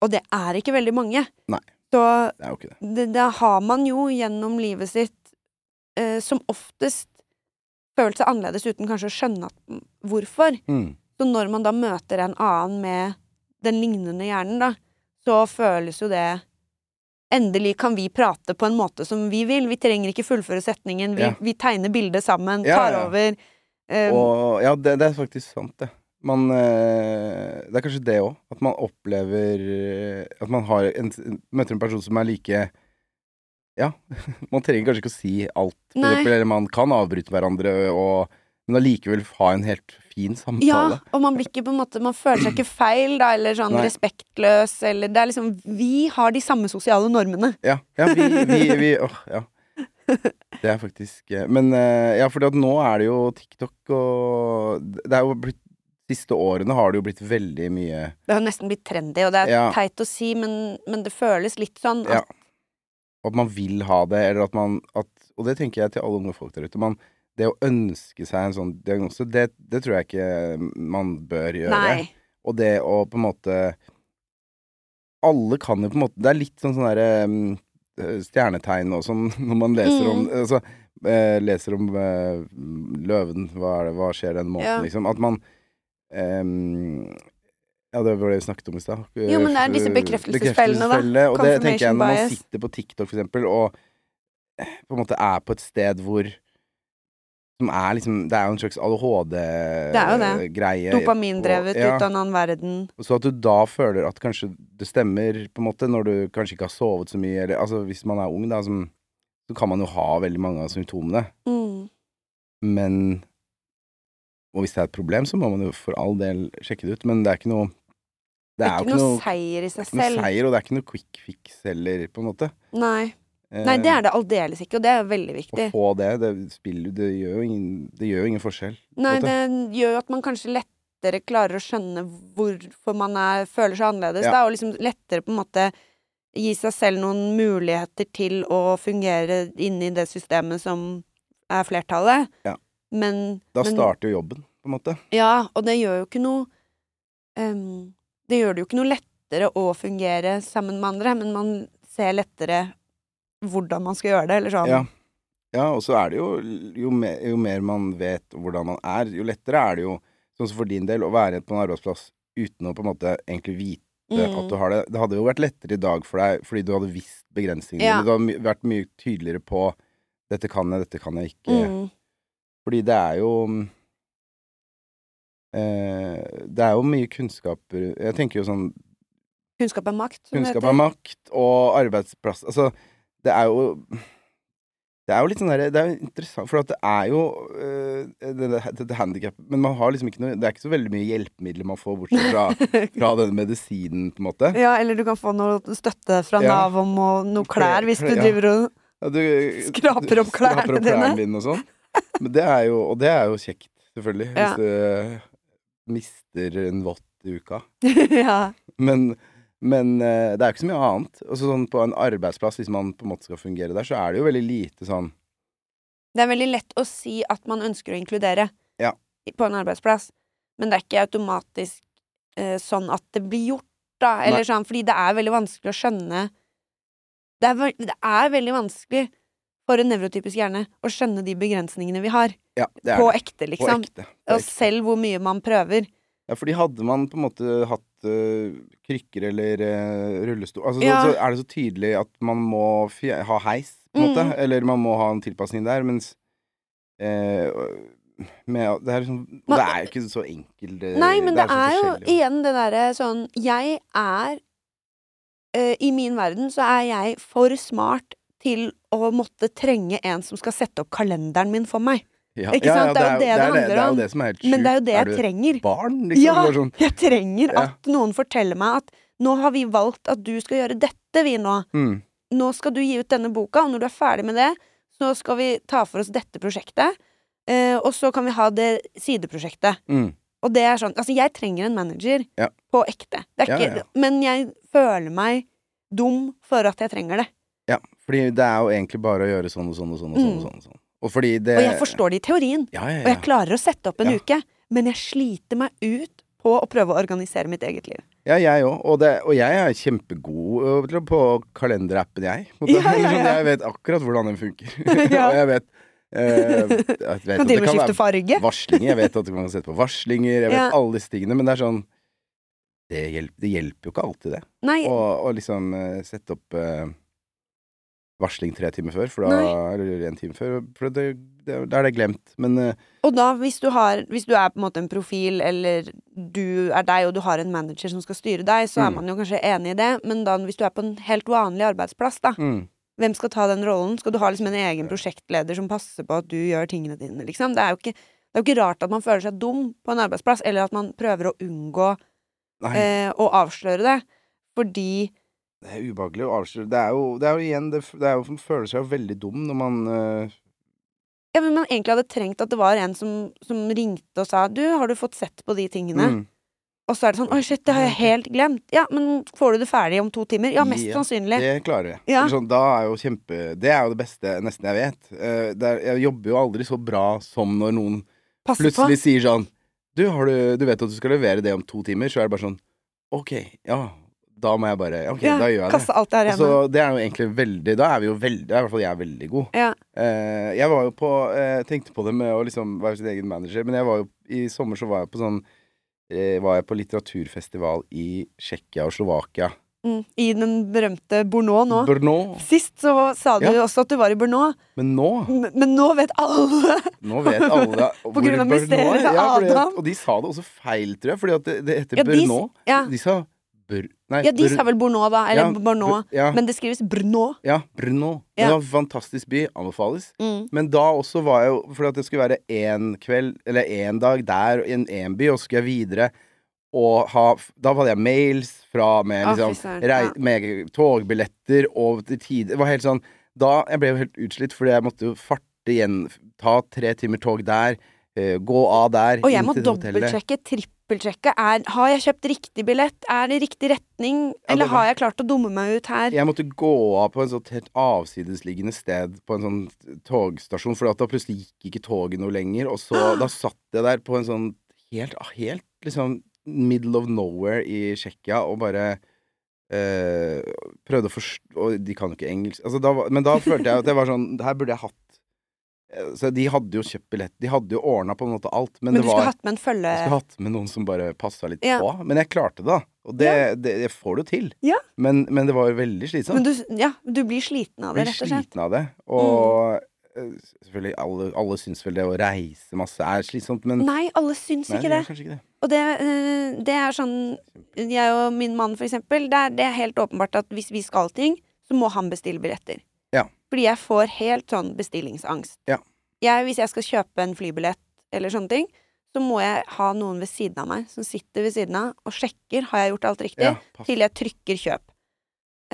[SPEAKER 1] og det er ikke veldig mange.
[SPEAKER 2] Nei.
[SPEAKER 1] Så
[SPEAKER 2] Det er jo ikke det.
[SPEAKER 1] det, det har man jo gjennom livet sitt eh, som oftest følt seg annerledes uten kanskje å skjønne at, hvorfor.
[SPEAKER 2] Mm.
[SPEAKER 1] Så når man da møter en annen med den lignende hjernen, da, så føles jo det Endelig kan vi prate på en måte som vi vil. Vi trenger ikke fullføre setningen. Vi,
[SPEAKER 2] Ja.
[SPEAKER 1] vi tegner bildet sammen,
[SPEAKER 2] Ja,
[SPEAKER 1] tar
[SPEAKER 2] ja.
[SPEAKER 1] over. eh,
[SPEAKER 2] Og ja, det, det er faktisk sant, det. Man eh, Det er kanskje det òg. At man opplever eh, At man har en, møter en person som er like Ja. Man trenger kanskje ikke å si alt, for
[SPEAKER 1] Nei.
[SPEAKER 2] eksempel. Eller man kan avbryte hverandre, og, men allikevel ha en helt fin
[SPEAKER 1] ja,
[SPEAKER 2] samtale.
[SPEAKER 1] og man blir ikke på en måte Man føler seg ikke feil, da, eller sånn
[SPEAKER 2] Nei.
[SPEAKER 1] respektløs, eller Det er liksom Vi har de samme sosiale normene.
[SPEAKER 2] Ja. ja, vi, vi, vi Åh, ja. Det er faktisk eh, Men eh, ja, for nå er det jo TikTok og Det er jo blitt Siste årene har det jo blitt veldig mye
[SPEAKER 1] Det har jo nesten blitt trendy, og det er
[SPEAKER 2] Ja.
[SPEAKER 1] teit å si, men, men det føles litt sånn at
[SPEAKER 2] Ja. at man vil ha det, eller at man at, Og det tenker jeg til alle unge folk der ute. Man, det å ønske seg en sånn diagnose, det, det tror jeg ikke man bør gjøre.
[SPEAKER 1] Nei.
[SPEAKER 2] Og det å på en måte Alle kan jo på en måte Det er litt sånn sånn derre mm, Stjernetegn og sånn når man leser om
[SPEAKER 1] Mm.
[SPEAKER 2] altså, eh, Leser om eh, løven, hva, er det, hva skjer den måneden,
[SPEAKER 1] Ja.
[SPEAKER 2] liksom. At man ehm, ja, det var det vi snakket om i stad.
[SPEAKER 1] Jo, men det er disse bekreftelsesfellene, da.
[SPEAKER 2] Bekreftelsesfelle, Og det tenker jeg når man
[SPEAKER 1] Confirmation bias.
[SPEAKER 2] sitter på TikTok, for eksempel, og eh, på en måte er på et sted hvor som er liksom, Det er jo en slags
[SPEAKER 1] er
[SPEAKER 2] ADHD-greie.
[SPEAKER 1] Dopamindrevet
[SPEAKER 2] og- ja.
[SPEAKER 1] ut av en annen verden.
[SPEAKER 2] Så at du da føler at kanskje det stemmer, på en måte, når du kanskje ikke har sovet så mye, eller altså hvis man er ung, da, som, så kan man jo ha veldig mange av symptomene,
[SPEAKER 1] Mm.
[SPEAKER 2] men Og hvis det er et problem, så må man jo for all del sjekke det ut, men det er ikke noe
[SPEAKER 1] Det
[SPEAKER 2] Det
[SPEAKER 1] er
[SPEAKER 2] jo
[SPEAKER 1] ikke noe seier i seg
[SPEAKER 2] noe
[SPEAKER 1] selv.
[SPEAKER 2] seier, og det er ikke noe quick fix heller, på en måte.
[SPEAKER 1] Nei. Nei, det
[SPEAKER 2] Eh,
[SPEAKER 1] er det aldeles ikke, og det er veldig viktig.
[SPEAKER 2] Å få det, det spiller jo Det gjør jo ingen, det gjør jo ingen forskjell.
[SPEAKER 1] Nei,
[SPEAKER 2] måte.
[SPEAKER 1] det gjør jo at man kanskje lettere klarer å skjønne hvorfor man er, føler seg annerledes,
[SPEAKER 2] Ja.
[SPEAKER 1] da, og liksom lettere på en måte gi seg selv noen muligheter til å fungere inni det systemet som er flertallet.
[SPEAKER 2] Ja.
[SPEAKER 1] Men
[SPEAKER 2] Da
[SPEAKER 1] men-
[SPEAKER 2] starter jo jobben, på en måte.
[SPEAKER 1] Ja, og det gjør jo ikke noe ehm, Det gjør det jo ikke noe lettere å fungere sammen med andre, men man ser lettere hvordan man skal gjøre det, eller sånn.
[SPEAKER 2] Ja. Ja, og så er det jo jo mer, jo mer man vet hvordan man er, jo lettere er det jo, sånn som for din del, å være på en arbeidsplass uten å på en måte egentlig vite at
[SPEAKER 1] Mm.
[SPEAKER 2] du har det. Det hadde jo vært lettere i dag for deg fordi du hadde visst begrensningene.
[SPEAKER 1] Ja.
[SPEAKER 2] dine. Du hadde my- vært mye tydeligere på 'dette kan jeg, dette kan jeg ikke'.
[SPEAKER 1] Mm.
[SPEAKER 2] Fordi det er jo mm, eh, Det er jo mye kunnskaper Jeg tenker jo sånn
[SPEAKER 1] Mm. Kunnskap er makt, som det
[SPEAKER 2] Kunnskap
[SPEAKER 1] heter.
[SPEAKER 2] er makt, og arbeidsplass Altså, det er jo Det er jo litt sånn derre Det er jo interessant, for at det er jo øh, det, det, Dette handikappet Men man har liksom ikke noe Det er ikke så veldig mye hjelpemidler man får, bortsett fra, fra denne medisinen, på en måte.
[SPEAKER 1] Ja, eller du kan få noe støtte fra
[SPEAKER 2] Ja.
[SPEAKER 1] Nav om og noe klær hvis du
[SPEAKER 2] Ja.
[SPEAKER 1] driver og
[SPEAKER 2] Ja, du,
[SPEAKER 1] Skraper opp klærne
[SPEAKER 2] skraper opp
[SPEAKER 1] dine.
[SPEAKER 2] klærne dine og sånn. Men det er jo Og det er jo kjekt, selvfølgelig,
[SPEAKER 1] Ja.
[SPEAKER 2] hvis du mister en vått i uka.
[SPEAKER 1] Ja.
[SPEAKER 2] Men, men eh, det er jo ikke så mye annet. Og så sånn på en arbeidsplass, hvis man på en måte skal fungere der, så er det jo veldig lite sånn
[SPEAKER 1] Det er veldig lett å si at man ønsker å inkludere
[SPEAKER 2] Ja.
[SPEAKER 1] i- på en arbeidsplass, men det er ikke automatisk eh, sånn at det blir gjort, da. Eller sånn, fordi det er veldig vanskelig å skjønne det er, vel- det er veldig vanskelig for en nevrotypisk hjerne å skjønne de begrensningene vi har,
[SPEAKER 2] Ja, det er
[SPEAKER 1] på
[SPEAKER 2] det.
[SPEAKER 1] ekte, liksom.
[SPEAKER 2] På ekte. På
[SPEAKER 1] Og
[SPEAKER 2] ekte.
[SPEAKER 1] selv hvor mye man prøver.
[SPEAKER 2] Ja, fordi hadde man på en måte hatt øh, krykker eller øh, rullestol altså,
[SPEAKER 1] Ja.
[SPEAKER 2] så, så er det så tydelig at man må fje- ha heis, på en
[SPEAKER 1] Mm.
[SPEAKER 2] måte. Eller man må ha en tilpasning der, mens eh, med, Det er liksom og
[SPEAKER 1] Man-
[SPEAKER 2] Det er jo ikke så enkelt. eh, det-
[SPEAKER 1] Nei, men det,
[SPEAKER 2] så
[SPEAKER 1] er, jo e-
[SPEAKER 2] forskjellig.
[SPEAKER 1] igjen det derre sånn Jeg er eh, I min verden så er jeg for smart til å måtte trenge en som skal sette opp kalenderen min for meg.
[SPEAKER 2] Ja.
[SPEAKER 1] ikke sant? Det er jo det det handler
[SPEAKER 2] Det er
[SPEAKER 1] om.
[SPEAKER 2] jo det som er helt sjukt.
[SPEAKER 1] Men det er jo det
[SPEAKER 2] du
[SPEAKER 1] jeg trenger.
[SPEAKER 2] barn, liksom?
[SPEAKER 1] Ja,
[SPEAKER 2] Bare sånn,
[SPEAKER 1] jeg trenger
[SPEAKER 2] Ja.
[SPEAKER 1] at noen forteller meg at Nå har vi valgt at du skal gjøre dette, vi nå.
[SPEAKER 2] Mm.
[SPEAKER 1] Nå skal du gi ut denne boka, og når du er ferdig med det, så skal vi ta for oss dette prosjektet. Eh, og så kan vi ha det sideprosjektet.
[SPEAKER 2] Mm.
[SPEAKER 1] Og det er sånn Altså, jeg trenger en manager.
[SPEAKER 2] Ja.
[SPEAKER 1] På ekte. Det er
[SPEAKER 2] Ja,
[SPEAKER 1] ikke,
[SPEAKER 2] ja.
[SPEAKER 1] Men jeg føler meg dum for at jeg trenger det.
[SPEAKER 2] Ja, fordi det er jo egentlig bare å gjøre sånn og sånn og sånn. Og sånn,
[SPEAKER 1] Mm.
[SPEAKER 2] og sånn, og sånn. Og fordi det
[SPEAKER 1] Og jeg forstår det i teorien.
[SPEAKER 2] Ja, ja,
[SPEAKER 1] Og
[SPEAKER 2] ja.
[SPEAKER 1] jeg klarer å sette opp en
[SPEAKER 2] Ja.
[SPEAKER 1] uke, men jeg sliter meg ut på å prøve å organisere mitt eget liv.
[SPEAKER 2] ja jeg òg. Og, det- og jeg er kjempegod ø, til å- på kalenderappen, jeg. på en måte.
[SPEAKER 1] Ja, ja,
[SPEAKER 2] Sånn,
[SPEAKER 1] ja.
[SPEAKER 2] Jeg vet akkurat hvordan den funker.
[SPEAKER 1] Ja.
[SPEAKER 2] og jeg vet, eh, jeg vet
[SPEAKER 1] Kan
[SPEAKER 2] at
[SPEAKER 1] til og
[SPEAKER 2] det
[SPEAKER 1] med
[SPEAKER 2] kan
[SPEAKER 1] skifte
[SPEAKER 2] være
[SPEAKER 1] farge.
[SPEAKER 2] varslinger. Jeg vet at man kan sette på varslinger. Jeg vet
[SPEAKER 1] Ja.
[SPEAKER 2] alle disse tingene. Men det er sånn Det hjelper, det hjelper jo ikke alltid, det.
[SPEAKER 1] Nei,
[SPEAKER 2] Og, og liksom eh, sette opp eh, varsling tre timer før, for da,
[SPEAKER 1] Nei.
[SPEAKER 2] eller en time før, for det, det, da er det glemt. Men eh,
[SPEAKER 1] og da hvis du, har, hvis du er på en måte en profil, eller du er deg og du har en manager som skal styre deg, så er
[SPEAKER 2] Mm.
[SPEAKER 1] man jo kanskje enig i det, men da, hvis du er på en helt vanlig arbeidsplass, da,
[SPEAKER 2] mm,
[SPEAKER 1] hvem skal ta den rollen? Skal du ha liksom en egen prosjektleder som passer på at du gjør tingene dine, liksom? Det er jo ikke, det er jo ikke rart at man føler seg dum på en arbeidsplass, eller at man prøver å unngå
[SPEAKER 2] nei.
[SPEAKER 1] eh, å avsløre det, fordi
[SPEAKER 2] Det er ubehagelig å avsløre. Det er jo, det er jo igjen det, f- det er jo, Man føler seg jo veldig dum når man eh,
[SPEAKER 1] Ja, men man egentlig hadde trengt at det var en som, som ringte og sa 'Du, har du fått sett på de tingene?'
[SPEAKER 2] mm,
[SPEAKER 1] Og så er det sånn 'Oi, shit, det har jeg helt glemt'. Ja, men får du det ferdig om to timer? Ja, mest
[SPEAKER 2] Ja,
[SPEAKER 1] sannsynlig.
[SPEAKER 2] Det klarer jeg.
[SPEAKER 1] Ja.
[SPEAKER 2] Eller Sånn, da er jo kjempe Det er jo det beste nesten jeg vet. Eh, det er, jeg jobber jo aldri så bra som når noen
[SPEAKER 1] Pass på.
[SPEAKER 2] plutselig sier sånn du, har du, du vet at du skal levere det om to timer, så er det bare sånn Ok, ja. Da må jeg bare Ok,
[SPEAKER 1] Ja,
[SPEAKER 2] da gjør jeg det.
[SPEAKER 1] Kaste alt det her
[SPEAKER 2] Og Så
[SPEAKER 1] hjemme.
[SPEAKER 2] det er jo egentlig veldig Da er vi jo veldig Da er i hvert fall jeg veldig god.
[SPEAKER 1] Ja.
[SPEAKER 2] Eh, jeg var jo på eh, Tenkte på det med å liksom være sin egen manager, men jeg var jo I sommer så var jeg på sånn eh, Var jeg på litteraturfestival i Tsjekkia og Slovakia.
[SPEAKER 1] Mm. I den berømte Bourneau nå.
[SPEAKER 2] Brno.
[SPEAKER 1] Sist så sa du
[SPEAKER 2] Ja.
[SPEAKER 1] jo også at du var i Bourneau,
[SPEAKER 2] Men nå
[SPEAKER 1] men, men nå vet alle
[SPEAKER 2] Nå vet alle
[SPEAKER 1] På grunn av
[SPEAKER 2] hvor Brno er.
[SPEAKER 1] mysteriet til
[SPEAKER 2] fordi at-
[SPEAKER 1] Adam.
[SPEAKER 2] Og de sa det også feil, tror jeg, fordi at det, det heter
[SPEAKER 1] Ja, de s-
[SPEAKER 2] Brno.
[SPEAKER 1] ja.
[SPEAKER 2] De sa Br... Nei,
[SPEAKER 1] Ja, de
[SPEAKER 2] Br-
[SPEAKER 1] sa vel Bourneau, da. Eller
[SPEAKER 2] Ja,
[SPEAKER 1] Bourneau.
[SPEAKER 2] Br- Ja,
[SPEAKER 1] Men det skrives Brno.
[SPEAKER 2] ja Brno.
[SPEAKER 1] Ja.
[SPEAKER 2] Det var en fantastisk by. Anbefales.
[SPEAKER 1] Mm.
[SPEAKER 2] Men da også var jeg jo Fordi at det skulle være én kveld, eller én dag der, i en- en by, og så skulle jeg videre. Og ha, da hadde jeg mails fra med,
[SPEAKER 1] Å, fy
[SPEAKER 2] liksom,
[SPEAKER 1] søren,
[SPEAKER 2] rei,
[SPEAKER 1] ja.
[SPEAKER 2] med togbilletter og til tider Det var helt sånn Da Jeg ble jo helt utslitt, fordi jeg måtte jo farte igjen. Ta tre timer tog der, eh, gå av der,
[SPEAKER 1] Og jeg
[SPEAKER 2] inn
[SPEAKER 1] må
[SPEAKER 2] til det hotellet.
[SPEAKER 1] dobbeltsjekke, trippelsjekke. Er, har jeg kjøpt riktig billett? Er det riktig retning?
[SPEAKER 2] Ja,
[SPEAKER 1] Eller
[SPEAKER 2] det var-
[SPEAKER 1] har jeg klart å dumme meg ut her?
[SPEAKER 2] Jeg måtte gå av på en sånn helt avsidesliggende sted på en sånn togstasjon, for da plutselig gikk ikke toget noe lenger, og så da satt jeg der på en sånn helt, helt liksom middle of nowhere i Tsjekkia og bare eh, prøvde å forstå Og de kan jo ikke engelsk altså, da, var- Men da følte jeg at det var sånn det Her burde jeg hatt eh, Så de hadde jo kjøpt billett, de hadde jo ordna på en måte alt, men,
[SPEAKER 1] Men,
[SPEAKER 2] det
[SPEAKER 1] du skulle
[SPEAKER 2] var
[SPEAKER 1] hatt med en følge...
[SPEAKER 2] jeg skulle hatt med noen som bare passa litt
[SPEAKER 1] Ja.
[SPEAKER 2] på, men jeg klarte det, da. Og det, det, det får du til.
[SPEAKER 1] Ja.
[SPEAKER 2] Men, men det var jo veldig slitsomt.
[SPEAKER 1] Men du, ja, du blir sliten av det,
[SPEAKER 2] Blir
[SPEAKER 1] rett og slett. Mm.
[SPEAKER 2] sliten av det. Og eh, selvfølgelig, alle, alle syns vel det å reise masse er slitsomt, men
[SPEAKER 1] Nei, alle syns
[SPEAKER 2] Nei,
[SPEAKER 1] ikke
[SPEAKER 2] gjør
[SPEAKER 1] det.
[SPEAKER 2] kanskje ikke det.
[SPEAKER 1] Og det, eh, det er sånn Jeg og min mann, for eksempel, det er, det er helt åpenbart at hvis vi skal ting, så må han bestille billetter.
[SPEAKER 2] Ja.
[SPEAKER 1] Fordi jeg får helt sånn bestillingsangst.
[SPEAKER 2] Ja.
[SPEAKER 1] Jeg, hvis jeg skal kjøpe en flybillett eller sånne ting, så må jeg ha noen ved siden av meg som sitter ved siden av og sjekker har jeg gjort alt riktig,
[SPEAKER 2] Ja, pass.
[SPEAKER 1] til jeg trykker kjøp.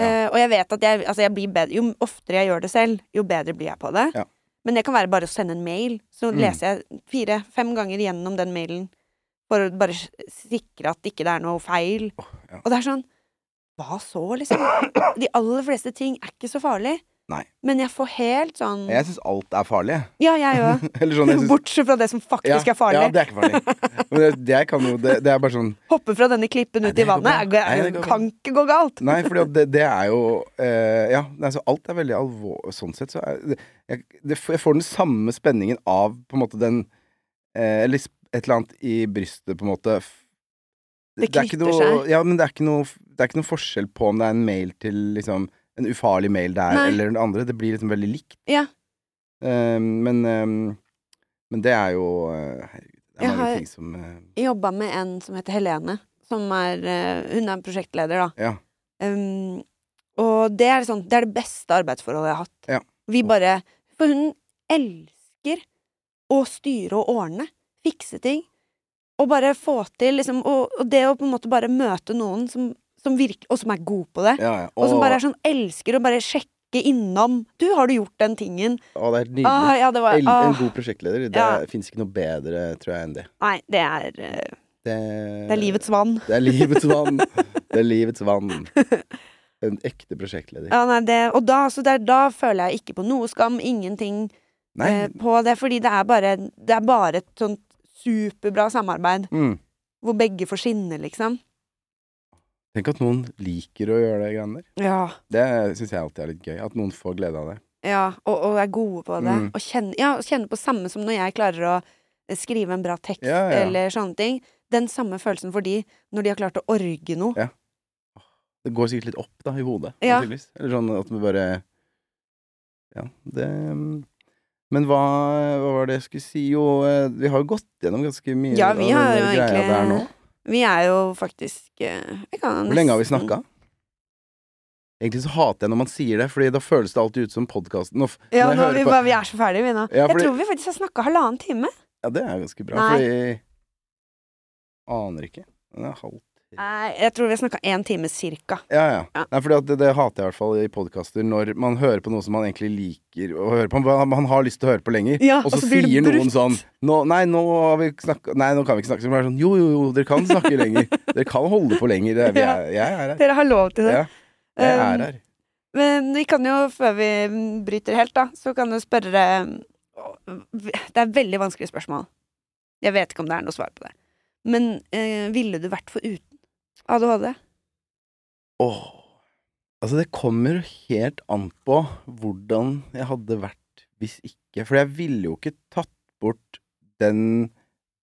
[SPEAKER 2] Ja.
[SPEAKER 1] Eh, og jeg vet at jeg, altså jeg blir bedre, jo oftere jeg gjør det selv, jo bedre blir jeg på det.
[SPEAKER 2] Ja.
[SPEAKER 1] Men det kan være bare å sende en mail. Så
[SPEAKER 2] Mm.
[SPEAKER 1] leser jeg fire-fem ganger gjennom den mailen for å bare s- sikre at ikke det er noe feil.
[SPEAKER 2] Åh, ja.
[SPEAKER 1] Og det er sånn Hva så, liksom? De aller fleste ting er ikke så farlig.
[SPEAKER 2] Nei.
[SPEAKER 1] Men jeg får helt sånn
[SPEAKER 2] Jeg syns alt er farlig. jeg.
[SPEAKER 1] Ja, jeg òg.
[SPEAKER 2] Eller sånn, jeg synes-
[SPEAKER 1] Bortsett fra det som
[SPEAKER 2] ja,
[SPEAKER 1] faktisk er farlig.
[SPEAKER 2] Ja, det er ikke farlig. Men det, det kan jo det, det er bare sånn
[SPEAKER 1] Hoppe fra denne klippen
[SPEAKER 2] Nei,
[SPEAKER 1] ut i
[SPEAKER 2] det går
[SPEAKER 1] vannet
[SPEAKER 2] bra.
[SPEAKER 1] er-
[SPEAKER 2] Nei, det går bra.
[SPEAKER 1] kan ikke gå galt.
[SPEAKER 2] Nei, for det, det er jo eh, Ja, nei, så alt er veldig alvorlig Sånn sett så er det jeg, det, jeg får den samme spenningen av på en måte den eh, Eller sp- et eller annet i brystet, på en måte. F-
[SPEAKER 1] Det
[SPEAKER 2] er ikke
[SPEAKER 1] knytter
[SPEAKER 2] noe,
[SPEAKER 1] seg.
[SPEAKER 2] Ja, men det er, ikke noe, det er ikke noe forskjell på om det er en mail til liksom en ufarlig mail der
[SPEAKER 1] Nei.
[SPEAKER 2] eller den andre. Det blir liksom veldig likt.
[SPEAKER 1] Ja.
[SPEAKER 2] Eh, men, eh, men det er jo eh, Herregud, det
[SPEAKER 1] Jeg
[SPEAKER 2] er mange
[SPEAKER 1] har-
[SPEAKER 2] ting som eh,
[SPEAKER 1] Jeg jobba med en som heter Helene. Som er, eh, hun er prosjektleder, da.
[SPEAKER 2] Ja.
[SPEAKER 1] Um, og det er, sånn, det er det beste arbeidsforholdet jeg har hatt.
[SPEAKER 2] Ja.
[SPEAKER 1] Vi bare For hun elsker å styre og ordne. Fikse ting. Og bare få til liksom Og, og det å på en måte bare møte noen som, som som virker, og som er god på det.
[SPEAKER 2] Ja, ja.
[SPEAKER 1] Og som bare er sånn elsker å bare sjekke innom. Du, har du gjort den tingen?
[SPEAKER 3] Å, det er nydelig.
[SPEAKER 1] Ah, ja, det var
[SPEAKER 3] en, en
[SPEAKER 1] ah.
[SPEAKER 3] god prosjektleder. Det
[SPEAKER 1] Ja.
[SPEAKER 3] fins ikke noe bedre, tror jeg, enn det.
[SPEAKER 1] Nei, det er, eh,
[SPEAKER 3] Det,
[SPEAKER 1] det er livets vann.
[SPEAKER 3] Det er livets vann. Det er livets vann. En ekte prosjektleder.
[SPEAKER 1] Ja, nei, det, og da, så der, da føler jeg ikke på noe skam, ingenting
[SPEAKER 3] Nei.
[SPEAKER 1] eh,
[SPEAKER 2] Mm.
[SPEAKER 1] på det. Fordi det er bare, det er bare et sånt superbra samarbeid
[SPEAKER 2] Mm.
[SPEAKER 1] hvor begge får skinne, liksom.
[SPEAKER 2] Tenk at noen liker å gjøre det greiene der.
[SPEAKER 1] Ja.
[SPEAKER 2] Det syns jeg alltid er litt gøy. At noen får glede av det.
[SPEAKER 1] Ja, og, og er gode på det.
[SPEAKER 2] Mm.
[SPEAKER 1] Og kjenner, ja, og kjenner på samme som når jeg klarer å eh, skrive en bra tekst
[SPEAKER 2] Ja, ja.
[SPEAKER 1] eller sånne ting. Den samme følelsen for de når de har klart å orge noe.
[SPEAKER 2] Ja. Det går sikkert litt opp da, i hodet.
[SPEAKER 1] Ja.
[SPEAKER 2] antageligvis. Eller sånn at vi bare Ja, det mm. Men hva, hva var det jeg skulle si? Jo, eh, vi har jo gått gjennom ganske mye
[SPEAKER 1] Ja, vi
[SPEAKER 2] av
[SPEAKER 1] har
[SPEAKER 2] den
[SPEAKER 1] jo
[SPEAKER 2] greia
[SPEAKER 1] egentlig-
[SPEAKER 2] der nå.
[SPEAKER 1] Vi er jo faktisk eh, vi kan
[SPEAKER 2] Hvor lenge har vi
[SPEAKER 1] nesten-
[SPEAKER 2] snakka? Egentlig så hater jeg når man sier det, Fordi da føles det alltid ut som podkasten.
[SPEAKER 1] Ja, nå, vi, bare, vi er så ferdige, vi nå.
[SPEAKER 2] Ja, fordi-
[SPEAKER 1] Jeg tror vi faktisk har snakka halvannen time.
[SPEAKER 2] Ja, det er ganske bra,
[SPEAKER 1] Nei.
[SPEAKER 2] fordi Aner ikke. Den er halv
[SPEAKER 1] Nei, jeg tror vi har snakka én time cirka.
[SPEAKER 2] Ja, ja.
[SPEAKER 1] Ja.
[SPEAKER 2] Nei, fordi at det, det hater jeg i hvert fall i podkaster, når man hører på noe som man egentlig liker å høre på. Man, man har lyst til å høre på lenger,
[SPEAKER 1] Ja,
[SPEAKER 2] og så
[SPEAKER 1] og så blir det
[SPEAKER 2] sier noen
[SPEAKER 1] brutt.
[SPEAKER 2] sånn nå, nei, nå har vi snakka, nei, nå kan vi ikke snakke. Så man er sånn Jo, jo, jo, dere kan snakke lenger. Dere kan holde på lenger. Det- Vi
[SPEAKER 1] Ja.
[SPEAKER 2] er, jeg er her.
[SPEAKER 1] Dere har lov til det.
[SPEAKER 2] Ja, jeg
[SPEAKER 1] Um,
[SPEAKER 2] er her.
[SPEAKER 1] Men vi kan jo, før vi mm, bryter helt, da, så kan du spørre mm, Det er veldig vanskelige spørsmål. Jeg vet ikke om det er noe svar på det. Men eh, ville du vært foruten ADHD?
[SPEAKER 2] Åh. Altså, det kommer helt an på hvordan jeg hadde vært hvis ikke. For jeg ville jo ikke tatt bort den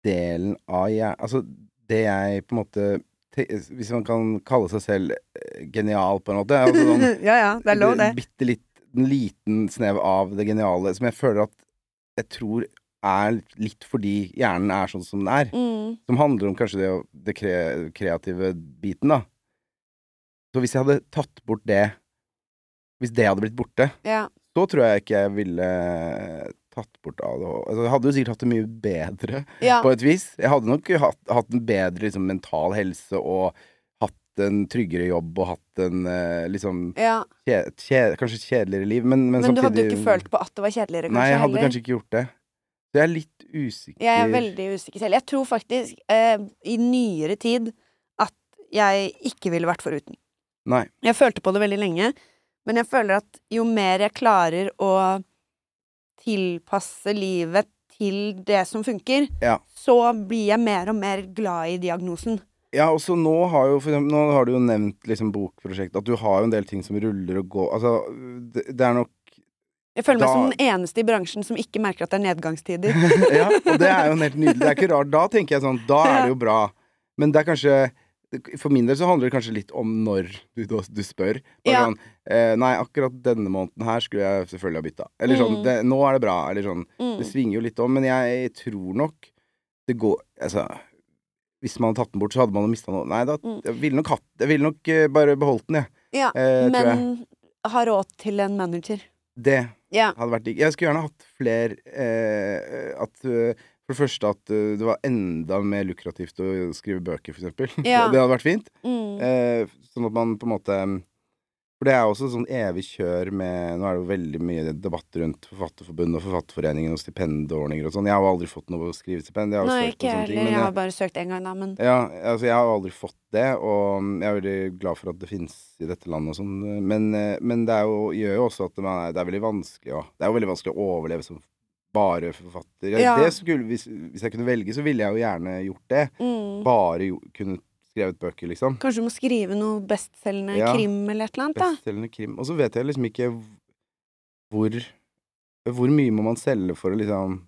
[SPEAKER 2] delen av jeg Altså, det jeg på en måte te- Hvis man kan kalle seg selv eh, genial, på en måte. Altså, sånn,
[SPEAKER 1] ja ja, det er lov, det.
[SPEAKER 2] Bitte litt, en liten snev av det geniale, som jeg føler at jeg tror er litt fordi hjernen er sånn som den er
[SPEAKER 1] Mm.
[SPEAKER 2] som handler om kanskje det, å- det kre, kreative biten, da. Så hvis jeg hadde tatt bort det Hvis det hadde blitt borte,
[SPEAKER 1] Ja.
[SPEAKER 2] så tror jeg ikke jeg ville tatt bort ADHD. Altså, jeg hadde jo sikkert hatt det mye bedre,
[SPEAKER 1] ja.
[SPEAKER 2] på et vis. Jeg hadde nok hatt, hatt en bedre liksom, mental helse og hatt en tryggere jobb og hatt en eh, liksom
[SPEAKER 1] ja.
[SPEAKER 2] kje, kje, Kanskje et kjedeligere liv, men, men,
[SPEAKER 1] Men du hadde jo
[SPEAKER 2] samtidig-
[SPEAKER 1] ikke følt på at det var kjedeligere, kanskje?
[SPEAKER 2] Nei, jeg hadde
[SPEAKER 1] heller.
[SPEAKER 2] kanskje ikke gjort det. Så jeg er litt usikker.
[SPEAKER 1] Jeg er veldig usikker selv. Jeg tror faktisk, eh, i nyere tid, at jeg ikke ville vært foruten.
[SPEAKER 2] Nei.
[SPEAKER 1] Jeg følte på det veldig lenge, men jeg føler at jo mer jeg klarer å tilpasse livet til det som funker,
[SPEAKER 2] Ja.
[SPEAKER 1] så blir jeg mer og mer glad i diagnosen.
[SPEAKER 2] Ja, og så nå har jo for eksempel, Nå har du jo nevnt liksom bokprosjekt At du har jo en del ting som ruller og går Altså, det, det er nok
[SPEAKER 1] Jeg føler meg
[SPEAKER 2] Da-
[SPEAKER 1] som den eneste i bransjen som ikke merker at det er nedgangstider.
[SPEAKER 2] Ja, og det er jo helt nydelig Det er ikke rart Da tenker jeg sånn Da er det jo bra Men det er kanskje For min del så handler det kanskje litt om når du, du, du spør Bare
[SPEAKER 1] Ja.
[SPEAKER 2] sånn eh, Nei, akkurat denne måneden her Skulle jeg selvfølgelig ha byttet Eller sånn
[SPEAKER 1] Mm.
[SPEAKER 2] det, Nå er det bra Eller sånn
[SPEAKER 1] Mm.
[SPEAKER 2] Det svinger jo litt om, men jeg tror nok det går Altså, hvis man hadde tatt den bort, så hadde man jo mista noe. Nei, da
[SPEAKER 1] Mm.
[SPEAKER 2] jeg ville nok hatt Jeg ville nok eh, bare beholdt den, jeg.
[SPEAKER 1] Ja,
[SPEAKER 2] Eh, tror jeg.
[SPEAKER 1] men har råd til en manager.
[SPEAKER 2] Det
[SPEAKER 1] Ja.
[SPEAKER 2] hadde vært digg. Jeg skulle gjerne hatt flere eh, At eh, For det første at eh, det var enda mer lukrativt å skrive bøker, for eksempel.
[SPEAKER 1] Ja.
[SPEAKER 2] det hadde vært fint.
[SPEAKER 1] Mm.
[SPEAKER 2] Eh, sånn at man på en måte For det er også sånn evig kjør med Nå er det jo veldig mye debatt rundt Forfatterforbundet og Forfatterforeningen og stipendordninger og sånn. Jeg har jo aldri fått noe skrivestipend. Jeg har jo
[SPEAKER 1] Nei,
[SPEAKER 2] søkt på
[SPEAKER 1] ikke jeg
[SPEAKER 2] sånne ting.
[SPEAKER 1] heller.
[SPEAKER 2] Men
[SPEAKER 1] Jeg har
[SPEAKER 2] jeg,
[SPEAKER 1] bare søkt én gang, da, men
[SPEAKER 2] ja, altså jeg har jo aldri fått det, og jeg er veldig glad for at det finnes i dette landet og sånn. Men, eh, men det er jo, gjør jo også at man er, det er veldig vanskelig å Det er jo veldig vanskelig å overleve som bare forfatter. Jeg,
[SPEAKER 1] Ja.
[SPEAKER 2] det skulle, hvis, hvis jeg kunne velge, så ville jeg jo gjerne gjort det.
[SPEAKER 1] mm.
[SPEAKER 2] Bare jo, kunne skrevet bøker, liksom.
[SPEAKER 1] Kanskje du må skrive noe bestselgende
[SPEAKER 2] Ja.
[SPEAKER 1] krim eller et eller annet, da.
[SPEAKER 2] Bestselgende krim. Og så vet jeg liksom ikke hvor Hvor mye må man selge for å liksom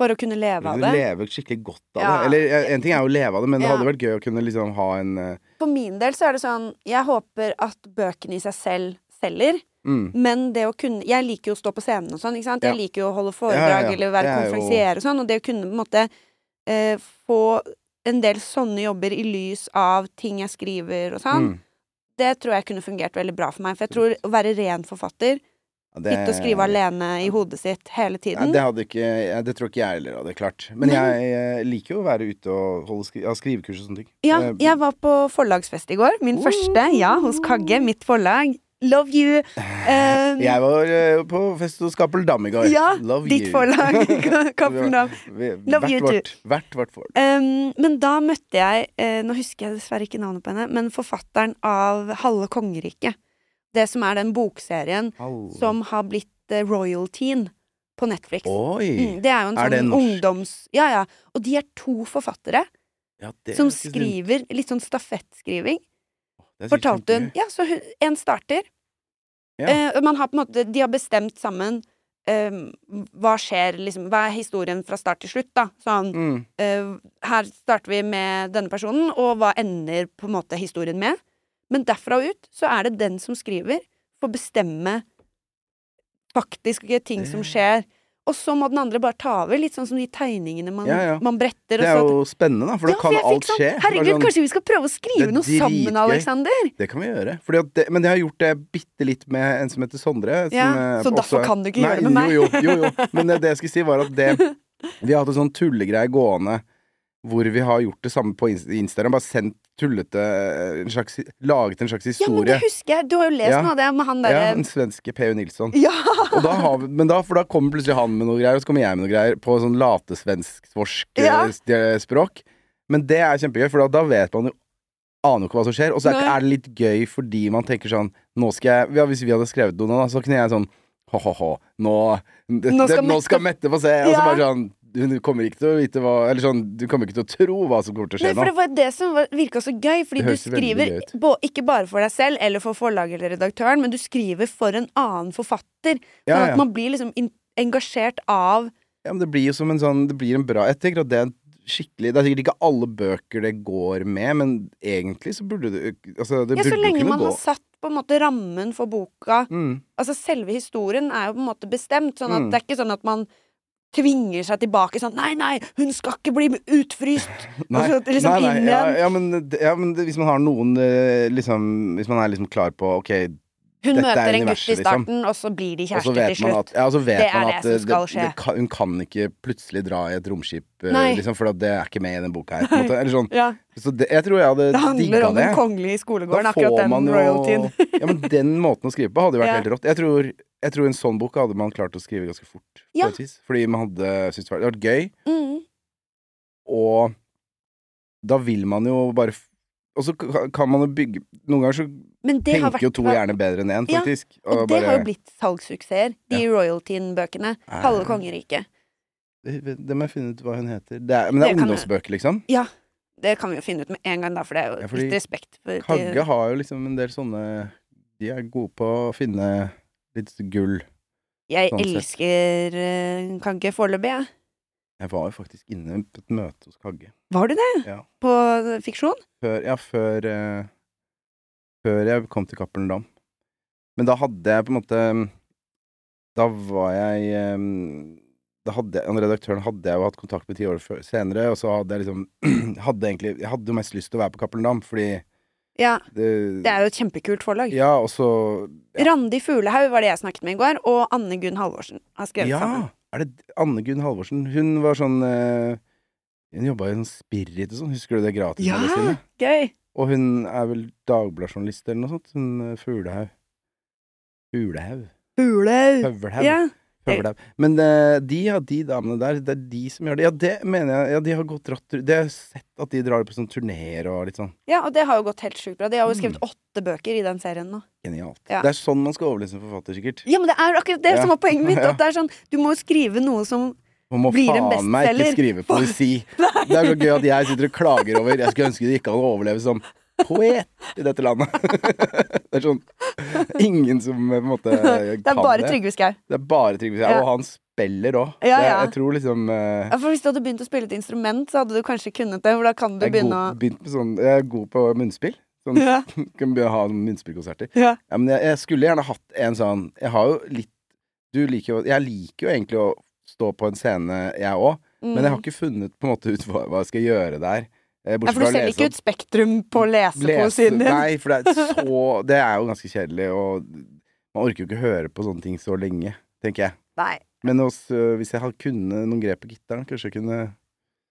[SPEAKER 1] For å kunne leve av det.
[SPEAKER 2] leve skikkelig godt av
[SPEAKER 1] Ja.
[SPEAKER 2] det? Eller eh, en ting er jo å leve av det, men det
[SPEAKER 1] Ja.
[SPEAKER 2] hadde vært gøy å kunne liksom ha en eh,
[SPEAKER 1] For min del så er det sånn Jeg håper at bøkene i seg selv selger,
[SPEAKER 2] mm,
[SPEAKER 1] men det å kunne Jeg liker jo å stå på scenen og sånn, ikke sant?
[SPEAKER 2] Ja.
[SPEAKER 1] Jeg liker jo å holde
[SPEAKER 2] Ja,
[SPEAKER 1] foredrag
[SPEAKER 2] ja, ja.
[SPEAKER 1] eller være
[SPEAKER 2] Det er jo-
[SPEAKER 1] konferansier og sånn, og det å kunne på en måte eh, få en del sånne jobber i lys av ting jeg skriver og sånn,
[SPEAKER 2] mm.
[SPEAKER 1] det tror jeg kunne fungert veldig bra for meg. For jeg tror å være ren forfatter
[SPEAKER 2] det-
[SPEAKER 1] Sitte og skrive alene i hodet sitt hele
[SPEAKER 2] Nei,
[SPEAKER 1] tiden.
[SPEAKER 2] det hadde ikke jeg, Det tror ikke jeg heller hadde klart. Men jeg eh, liker jo å være ute og holde skri ja, skrivekurs og sånne ting.
[SPEAKER 1] Ja,
[SPEAKER 2] Eh,
[SPEAKER 1] jeg var på forlagsfest i går. Min første. Ja, hos Kagge. Mitt forlag. Love you. Eh,
[SPEAKER 2] jeg var eh, på fest hos Cappel Dam i går.
[SPEAKER 1] ja,
[SPEAKER 2] Love
[SPEAKER 1] ditt
[SPEAKER 2] you.
[SPEAKER 1] forlag. Cappelen Dam.
[SPEAKER 2] Vi-
[SPEAKER 1] Love
[SPEAKER 2] hvert
[SPEAKER 1] you
[SPEAKER 2] vårt, hvert vårt for.
[SPEAKER 1] Um, men da møtte jeg eh, Nå husker jeg dessverre ikke navnet på henne, men forfatteren av Halve kongeriket. Det som er den bokserien
[SPEAKER 2] Oh.
[SPEAKER 1] som har blitt eh, royaltyen på Netflix.
[SPEAKER 2] Oi!
[SPEAKER 1] Mm, det er jo en
[SPEAKER 2] Er det
[SPEAKER 1] sånn
[SPEAKER 2] norsk?
[SPEAKER 1] ungdoms... Ja, ja. Og de er to forfattere
[SPEAKER 2] Ja, det er
[SPEAKER 1] som
[SPEAKER 2] ganske sunt.
[SPEAKER 1] skriver litt sånn stafettskriving.
[SPEAKER 2] Det er sikkert
[SPEAKER 1] Fortalte hun.
[SPEAKER 2] kjempegøy.
[SPEAKER 1] Ja, så hun, en starter.
[SPEAKER 2] Ja.
[SPEAKER 1] Eh, og man har på en måte, de har bestemt sammen eh, hva skjer, liksom. Hva er historien fra start til slutt, da? Sånn
[SPEAKER 2] Mm.
[SPEAKER 1] Eh, her starter vi med denne personen, og hva ender på en måte historien med? Men derfra og ut så er det den som skriver, får bestemme faktiske ting som skjer. Og så må den andre bare ta over, litt sånn som de tegningene man,
[SPEAKER 2] Ja, ja.
[SPEAKER 1] man bretter.
[SPEAKER 2] Det
[SPEAKER 1] og
[SPEAKER 2] er
[SPEAKER 1] så at-
[SPEAKER 2] jo spennende, da, for da
[SPEAKER 1] Ja,
[SPEAKER 2] kan
[SPEAKER 1] jeg fikk
[SPEAKER 2] alt
[SPEAKER 1] sånn,
[SPEAKER 2] skje.
[SPEAKER 1] Herregud,
[SPEAKER 2] Det er sånn,
[SPEAKER 1] kanskje vi skal prøve å
[SPEAKER 2] Det
[SPEAKER 1] skrive
[SPEAKER 2] er
[SPEAKER 1] noe sammen,
[SPEAKER 2] dritgøy.
[SPEAKER 1] Aleksander?
[SPEAKER 2] Det kan vi gjøre. Fordi at det, men jeg har gjort det bitte litt med en som heter Sondre. Som
[SPEAKER 1] Ja,
[SPEAKER 2] eh,
[SPEAKER 1] så derfor
[SPEAKER 2] også-
[SPEAKER 1] kan du ikke
[SPEAKER 2] Nei,
[SPEAKER 1] gjøre det med meg.
[SPEAKER 2] Jo, jo, jo, jo. Men det, det jeg skulle si, var at det Vi har hatt en sånn tullegreie gående hvor vi har gjort det samme på Inst- Instagram. Bare sendt tullete eh, en slags, Laget en slags
[SPEAKER 1] Ja, men det
[SPEAKER 2] historie.
[SPEAKER 1] husker jeg. Du har jo lest
[SPEAKER 2] Ja.
[SPEAKER 1] noe av det med han
[SPEAKER 2] Ja,
[SPEAKER 1] derre
[SPEAKER 2] den svenske PU Nilsson.
[SPEAKER 1] ja.
[SPEAKER 2] Og da har vi, men da, for da kommer plutselig han med noe greier, og så kommer jeg med noe greier på sånn latesvensk-svorsk eh,
[SPEAKER 1] Ja.
[SPEAKER 2] språk. Men det er kjempegøy, for da, da vet man jo Aner jo ikke hva som skjer. Og så er,
[SPEAKER 1] Nei.
[SPEAKER 2] er det litt gøy fordi man tenker sånn Nå skal jeg ja, Hvis vi hadde skrevet noe nå, da, så kunne jeg sånn Hå-hå-hå, nå, det,
[SPEAKER 1] Nå
[SPEAKER 2] det,
[SPEAKER 1] skal
[SPEAKER 2] nå
[SPEAKER 1] Mette-
[SPEAKER 2] skal Mette få se. Og så
[SPEAKER 1] Ja.
[SPEAKER 2] bare sånn Hun kommer ikke til å vite hva Eller sånn Du kommer ikke til å tro hva som kommer til å
[SPEAKER 1] Nei,
[SPEAKER 2] skje
[SPEAKER 1] for
[SPEAKER 2] nå.
[SPEAKER 1] det var det som var- virka så gøy, fordi du
[SPEAKER 2] Det høres veldig
[SPEAKER 1] skriver
[SPEAKER 2] gøy ut.
[SPEAKER 1] bo, ikke bare for deg selv eller for forlaget eller redaktøren, men du skriver for en annen forfatter.
[SPEAKER 2] Ja,
[SPEAKER 1] sånn at
[SPEAKER 2] ja.
[SPEAKER 1] man blir liksom in engasjert av
[SPEAKER 2] Ja, men det blir jo som en sånn Det blir en bra Jeg tenker at det er en skikkelig Det er sikkert ikke alle bøker det går med, men egentlig så burde det Altså, det
[SPEAKER 1] Ja, så
[SPEAKER 2] burde jo
[SPEAKER 1] lenge
[SPEAKER 2] kunne
[SPEAKER 1] man
[SPEAKER 2] gå.
[SPEAKER 1] har satt på en måte rammen for boka.
[SPEAKER 2] Mm.
[SPEAKER 1] Altså selve historien er jo på en måte bestemt, sånn at
[SPEAKER 2] Mm.
[SPEAKER 1] det er ikke sånn at man tvinger seg tilbake sånn Nei, nei, hun skal ikke bli utfryst!
[SPEAKER 2] Nei,
[SPEAKER 1] Og så liksom
[SPEAKER 2] nei, nei
[SPEAKER 1] inn
[SPEAKER 2] ja,
[SPEAKER 1] igjen.
[SPEAKER 2] ja, men, det- ja, men det, hvis man har noen eh, liksom, Hvis man er liksom klar på Ok,
[SPEAKER 1] Hun
[SPEAKER 2] Dette er
[SPEAKER 1] møter en gutt i
[SPEAKER 2] universet, liksom.
[SPEAKER 1] starten, og så blir de
[SPEAKER 2] og så
[SPEAKER 1] kjærester til
[SPEAKER 2] vet man
[SPEAKER 1] slutt.
[SPEAKER 2] at, ja, og så vet
[SPEAKER 1] Det er
[SPEAKER 2] man
[SPEAKER 1] det
[SPEAKER 2] at
[SPEAKER 1] som
[SPEAKER 2] eh,
[SPEAKER 1] skal
[SPEAKER 2] det, det
[SPEAKER 1] skje.
[SPEAKER 2] kan, hun kan ikke plutselig dra i et romskip, eh,
[SPEAKER 1] Nei.
[SPEAKER 2] liksom, for at det er ikke med i den boka her. På en måte, eller sånn.
[SPEAKER 1] Ja,
[SPEAKER 2] Så det, jeg tror jeg hadde
[SPEAKER 1] det handler
[SPEAKER 2] digga
[SPEAKER 1] om
[SPEAKER 2] det.
[SPEAKER 1] den kongelige
[SPEAKER 2] Da
[SPEAKER 1] skolegården,
[SPEAKER 2] får
[SPEAKER 1] akkurat den
[SPEAKER 2] man jo-
[SPEAKER 1] royaltyen.
[SPEAKER 2] ja, men den måten å skrive på hadde jo
[SPEAKER 1] Ja.
[SPEAKER 2] vært helt rått. Jeg tror, jeg tror en sånn bok hadde man klart å skrive ganske fort. På
[SPEAKER 1] Ja.
[SPEAKER 2] et vis. Fordi man hadde syntes det hadde vært gøy.
[SPEAKER 1] Mm.
[SPEAKER 2] Og da vil man jo bare f- Og så ka- kan man jo bygge Noen ganger så
[SPEAKER 1] Men det har
[SPEAKER 2] tenker
[SPEAKER 1] vært
[SPEAKER 2] jo to gjerne bedre enn én,
[SPEAKER 1] Ja,
[SPEAKER 2] faktisk.
[SPEAKER 1] Og det
[SPEAKER 2] bare-
[SPEAKER 1] har jo blitt salgssuksesser, de royaltyen-bøkene. Halve kongeriket.
[SPEAKER 2] Det det må jeg finne ut hva hun heter. Det er, men det er
[SPEAKER 1] Det kan jeg-
[SPEAKER 2] ungdomsbøker, liksom.
[SPEAKER 1] Det kan vi jo finne ut med en gang, da, for det er jo
[SPEAKER 2] Ja, fordi
[SPEAKER 1] litt respekt for
[SPEAKER 2] Kagge har jo liksom en del sånne De er gode på å finne litt gull.
[SPEAKER 1] Jeg
[SPEAKER 2] sånn sett.
[SPEAKER 1] elsker eh, Kagge foreløpig, jeg.
[SPEAKER 2] Jeg var jo faktisk inne på et møte hos Kagge.
[SPEAKER 1] Var du det?
[SPEAKER 2] Ja.
[SPEAKER 1] På fiksjon?
[SPEAKER 2] Før, ja, før eh, Før jeg kom til Cappelen Dam. Men da hadde jeg på en måte Da var jeg eh, Da hadde jeg, han Redaktøren hadde jeg jo hatt kontakt med ti år før, senere, og så hadde jeg liksom hadde egentlig, Jeg hadde jo mest lyst til å være på Cappelen Dam, fordi
[SPEAKER 1] Ja.
[SPEAKER 2] det,
[SPEAKER 1] Det er jo et kjempekult forlag.
[SPEAKER 2] Ja, og så
[SPEAKER 1] Randi Fuglehaug var det jeg snakket med i går, og Anne Gunn Halvorsen har skrevet
[SPEAKER 2] Ja!
[SPEAKER 1] sammen.
[SPEAKER 2] Er det Anne Gunn Halvorsen? Hun var sånn eh, Hun jobba i sånn Spirit og sånn, husker du det gratismagasinet?
[SPEAKER 1] Gøy!
[SPEAKER 2] Og hun er vel Dagbladjournalist eller noe sånt. Hun eh, Fuglehaug. Fuglehaug?
[SPEAKER 1] Fuglehaug!
[SPEAKER 2] Høvelhaug.
[SPEAKER 1] Ja.
[SPEAKER 2] Høvelhaug. Men eh, de, ja, de damene der, det er de som gjør det. Ja, det mener jeg. Ja, de har gått rått Det har jeg sett at de drar på sånne turneer og litt sånn.
[SPEAKER 1] ja, og det har jo gått helt sjukt bra. De har jo skrevet åtte bøker i den serien nå.
[SPEAKER 2] Genialt.
[SPEAKER 1] Ja.
[SPEAKER 2] Det er sånn man skal overleve som forfatter, sikkert.
[SPEAKER 1] Ja, men det er jo akkurat det
[SPEAKER 2] Ja.
[SPEAKER 1] som var poenget mitt.
[SPEAKER 2] Ja.
[SPEAKER 1] At det er sånn, du må jo skrive noe som
[SPEAKER 2] Man må
[SPEAKER 1] Blir en
[SPEAKER 2] faen meg ikke
[SPEAKER 1] bestselger.
[SPEAKER 2] skrive poesi. Det er så gøy at jeg sitter og klager over Jeg skulle ønske det gikk an å overleve som poet i dette landet. Det er sånn Ingen som eh, på en måte kan
[SPEAKER 1] Det er bare Trygve Skau.
[SPEAKER 2] Det er bare Trygve Skau.
[SPEAKER 1] Ja.
[SPEAKER 2] Og han spiller òg.
[SPEAKER 1] Ja, ja.
[SPEAKER 2] Jeg tror liksom eh,
[SPEAKER 1] Ja, for Hvis du hadde begynt å spille et instrument, så hadde du kanskje kunnet det. For da kan du
[SPEAKER 2] jeg, er
[SPEAKER 1] begynne
[SPEAKER 2] god, begynt med sånn, jeg er god på munnspill.
[SPEAKER 1] å
[SPEAKER 2] Sånn,
[SPEAKER 1] ja,
[SPEAKER 2] Kan begynne å ha sånn munnspillkonserter.
[SPEAKER 1] ja.
[SPEAKER 2] Ja, men jeg, jeg skulle gjerne hatt en sånn Jeg har jo litt Du liker jo Jeg liker jo egentlig å stå på en scene, jeg òg.
[SPEAKER 1] Mm.
[SPEAKER 2] Men jeg har ikke funnet på en måte ut hva, hva jeg skal gjøre der. eh,
[SPEAKER 1] ja, For du selger ikke ut Spektrum på
[SPEAKER 2] Lese-
[SPEAKER 1] lesepoesien din.
[SPEAKER 2] Nei, for det er, så, det er jo ganske kjedelig. Og Man orker jo ikke høre på sånne ting så lenge, tenker jeg.
[SPEAKER 1] Nei.
[SPEAKER 2] Men også, øh, hvis jeg hadde kunne noen grep på gitaren, kanskje jeg kunne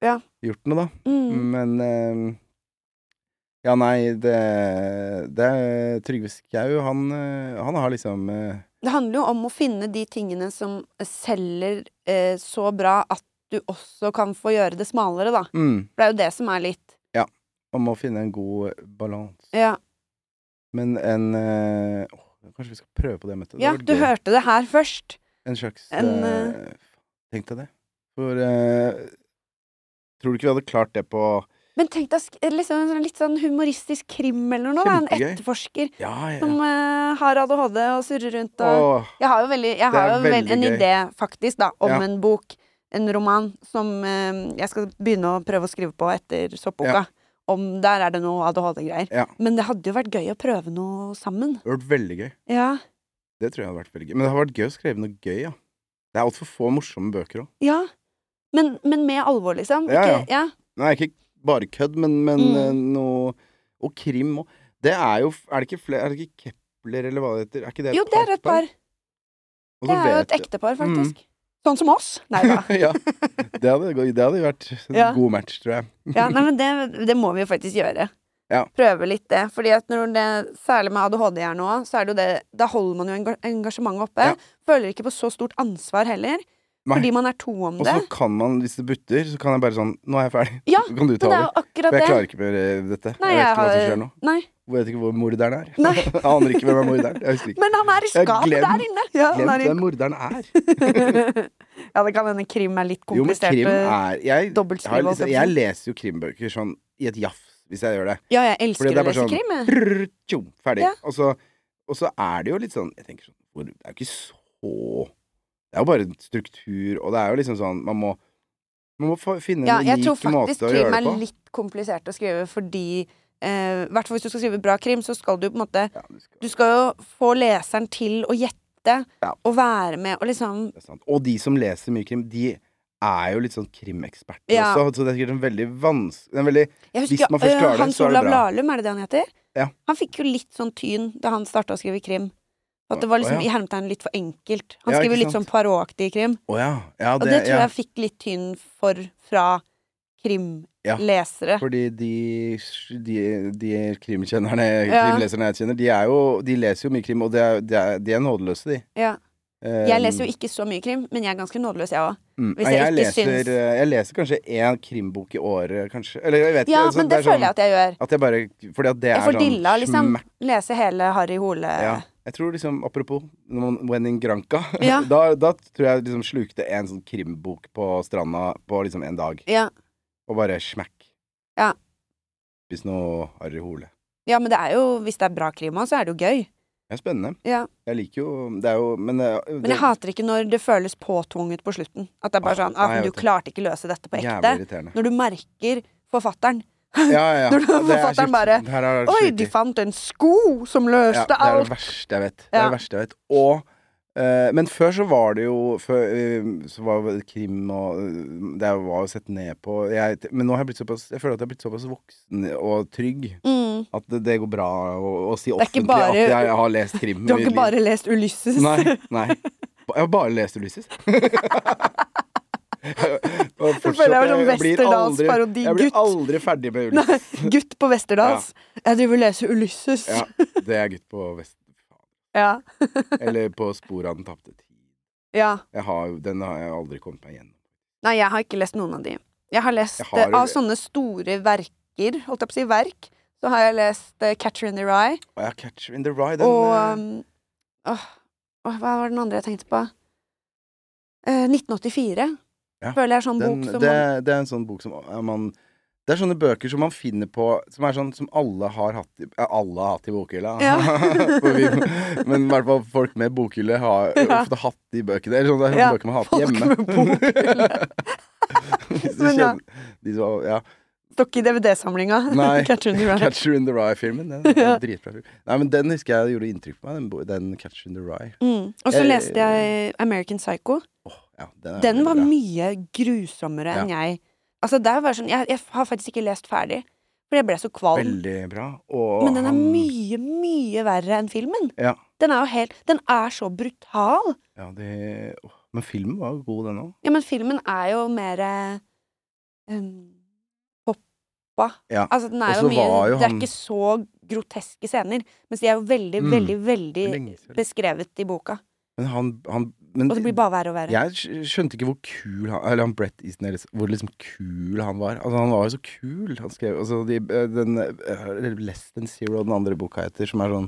[SPEAKER 1] Ja.
[SPEAKER 2] gjort noe, da.
[SPEAKER 1] Mm.
[SPEAKER 2] Men eh, Ja, nei, det, det er Trygve Skau, han, eh, han har liksom eh,
[SPEAKER 1] Det handler jo om å finne de tingene som selger eh, så bra at du også kan få gjøre det smalere, da.
[SPEAKER 2] mm,
[SPEAKER 1] For det er jo det som er litt
[SPEAKER 2] Om å finne en god balanse.
[SPEAKER 1] Ja,
[SPEAKER 2] Men en eh, åh, Kanskje vi skal prøve på det møtet? Det
[SPEAKER 1] ja
[SPEAKER 2] hadde vært
[SPEAKER 1] du
[SPEAKER 2] gøy.
[SPEAKER 1] hørte det her først.
[SPEAKER 2] En slags
[SPEAKER 1] en, øh,
[SPEAKER 2] eh, Tenk deg det. For eh, Tror du ikke vi hadde klart det på
[SPEAKER 1] Men tenk deg sk- liksom en sånn- litt sånn humoristisk krim eller noe. da. En
[SPEAKER 2] Kjempegøy.
[SPEAKER 1] etterforsker
[SPEAKER 2] Ja, ja.
[SPEAKER 1] som eh, har ADHD og surrer rundt og
[SPEAKER 2] Åh,
[SPEAKER 1] Jeg har jo, veldig, jeg
[SPEAKER 2] Det
[SPEAKER 1] har
[SPEAKER 2] er
[SPEAKER 1] jo vel,
[SPEAKER 2] veldig
[SPEAKER 1] en
[SPEAKER 2] gøy.
[SPEAKER 1] idé, faktisk, da, om
[SPEAKER 2] Ja.
[SPEAKER 1] en bok, en roman, som eh, jeg skal begynne å prøve å skrive på etter soppboka.
[SPEAKER 2] Ja.
[SPEAKER 1] Om der er det noe ADHD-greier.
[SPEAKER 2] Ja.
[SPEAKER 1] Men det hadde jo vært gøy å prøve noe sammen.
[SPEAKER 2] det hadde vært veldig gøy.
[SPEAKER 1] Ja.
[SPEAKER 2] Det tror jeg hadde vært veldig gøy. Men det hadde vært gøy å skrive noe gøy, ja. Det er altfor få morsomme bøker òg.
[SPEAKER 1] ja. Men, men med alvor, liksom.
[SPEAKER 2] Ja,
[SPEAKER 1] Ikke, ja.
[SPEAKER 2] Nei, ikke bare kødd, men, men
[SPEAKER 1] Mm.
[SPEAKER 2] eh, noe Og krim òg. Det er jo Er det ikke flere Er det ikke Kepler, eller hva det heter? Er ikke det
[SPEAKER 1] Jo, det er et par.
[SPEAKER 2] Og
[SPEAKER 1] Det
[SPEAKER 2] så
[SPEAKER 1] er jo
[SPEAKER 2] vet Mm.
[SPEAKER 1] et
[SPEAKER 2] jeg-
[SPEAKER 1] ektepar, faktisk. Sånn som oss. Nei da.
[SPEAKER 2] ja. Det hadde, gå- det hadde vært en
[SPEAKER 1] Ja.
[SPEAKER 2] god match, tror jeg.
[SPEAKER 1] Ja, nei, men det, det må vi jo faktisk gjøre.
[SPEAKER 2] Ja.
[SPEAKER 1] Prøve litt det. Fordi at når det, Særlig med ADHD-hjerne òg, så er det jo det Da holder man jo enga- engasjementet oppe.
[SPEAKER 2] Ja.
[SPEAKER 1] Føler ikke på så stort ansvar heller.
[SPEAKER 2] Nei.
[SPEAKER 1] Fordi man er to om
[SPEAKER 2] Og
[SPEAKER 1] det.
[SPEAKER 2] så kan man, hvis det butter, så kan jeg bare sånn Nå er jeg ferdig.
[SPEAKER 1] Ja,
[SPEAKER 2] så kan du
[SPEAKER 1] Men det
[SPEAKER 2] ta
[SPEAKER 1] er
[SPEAKER 2] over.
[SPEAKER 1] jo akkurat
[SPEAKER 2] For jeg
[SPEAKER 1] det.
[SPEAKER 2] klarer ikke mer eh, dette.
[SPEAKER 1] Nei,
[SPEAKER 2] jeg
[SPEAKER 1] jeg
[SPEAKER 2] vet ikke hva som
[SPEAKER 1] har-
[SPEAKER 2] skjer nå.
[SPEAKER 1] Nei.
[SPEAKER 2] Jeg vet ikke hvor morderen er.
[SPEAKER 1] Nei.
[SPEAKER 2] jeg aner ikke hvem er morderen. Jeg husker ikke.
[SPEAKER 1] Men han er i
[SPEAKER 2] Jeg har
[SPEAKER 1] skapet
[SPEAKER 2] glemt-
[SPEAKER 1] der inne! Ja, han
[SPEAKER 2] Glemt
[SPEAKER 1] er i...
[SPEAKER 2] hvem morderen er.
[SPEAKER 1] ja, det kan hende krim er litt
[SPEAKER 2] Jo, men
[SPEAKER 1] komplisert.
[SPEAKER 2] krim
[SPEAKER 1] eh,
[SPEAKER 2] er Jeg,
[SPEAKER 1] dobbeltskriv
[SPEAKER 2] har,
[SPEAKER 1] og
[SPEAKER 2] liksom, jeg leser jo krimbøker sånn i et jafs, hvis jeg gjør det.
[SPEAKER 1] Ja, jeg elsker
[SPEAKER 2] Fordi
[SPEAKER 1] å
[SPEAKER 2] det er bare
[SPEAKER 1] lese
[SPEAKER 2] sånn-
[SPEAKER 1] krim. jeg.
[SPEAKER 2] Brrr, tjom, ferdig.
[SPEAKER 1] Ja.
[SPEAKER 2] Og, så, og så er det jo litt sånn Jeg tenker sånn hvor- Det er jo ikke så Det er jo bare en struktur, og det er jo liksom sånn Man må, man må få- finne en
[SPEAKER 1] Ja, jeg tror
[SPEAKER 2] unik
[SPEAKER 1] faktisk
[SPEAKER 2] måte å
[SPEAKER 1] krim
[SPEAKER 2] gjøre det
[SPEAKER 1] er
[SPEAKER 2] på.
[SPEAKER 1] litt komplisert å skrive fordi eh, hvert fall hvis du skal skrive bra krim, så skal du på en måte
[SPEAKER 2] Ja, du skal,
[SPEAKER 1] Du skal jo få leseren til å gjette
[SPEAKER 2] Ja.
[SPEAKER 1] og være med og liksom
[SPEAKER 2] det er sant. Og de som leser mye krim, de er jo litt sånn krimeksperter
[SPEAKER 1] Ja.
[SPEAKER 2] også, så det er sikkert en veldig vanskelig En veldig
[SPEAKER 1] jeg
[SPEAKER 2] Hvis man først
[SPEAKER 1] øh,
[SPEAKER 2] klarer det,
[SPEAKER 1] Hans
[SPEAKER 2] så er det
[SPEAKER 1] Olav
[SPEAKER 2] bra.
[SPEAKER 1] Lahlum, er det det han heter?
[SPEAKER 2] Ja.
[SPEAKER 1] Han fikk jo litt sånn tyn da han starta å skrive krim. At det var liksom
[SPEAKER 2] Å,
[SPEAKER 1] i hermetegn litt for enkelt. Han
[SPEAKER 2] Ja,
[SPEAKER 1] skriver
[SPEAKER 2] ikke
[SPEAKER 1] litt sånn
[SPEAKER 2] sant?
[SPEAKER 1] Poirot-aktig krim.
[SPEAKER 2] Å ja. ja
[SPEAKER 1] Og det, tror jeg fikk litt tyn for fra krimlesere.
[SPEAKER 2] Fordi de, de, de krimkjennerne,
[SPEAKER 1] Ja.
[SPEAKER 2] krimleserne jeg kjenner, de, er jo, de leser jo mye krim, og de er, de er, de er nådeløse, de. Eh,
[SPEAKER 1] Ja.
[SPEAKER 2] Um,
[SPEAKER 1] Jeg leser jo ikke så mye krim, men jeg er ganske nådeløs, jeg òg. hvis
[SPEAKER 2] mm. jeg,
[SPEAKER 1] jeg ikke
[SPEAKER 2] leser,
[SPEAKER 1] syns-
[SPEAKER 2] eh, jeg leser kanskje én krimbok i året, kanskje. Eller jeg vet
[SPEAKER 1] Ja,
[SPEAKER 2] ikke. altså,
[SPEAKER 1] men det,
[SPEAKER 2] er
[SPEAKER 1] føler jeg at jeg gjør.
[SPEAKER 2] sånn, at jeg bare Fordi at det
[SPEAKER 1] Jeg
[SPEAKER 2] er
[SPEAKER 1] får
[SPEAKER 2] sånn
[SPEAKER 1] dilla, liksom.
[SPEAKER 2] smekk.
[SPEAKER 1] Lese hele Harry Hole.
[SPEAKER 2] Ja. Jeg tror liksom, apropos når man- When in Granca,
[SPEAKER 1] Ja.
[SPEAKER 2] da, da tror jeg liksom slukte en sånn krimbok på stranda på liksom en dag,
[SPEAKER 1] ja.
[SPEAKER 2] og bare smekk.
[SPEAKER 1] Ja.
[SPEAKER 2] Hvis noe Harry Hole.
[SPEAKER 1] Ja, men det er jo, hvis det er bra klima, så er det jo gøy.
[SPEAKER 2] Det er spennende.
[SPEAKER 1] Ja.
[SPEAKER 2] Jeg liker jo Det er jo Men, eh, det,
[SPEAKER 1] Men jeg hater ikke når det føles påtvunget på slutten. At det er bare
[SPEAKER 2] Ah,
[SPEAKER 1] sånn ah,
[SPEAKER 2] nei,
[SPEAKER 1] men
[SPEAKER 2] jeg
[SPEAKER 1] Du
[SPEAKER 2] vet det.
[SPEAKER 1] klarte ikke løse dette på
[SPEAKER 2] Jævlig
[SPEAKER 1] ekte.
[SPEAKER 2] irriterende.
[SPEAKER 1] Når du merker forfatteren.
[SPEAKER 2] Ja, ja, ja.
[SPEAKER 1] Når du-
[SPEAKER 2] Det er
[SPEAKER 1] forfatteren
[SPEAKER 2] kjipt.
[SPEAKER 1] bare,
[SPEAKER 2] Det her er
[SPEAKER 1] Oi,
[SPEAKER 2] skikkelig-
[SPEAKER 1] de fant en sko som
[SPEAKER 2] ja,
[SPEAKER 1] løste
[SPEAKER 2] Det er det
[SPEAKER 1] alt!
[SPEAKER 2] verste jeg vet. Det
[SPEAKER 1] Ja.
[SPEAKER 2] er det verste jeg vet. Og eh, Men før så var det jo før, eh, Så var jo krim og eh, Det var jo sett ned på jeg, Men nå har jeg blitt såpass Jeg føler at jeg har blitt såpass voksen og trygg
[SPEAKER 1] Mm.
[SPEAKER 2] at det, det går bra å, å si
[SPEAKER 1] er ikke
[SPEAKER 2] offentlig
[SPEAKER 1] bare-
[SPEAKER 2] at jeg har lest krim.
[SPEAKER 1] Du har
[SPEAKER 2] i
[SPEAKER 1] ikke
[SPEAKER 2] mitt liv.
[SPEAKER 1] bare lest Ulysses.
[SPEAKER 2] Nei, nei. Ba- Jeg har bare lest Ulysses. Og
[SPEAKER 1] Du føler jeg var sånn
[SPEAKER 2] jeg blir
[SPEAKER 1] Westerdals
[SPEAKER 2] aldri- Jeg blir
[SPEAKER 1] parodi-gutt.
[SPEAKER 2] aldri ferdig med Ulysses.
[SPEAKER 1] Gutt på Westerdals. Jeg driver og leser Ulysses.
[SPEAKER 2] Ja, det er gutt på Vest...
[SPEAKER 1] Ja.
[SPEAKER 2] Eller på sporet av den tapte tid.
[SPEAKER 1] ja.
[SPEAKER 2] Jeg har, jo- den har jeg aldri kommet meg gjennom.
[SPEAKER 1] Nei, jeg har ikke lest noen av de. Jeg har lest
[SPEAKER 2] Jeg har
[SPEAKER 1] eh,
[SPEAKER 2] jo
[SPEAKER 1] av
[SPEAKER 2] det.
[SPEAKER 1] sånne store verker, holdt jeg på å si verk, så har jeg lest eh, Catcher in the Rye.
[SPEAKER 2] Og jeg har Catcher in the Rye. Den,
[SPEAKER 1] og
[SPEAKER 2] eh,
[SPEAKER 1] um, åh, åh, Hva var den andre jeg tenkte på? Eh, 1984.
[SPEAKER 2] Ja,
[SPEAKER 1] Føler jeg er sånn
[SPEAKER 2] den,
[SPEAKER 1] bok som
[SPEAKER 2] det,
[SPEAKER 1] man,
[SPEAKER 2] det er en sånn bok som eh, man Det er sånne bøker som man finner på Som er sånn som alle har hatt i, eh, Alle har hatt i bokhylla.
[SPEAKER 1] Ja.
[SPEAKER 2] For vi, men i hvert fall folk med bokhylle har jo
[SPEAKER 1] Ja.
[SPEAKER 2] ofte hatt de bøkene. Eller sånn, det er sånne
[SPEAKER 1] Ja,
[SPEAKER 2] bøker man har hatt
[SPEAKER 1] folk
[SPEAKER 2] hjemme.
[SPEAKER 1] med bokhylle.
[SPEAKER 2] Hvis du
[SPEAKER 1] Men ja.
[SPEAKER 2] kjenner- de som, ja.
[SPEAKER 1] Står ikke i DVD-samlinga.
[SPEAKER 2] Nei.
[SPEAKER 1] Catcher in the Rye.
[SPEAKER 2] Catcher in the Rye-filmen. Den, den, er dritbra film. Nei, men den husker jeg gjorde inntrykk på meg, den, bo- den Catcher in the Rye.
[SPEAKER 1] Mm. Og så
[SPEAKER 2] Jeg-
[SPEAKER 1] leste jeg American Psycho.
[SPEAKER 2] Åh, Eh, ja, den, er
[SPEAKER 1] Den
[SPEAKER 2] veldig
[SPEAKER 1] var
[SPEAKER 2] bra.
[SPEAKER 1] mye grusommere enn jeg Altså, der var sånn, jeg, jeg har faktisk ikke lest ferdig. For jeg ble så kvalm.
[SPEAKER 2] Veldig bra. Og
[SPEAKER 1] Men den er
[SPEAKER 2] han,
[SPEAKER 1] mye, mye verre enn filmen.
[SPEAKER 2] Ja.
[SPEAKER 1] Den er jo helt Den er så brutal.
[SPEAKER 2] ja, det, åh, Men filmen var jo god, den òg.
[SPEAKER 1] Ja, men filmen er jo mer eh, um, poppa.
[SPEAKER 2] Ja,
[SPEAKER 1] Altså, den er
[SPEAKER 2] og
[SPEAKER 1] jo
[SPEAKER 2] så
[SPEAKER 1] mye
[SPEAKER 2] var jo
[SPEAKER 1] Det er
[SPEAKER 2] han-
[SPEAKER 1] ikke så groteske scener, mens de er jo veldig,
[SPEAKER 2] Mm.
[SPEAKER 1] veldig, veldig
[SPEAKER 2] Lenge siden.
[SPEAKER 1] beskrevet i boka.
[SPEAKER 2] Men han, han men,
[SPEAKER 1] Og det blir bare verre og verre.
[SPEAKER 2] Jeg skj- skjønte ikke hvor kul han Eller han Brett Easton Ellis Hvor liksom kul han var Altså han var jo så kul Han skrev altså, de, eh, Den eh, eller Less Than Zero Den andre boka heter Som er sånn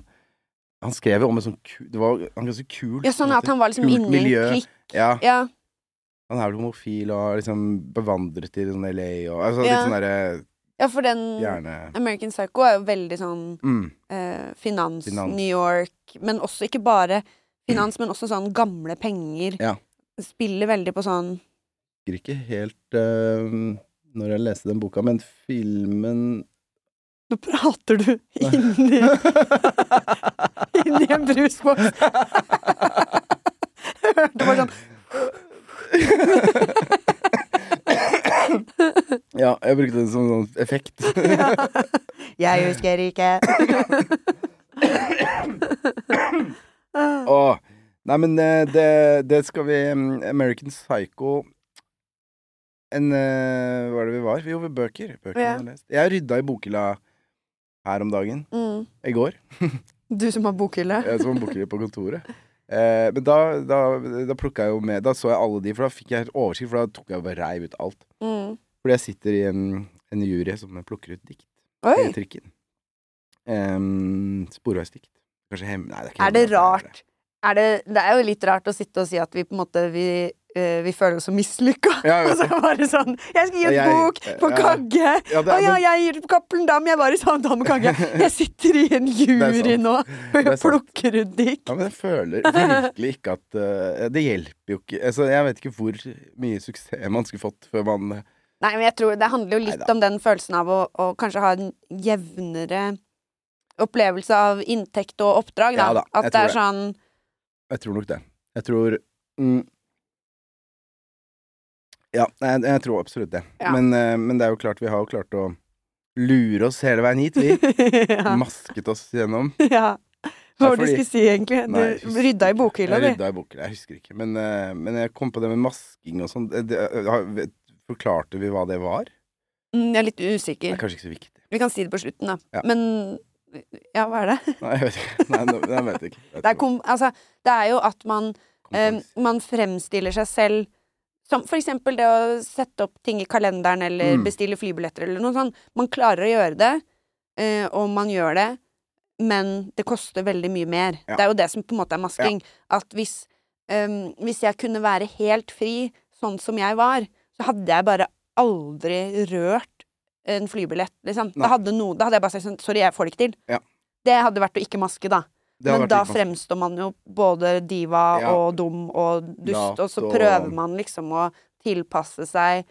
[SPEAKER 2] Han skrev jo om en sånn ku- Det var han ganske kul
[SPEAKER 1] Ja, sånn at han var liksom
[SPEAKER 2] Kult
[SPEAKER 1] inne i en
[SPEAKER 2] miljø.
[SPEAKER 1] klikk.
[SPEAKER 2] Ja
[SPEAKER 1] Ja.
[SPEAKER 2] Han er vel homofil Og har liksom Bevandret i sånn LA og,
[SPEAKER 1] Ja. Mm.
[SPEAKER 2] Altså litt sånn der
[SPEAKER 1] ja, for den
[SPEAKER 2] Gjerne
[SPEAKER 1] American Psycho er jo veldig sånn
[SPEAKER 2] mm,
[SPEAKER 1] eh, finans,
[SPEAKER 2] Finans.
[SPEAKER 1] New York, men også ikke bare finans, men også sånn gamle penger.
[SPEAKER 2] Ja.
[SPEAKER 1] Spiller veldig på sånn
[SPEAKER 3] husker ikke helt eh, når jeg leste den boka, men filmen
[SPEAKER 1] Nå prater du inni Inni en brusboks! Jeg Hørte bare sånn
[SPEAKER 2] Ja, jeg brukte den som sånn effekt
[SPEAKER 1] Jeg husker ikke.
[SPEAKER 2] Åh Nei, men eh, det, det skal vi mm, American Psycho En eh, Hva er det vi var? Jo, vi bøker. bøker
[SPEAKER 1] Ja.
[SPEAKER 2] jeg har lest. Jeg rydda i bokhylla her om dagen.
[SPEAKER 1] Mm.
[SPEAKER 2] I går.
[SPEAKER 1] Du som har bokhylle.
[SPEAKER 2] Jeg som bokhylle på kontoret. Eh, men da, da, da plukka jeg jo med Da så jeg alle de, for da fikk jeg helt oversikt, for da tok jeg og bare reiv ut alt.
[SPEAKER 1] Mm.
[SPEAKER 2] Fordi jeg sitter i en, en jury som plukker ut dikt
[SPEAKER 1] Oi!
[SPEAKER 2] i trikken. Em, sporveisdikt. Kanskje hem... Nei, det er ikke
[SPEAKER 1] Er det
[SPEAKER 2] hemmelig at jeg gjør
[SPEAKER 1] rart? Er det, det er jo litt rart å sitte og si at vi på en måte Vi, eh, vi føler oss så mislykka.
[SPEAKER 2] Ja, ja.
[SPEAKER 1] Og så bare sånn Jeg skal gi ut
[SPEAKER 2] Ja, jeg-
[SPEAKER 1] bok på
[SPEAKER 2] ja.
[SPEAKER 1] Kagge!
[SPEAKER 2] det. Ja, det
[SPEAKER 1] Å
[SPEAKER 2] er,
[SPEAKER 1] ja,
[SPEAKER 2] men,
[SPEAKER 1] jeg gir ut på Cappelen Dam, jeg var i samtale med Kagge. Jeg sitter i en jury
[SPEAKER 2] sant.
[SPEAKER 1] nå og
[SPEAKER 2] Det er sant.
[SPEAKER 1] plukker ut dikt.
[SPEAKER 2] ja, men jeg føler virkelig ikke at eh, Det hjelper jo ikke altså, Jeg vet ikke hvor mye suksess man skulle fått før man
[SPEAKER 1] Nei, men jeg tror det handler jo litt
[SPEAKER 2] Neida.
[SPEAKER 1] om den følelsen av å, å kanskje ha en jevnere opplevelse av inntekt og oppdrag, da.
[SPEAKER 2] Ja da,
[SPEAKER 1] At
[SPEAKER 2] jeg
[SPEAKER 1] det
[SPEAKER 2] tror
[SPEAKER 1] er
[SPEAKER 2] det.
[SPEAKER 1] sånn
[SPEAKER 2] Jeg tror nok det. Jeg tror mm, Ja, jeg, jeg tror absolutt det.
[SPEAKER 1] Ja.
[SPEAKER 2] Men, eh, men det er jo klart, vi har jo klart å lure oss hele veien hit, vi.
[SPEAKER 1] ja,
[SPEAKER 2] Masket oss gjennom.
[SPEAKER 1] ja. Hva
[SPEAKER 2] Ja,
[SPEAKER 1] var det du
[SPEAKER 2] fordi-
[SPEAKER 1] skulle si, egentlig? Du
[SPEAKER 2] Nei, jeg husker
[SPEAKER 1] rydda i
[SPEAKER 2] ikke.
[SPEAKER 1] bokhylla,
[SPEAKER 2] Jeg
[SPEAKER 1] du.
[SPEAKER 2] rydda i bokhylla, jeg husker ikke. Men, eh, men jeg kom på det med masking og sånn. Det- det- har- vet- Forklarte vi hva det var? Det
[SPEAKER 1] Mm, jeg er litt
[SPEAKER 2] er
[SPEAKER 1] usikker.
[SPEAKER 2] kanskje ikke så viktig.
[SPEAKER 1] Vi kan si det på slutten, da.
[SPEAKER 2] Ja.
[SPEAKER 1] Men Ja, hva er det?
[SPEAKER 2] Nei, jeg vet ikke. Nei, nå- jeg vet ikke. Jeg
[SPEAKER 1] Det er,
[SPEAKER 2] tror-
[SPEAKER 1] kom, altså, det er jo at man Eh,
[SPEAKER 2] kompens-
[SPEAKER 1] man fremstiller seg selv som for eksempel det å sette opp ting i kalenderen eller
[SPEAKER 2] Mm.
[SPEAKER 1] bestille flybilletter eller noe sånt. Man klarer å gjøre det, eh, og man gjør det, men det koster veldig mye mer.
[SPEAKER 2] Ja.
[SPEAKER 1] Det er jo det som på en måte er masking. At hvis, ehm, hvis jeg kunne være helt fri, sånn som jeg var, så hadde jeg bare aldri rørt en flybillett, liksom.
[SPEAKER 2] Nei.
[SPEAKER 1] Da hadde, noe- da hadde jeg bare sagt sånn Sorry, jeg får det ikke til.
[SPEAKER 2] Ja.
[SPEAKER 1] Det hadde vært å ikke maske, da.
[SPEAKER 2] Det har
[SPEAKER 1] Men
[SPEAKER 2] vært
[SPEAKER 1] da
[SPEAKER 2] litt vanskelig.
[SPEAKER 1] fremstår man jo både diva
[SPEAKER 2] Ja.
[SPEAKER 1] og dum og dust,
[SPEAKER 2] Lat
[SPEAKER 1] og så
[SPEAKER 2] og-
[SPEAKER 1] prøver man liksom å tilpasse seg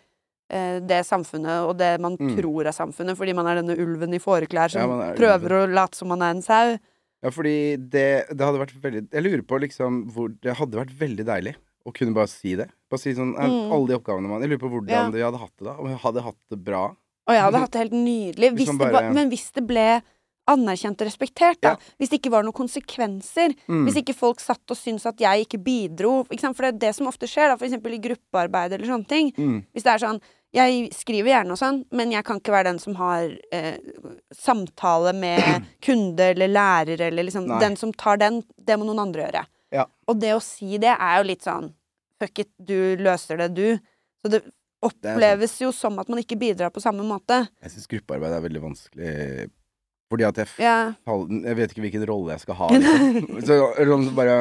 [SPEAKER 1] eh, det samfunnet og det man
[SPEAKER 2] Mm.
[SPEAKER 1] tror er samfunnet, fordi man er denne ulven i fåreklær som
[SPEAKER 2] Ja, man er
[SPEAKER 1] prøver å late som man er en sau.
[SPEAKER 2] Ja, fordi det, det hadde vært veldig Jeg lurer på liksom hvor Det hadde vært veldig deilig å kunne bare si det. Bare si sånn eh,
[SPEAKER 1] Mm.
[SPEAKER 2] Alle de oppgavene man Jeg lurer på hvordan
[SPEAKER 1] Ja.
[SPEAKER 2] de hadde hatt det da. Om jeg hadde hatt det bra.
[SPEAKER 1] Og jeg hadde hatt det helt nydelig.
[SPEAKER 2] Hvis
[SPEAKER 1] Hvis
[SPEAKER 2] man
[SPEAKER 1] det
[SPEAKER 2] bare-
[SPEAKER 1] ba, men hvis det ble anerkjent og respektert, da.
[SPEAKER 2] Ja.
[SPEAKER 1] Hvis det ikke var noen konsekvenser.
[SPEAKER 2] Mm.
[SPEAKER 1] Hvis ikke folk satt og syntes at jeg ikke bidro. Ikke sant? For det er det som ofte skjer, da, for eksempel i gruppearbeid eller sånne ting.
[SPEAKER 2] Mm.
[SPEAKER 1] Hvis det er sånn Jeg skriver gjerne og sånn, men jeg kan ikke være den som har eh, samtale med kunde eller lærer eller liksom
[SPEAKER 2] Nei.
[SPEAKER 1] Den som tar den, det må noen andre gjøre.
[SPEAKER 2] Ja.
[SPEAKER 1] Og det å si det er jo litt sånn Fuck it, du løser det, du. Så det
[SPEAKER 2] er
[SPEAKER 1] oppleves jo som at man ikke bidrar på samme måte.
[SPEAKER 2] Jeg syns gruppearbeid er veldig vanskelig fordi at jeg
[SPEAKER 1] Ja.
[SPEAKER 2] faller Jeg vet ikke hvilken rolle jeg skal ha. Liksom. Så sånn som bare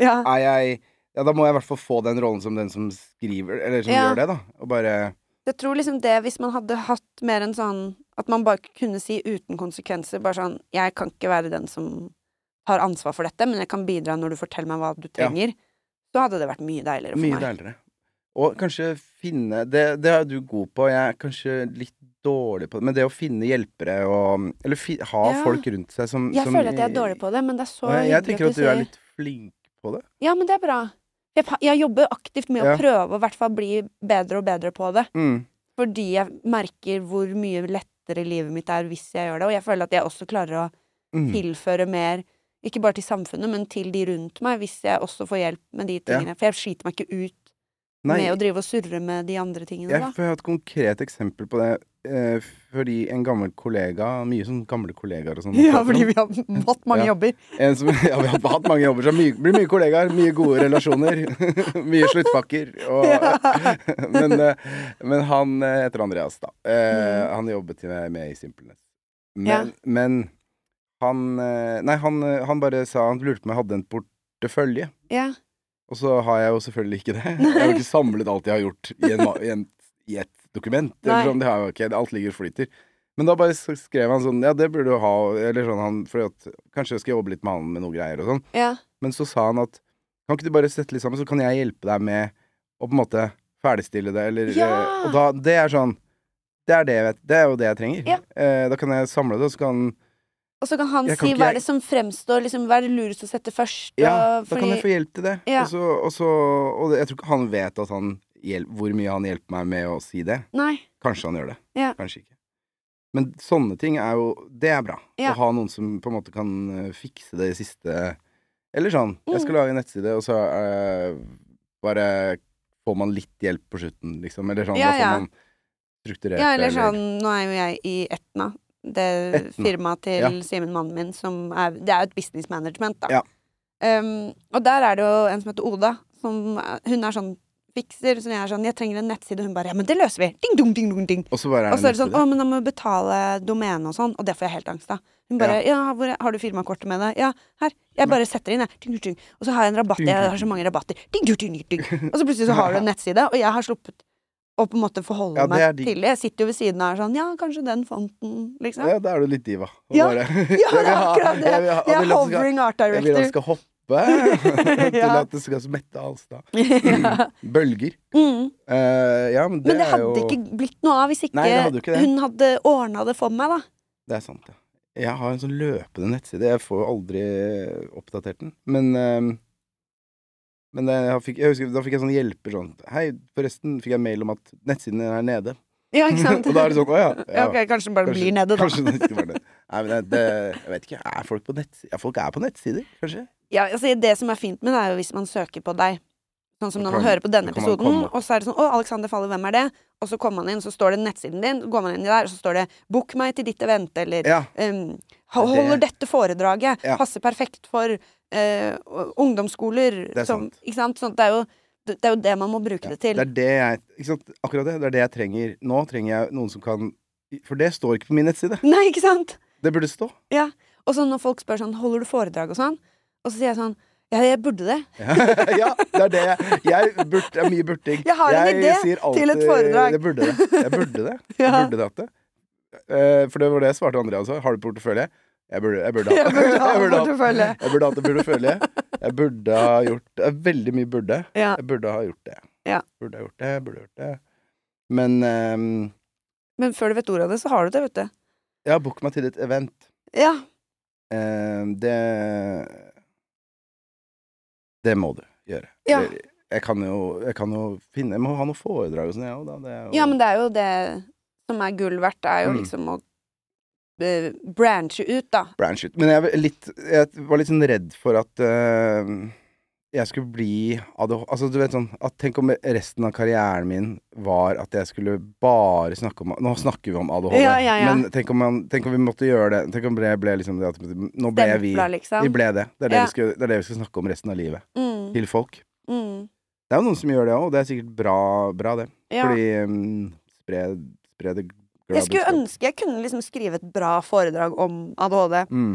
[SPEAKER 1] ja.
[SPEAKER 2] Er jeg Ja, da må jeg i hvert fall få den rollen som den som skriver, eller som
[SPEAKER 1] Ja.
[SPEAKER 2] gjør det, da. Og bare
[SPEAKER 1] Jeg tror liksom det, hvis man hadde hatt mer en sånn At man bare kunne si uten konsekvenser, bare sånn Jeg kan ikke være den som har ansvar for dette, men jeg kan bidra når du forteller meg hva du
[SPEAKER 2] Ja.
[SPEAKER 1] trenger. Så hadde det vært mye deiligere for
[SPEAKER 2] Mye
[SPEAKER 1] meg.
[SPEAKER 2] deiligere. Og kanskje finne det, det er du god på, jeg er kanskje litt dårlig på det, men det å finne hjelpere og Eller fi, ha
[SPEAKER 1] Ja.
[SPEAKER 2] folk rundt seg som
[SPEAKER 1] Jeg
[SPEAKER 2] som,
[SPEAKER 1] føler at jeg er dårlig på det, men det er så
[SPEAKER 2] Nei, Jeg
[SPEAKER 1] hyggelig
[SPEAKER 2] tenker at du
[SPEAKER 1] sier-
[SPEAKER 2] er litt flink på det.
[SPEAKER 1] Ja, men det er bra. Jeg, pa- jeg jobber aktivt med
[SPEAKER 2] Ja.
[SPEAKER 1] å prøve å i hvert fall bli bedre og bedre på det.
[SPEAKER 2] Mm.
[SPEAKER 1] Fordi jeg merker hvor mye lettere lettere livet mitt er hvis jeg gjør det. Og jeg føler at jeg også klarer å
[SPEAKER 2] Mm.
[SPEAKER 1] tilføre mer, ikke bare til samfunnet, men til de rundt meg, hvis jeg også får hjelp med de tingene. For jeg sliter meg ikke ut
[SPEAKER 2] Nei,
[SPEAKER 1] med å drive og surre med de andre tingene,
[SPEAKER 2] jeg
[SPEAKER 1] da.
[SPEAKER 2] får ha et konkret eksempel på det. Eh, fordi en gammel kollega Mye sånn gamle kollegaer og sånn.
[SPEAKER 1] Ja, fordi vi har hatt mange
[SPEAKER 2] Ja.
[SPEAKER 1] jobber.
[SPEAKER 2] En som, ja, vi har hatt mange jobber, så mye, blir mye kollegaer, mye gode relasjoner. mye sluttpakker. Og, men, eh, men han eh, heter Andreas, da. Eh, Han jobbet med, med i Simpelnes. Men,
[SPEAKER 1] Mm. Ja.
[SPEAKER 2] men han eh, Nei, han, eh, han bare sa Han lurte på om jeg hadde en portefølje.
[SPEAKER 1] Ja.
[SPEAKER 2] Og så har jeg jo selvfølgelig ikke det. Jeg har jo ikke samlet alt jeg har gjort i, en, ma- i, en, i et dokument.
[SPEAKER 1] Nei.
[SPEAKER 2] Eller sånn, det har jeg jo ikke. Alt ligger og flyter. Men da bare s- skrev han sånn Ja, det burde du ha. Eller sånn, han, fordi at, kanskje jeg skal jobbe litt med han med noen greier og sånn.
[SPEAKER 1] Ja.
[SPEAKER 2] Men så sa han at kan ikke du bare sette litt sammen, så kan jeg hjelpe deg med å på en måte ferdigstille det, eller
[SPEAKER 1] Ja!
[SPEAKER 2] eh, Og da, det er sånn Det er det jeg vet. Det er jo det jeg trenger.
[SPEAKER 1] Ja.
[SPEAKER 2] Eh, da kan jeg samle det, og så kan
[SPEAKER 1] Og så kan han
[SPEAKER 2] Jeg kan
[SPEAKER 1] si
[SPEAKER 2] ikke-
[SPEAKER 1] hva er
[SPEAKER 2] jeg-
[SPEAKER 1] det som fremstår, liksom, hva er det lurest å sette først?
[SPEAKER 2] Ja,
[SPEAKER 1] og,
[SPEAKER 2] da kan jeg få hjelp til det.
[SPEAKER 1] Ja.
[SPEAKER 2] Og, så, og, så, og det- jeg tror ikke han vet at han hjel- hvor mye han hjelper meg med å si det.
[SPEAKER 1] Nei.
[SPEAKER 2] Kanskje han gjør det.
[SPEAKER 1] Ja.
[SPEAKER 2] Kanskje ikke. Men sånne ting er jo Det er bra.
[SPEAKER 1] Ja.
[SPEAKER 2] Å ha noen som på en måte kan eh, fikse det siste Eller sånn. Jeg
[SPEAKER 1] Mm.
[SPEAKER 2] skal lage en nettside, og så eh, bare får man litt hjelp på slutten, liksom. Eller sånn.
[SPEAKER 1] Ja,
[SPEAKER 2] da får
[SPEAKER 1] ja.
[SPEAKER 2] man strukturert
[SPEAKER 1] Ja, eller
[SPEAKER 2] det,
[SPEAKER 1] sånn, nå er jo jeg i Etna. Det
[SPEAKER 2] Etna.
[SPEAKER 1] firmaet til Simen, mannen min, som er Det er jo et business management, da.
[SPEAKER 2] Ja.
[SPEAKER 1] Um, og der er det jo en som heter Oda, som er- Hun er sånn fikser, så jeg er sånn 'Jeg trenger en nettside', og hun bare 'Ja, men det løser vi'. Ding, dong, ding, dong, ding.
[SPEAKER 2] Og så bare
[SPEAKER 1] Og så
[SPEAKER 2] er
[SPEAKER 1] er
[SPEAKER 2] det
[SPEAKER 1] det sånn
[SPEAKER 2] nettside.
[SPEAKER 1] 'Å, men da må vi betale domene og sånn', og det får jeg helt angst av. Hun bare 'Ja, hvor er, har du firmakortet med deg?' 'Ja, her. Jeg bare setter inn, jeg.' Ding, ding, ding. Og så har jeg en rabatt. Jeg har så mange rabatter. Ding, ding, ding, ding. Og så plutselig så har du en nettside, og jeg har sluppet å på en måte forholde
[SPEAKER 2] Ja, det er
[SPEAKER 1] meg
[SPEAKER 2] digg.
[SPEAKER 1] til det. Jeg sitter jo ved siden av og er sånn 'Ja, kanskje den fonten', liksom.
[SPEAKER 2] Ja, da er du litt diva. Og
[SPEAKER 1] Ja. Ja,
[SPEAKER 2] bare- Jeg
[SPEAKER 1] det
[SPEAKER 2] vil
[SPEAKER 1] er
[SPEAKER 2] ha-
[SPEAKER 1] akkurat det.
[SPEAKER 2] jeg vil ha-
[SPEAKER 1] Jeg er
[SPEAKER 2] vil at du skal-
[SPEAKER 1] hovering art
[SPEAKER 2] Jeg vil at det
[SPEAKER 1] director.
[SPEAKER 2] skal hoppe. Til
[SPEAKER 1] Ja.
[SPEAKER 2] at det skal smette Alstad.
[SPEAKER 1] Ja.
[SPEAKER 2] Bølger.
[SPEAKER 1] Mm.
[SPEAKER 2] Eh, ja, men det,
[SPEAKER 1] Men det
[SPEAKER 2] er
[SPEAKER 1] hadde
[SPEAKER 2] jo
[SPEAKER 1] ikke blitt noe av hvis ikke,
[SPEAKER 2] Nei, det hadde jo ikke det.
[SPEAKER 1] hun hadde ordna det for meg, da.
[SPEAKER 2] Det er sant, ja. Jeg har en sånn løpende nettside. Jeg får aldri eh, oppdatert den. Men, eh, men det, jeg fikk, jeg husker, da fikk jeg sånn hjelper sånn Hei, forresten fikk jeg mail om at nettsiden din er nede.
[SPEAKER 1] Ja, ikke sant?
[SPEAKER 2] Og da er det sånn Å ja. ja,
[SPEAKER 1] Ja, ok, kanskje den bare
[SPEAKER 2] kanskje-
[SPEAKER 1] blir nede, da.
[SPEAKER 2] Kanskje den ikke var nede. Nei, men det, det, jeg vet ikke. Er folk på nettsider? Ja, folk er på nettsider, kanskje?
[SPEAKER 1] Ja, altså Det som er fint med det, er jo hvis man søker på deg. Sånn som
[SPEAKER 2] Da
[SPEAKER 1] når man
[SPEAKER 2] kan-
[SPEAKER 1] hører på denne
[SPEAKER 2] da kan man
[SPEAKER 1] episoden,
[SPEAKER 2] komme opp.
[SPEAKER 1] og så er det sånn 'Å, Alexander Faller, hvem er det?' Og så kommer man inn, så står det nettsiden din, går man inn der, og så står det 'Book meg til ditt event', eller
[SPEAKER 2] Ja.
[SPEAKER 1] ehm, «Ho- 'Holder dette foredraget',
[SPEAKER 2] Ja.
[SPEAKER 1] passer perfekt for eh, ungdomsskoler
[SPEAKER 2] Det er
[SPEAKER 1] som
[SPEAKER 2] sant.
[SPEAKER 1] Ikke sant? Sånn, det, er jo, det, det er jo det man må bruke det til.
[SPEAKER 2] Det er det jeg ikke sant? Akkurat det. Det er det jeg trenger. Nå trenger jeg noen som kan For det står ikke på min nettside.
[SPEAKER 1] Nei, ikke sant?
[SPEAKER 2] Det burde stå.
[SPEAKER 1] Ja. Og så når folk spør sånn 'Holder du foredrag?' og sånn, og så sier jeg sånn 'Ja, jeg burde det'.
[SPEAKER 2] ja, det er det jeg Jeg burde, det er mye burting.
[SPEAKER 1] Jeg har en idé
[SPEAKER 2] sier
[SPEAKER 1] til et foredrag.
[SPEAKER 2] Jeg burde det. Jeg burde det. Jeg
[SPEAKER 1] Ja.
[SPEAKER 2] burde det hatt det. Eh, for det var det jeg svarte Andrea også. Har du portefølje? Jeg burde, jeg burde
[SPEAKER 1] Jeg
[SPEAKER 2] hatt det.
[SPEAKER 1] burde ha
[SPEAKER 2] Jeg burde hatt-
[SPEAKER 1] portefølje.
[SPEAKER 2] Jeg burde hatt det portefølje. Jeg burde ha gjort det er Veldig mye burde.
[SPEAKER 1] Ja.
[SPEAKER 2] Jeg burde ha gjort det.
[SPEAKER 1] Ja.
[SPEAKER 2] Burde ha gjort det, burde ha gjort det. Men ehm,
[SPEAKER 1] Men før du vet ordet av det, så har du det, vet du.
[SPEAKER 2] ja, book meg til et event.
[SPEAKER 1] Ja.
[SPEAKER 2] Ehm, det Det må du gjøre.
[SPEAKER 1] ja.
[SPEAKER 2] Eller, Jeg kan jo, jeg kan jo finne Jeg må ha noe foredrag og sånn, jeg òg, da. Det er jo,
[SPEAKER 1] Ja, men det er jo det som er gull verdt, er jo
[SPEAKER 2] Mm.
[SPEAKER 1] liksom å eh, branche ut, da.
[SPEAKER 2] branch ut. Men jeg, var litt, jeg var litt sånn redd for at eh, jeg skulle bli ADH... Altså, du vet sånn at Tenk om resten av karrieren min var at jeg skulle bare snakke om Nå snakker vi om ADHD,
[SPEAKER 1] Ja, ja, ja.
[SPEAKER 2] men tenk om, man, tenk om vi måtte gjøre det Tenk om det ble liksom det at Nå ble vi
[SPEAKER 1] Stempla,
[SPEAKER 2] Vi
[SPEAKER 1] liksom.
[SPEAKER 2] ble det. Det er det,
[SPEAKER 1] Ja.
[SPEAKER 2] vi skal, det er det vi skal snakke om resten av livet.
[SPEAKER 1] Mm,
[SPEAKER 2] Til folk.
[SPEAKER 1] mm,
[SPEAKER 2] Det er jo noen som gjør det òg, og det er sikkert bra, bra det.
[SPEAKER 1] ja.
[SPEAKER 2] Fordi um, spre, spre det glade
[SPEAKER 1] Jeg skulle
[SPEAKER 2] budskap.
[SPEAKER 1] ønske jeg kunne liksom skrive et bra foredrag om ADHD,
[SPEAKER 2] mm.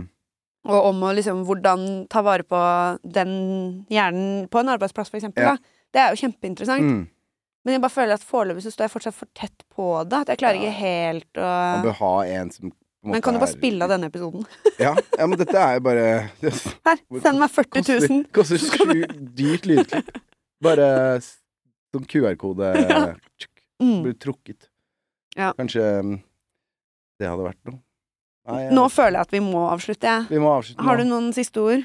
[SPEAKER 1] og om å liksom hvordan ta vare på den hjernen på en arbeidsplass, for eksempel.
[SPEAKER 2] Ja.
[SPEAKER 1] Da. Det er jo kjempeinteressant.
[SPEAKER 2] Mm.
[SPEAKER 1] Men jeg bare føler at foreløpig så står jeg fortsatt for tett på det. At jeg klarer ikke helt å
[SPEAKER 2] Man bør ha en som på en
[SPEAKER 1] Men kan du bare
[SPEAKER 2] måte er-
[SPEAKER 1] spille av denne episoden?
[SPEAKER 2] Ja, ja, men dette er jo bare
[SPEAKER 1] Her, send meg 40
[SPEAKER 2] Koster,
[SPEAKER 1] 000!
[SPEAKER 2] koster sjukt dyrt lydklipp. Bare s- sånn QR-kode
[SPEAKER 1] Ja.
[SPEAKER 2] tsk,
[SPEAKER 1] Mm.
[SPEAKER 2] blir trukket.
[SPEAKER 1] Ja.
[SPEAKER 2] Kanskje um, det hadde vært noe. Nei, jeg-
[SPEAKER 1] Nå føler jeg at vi må avslutte, jeg.
[SPEAKER 2] Vi må avslutte nå.
[SPEAKER 1] Har du noen siste ord?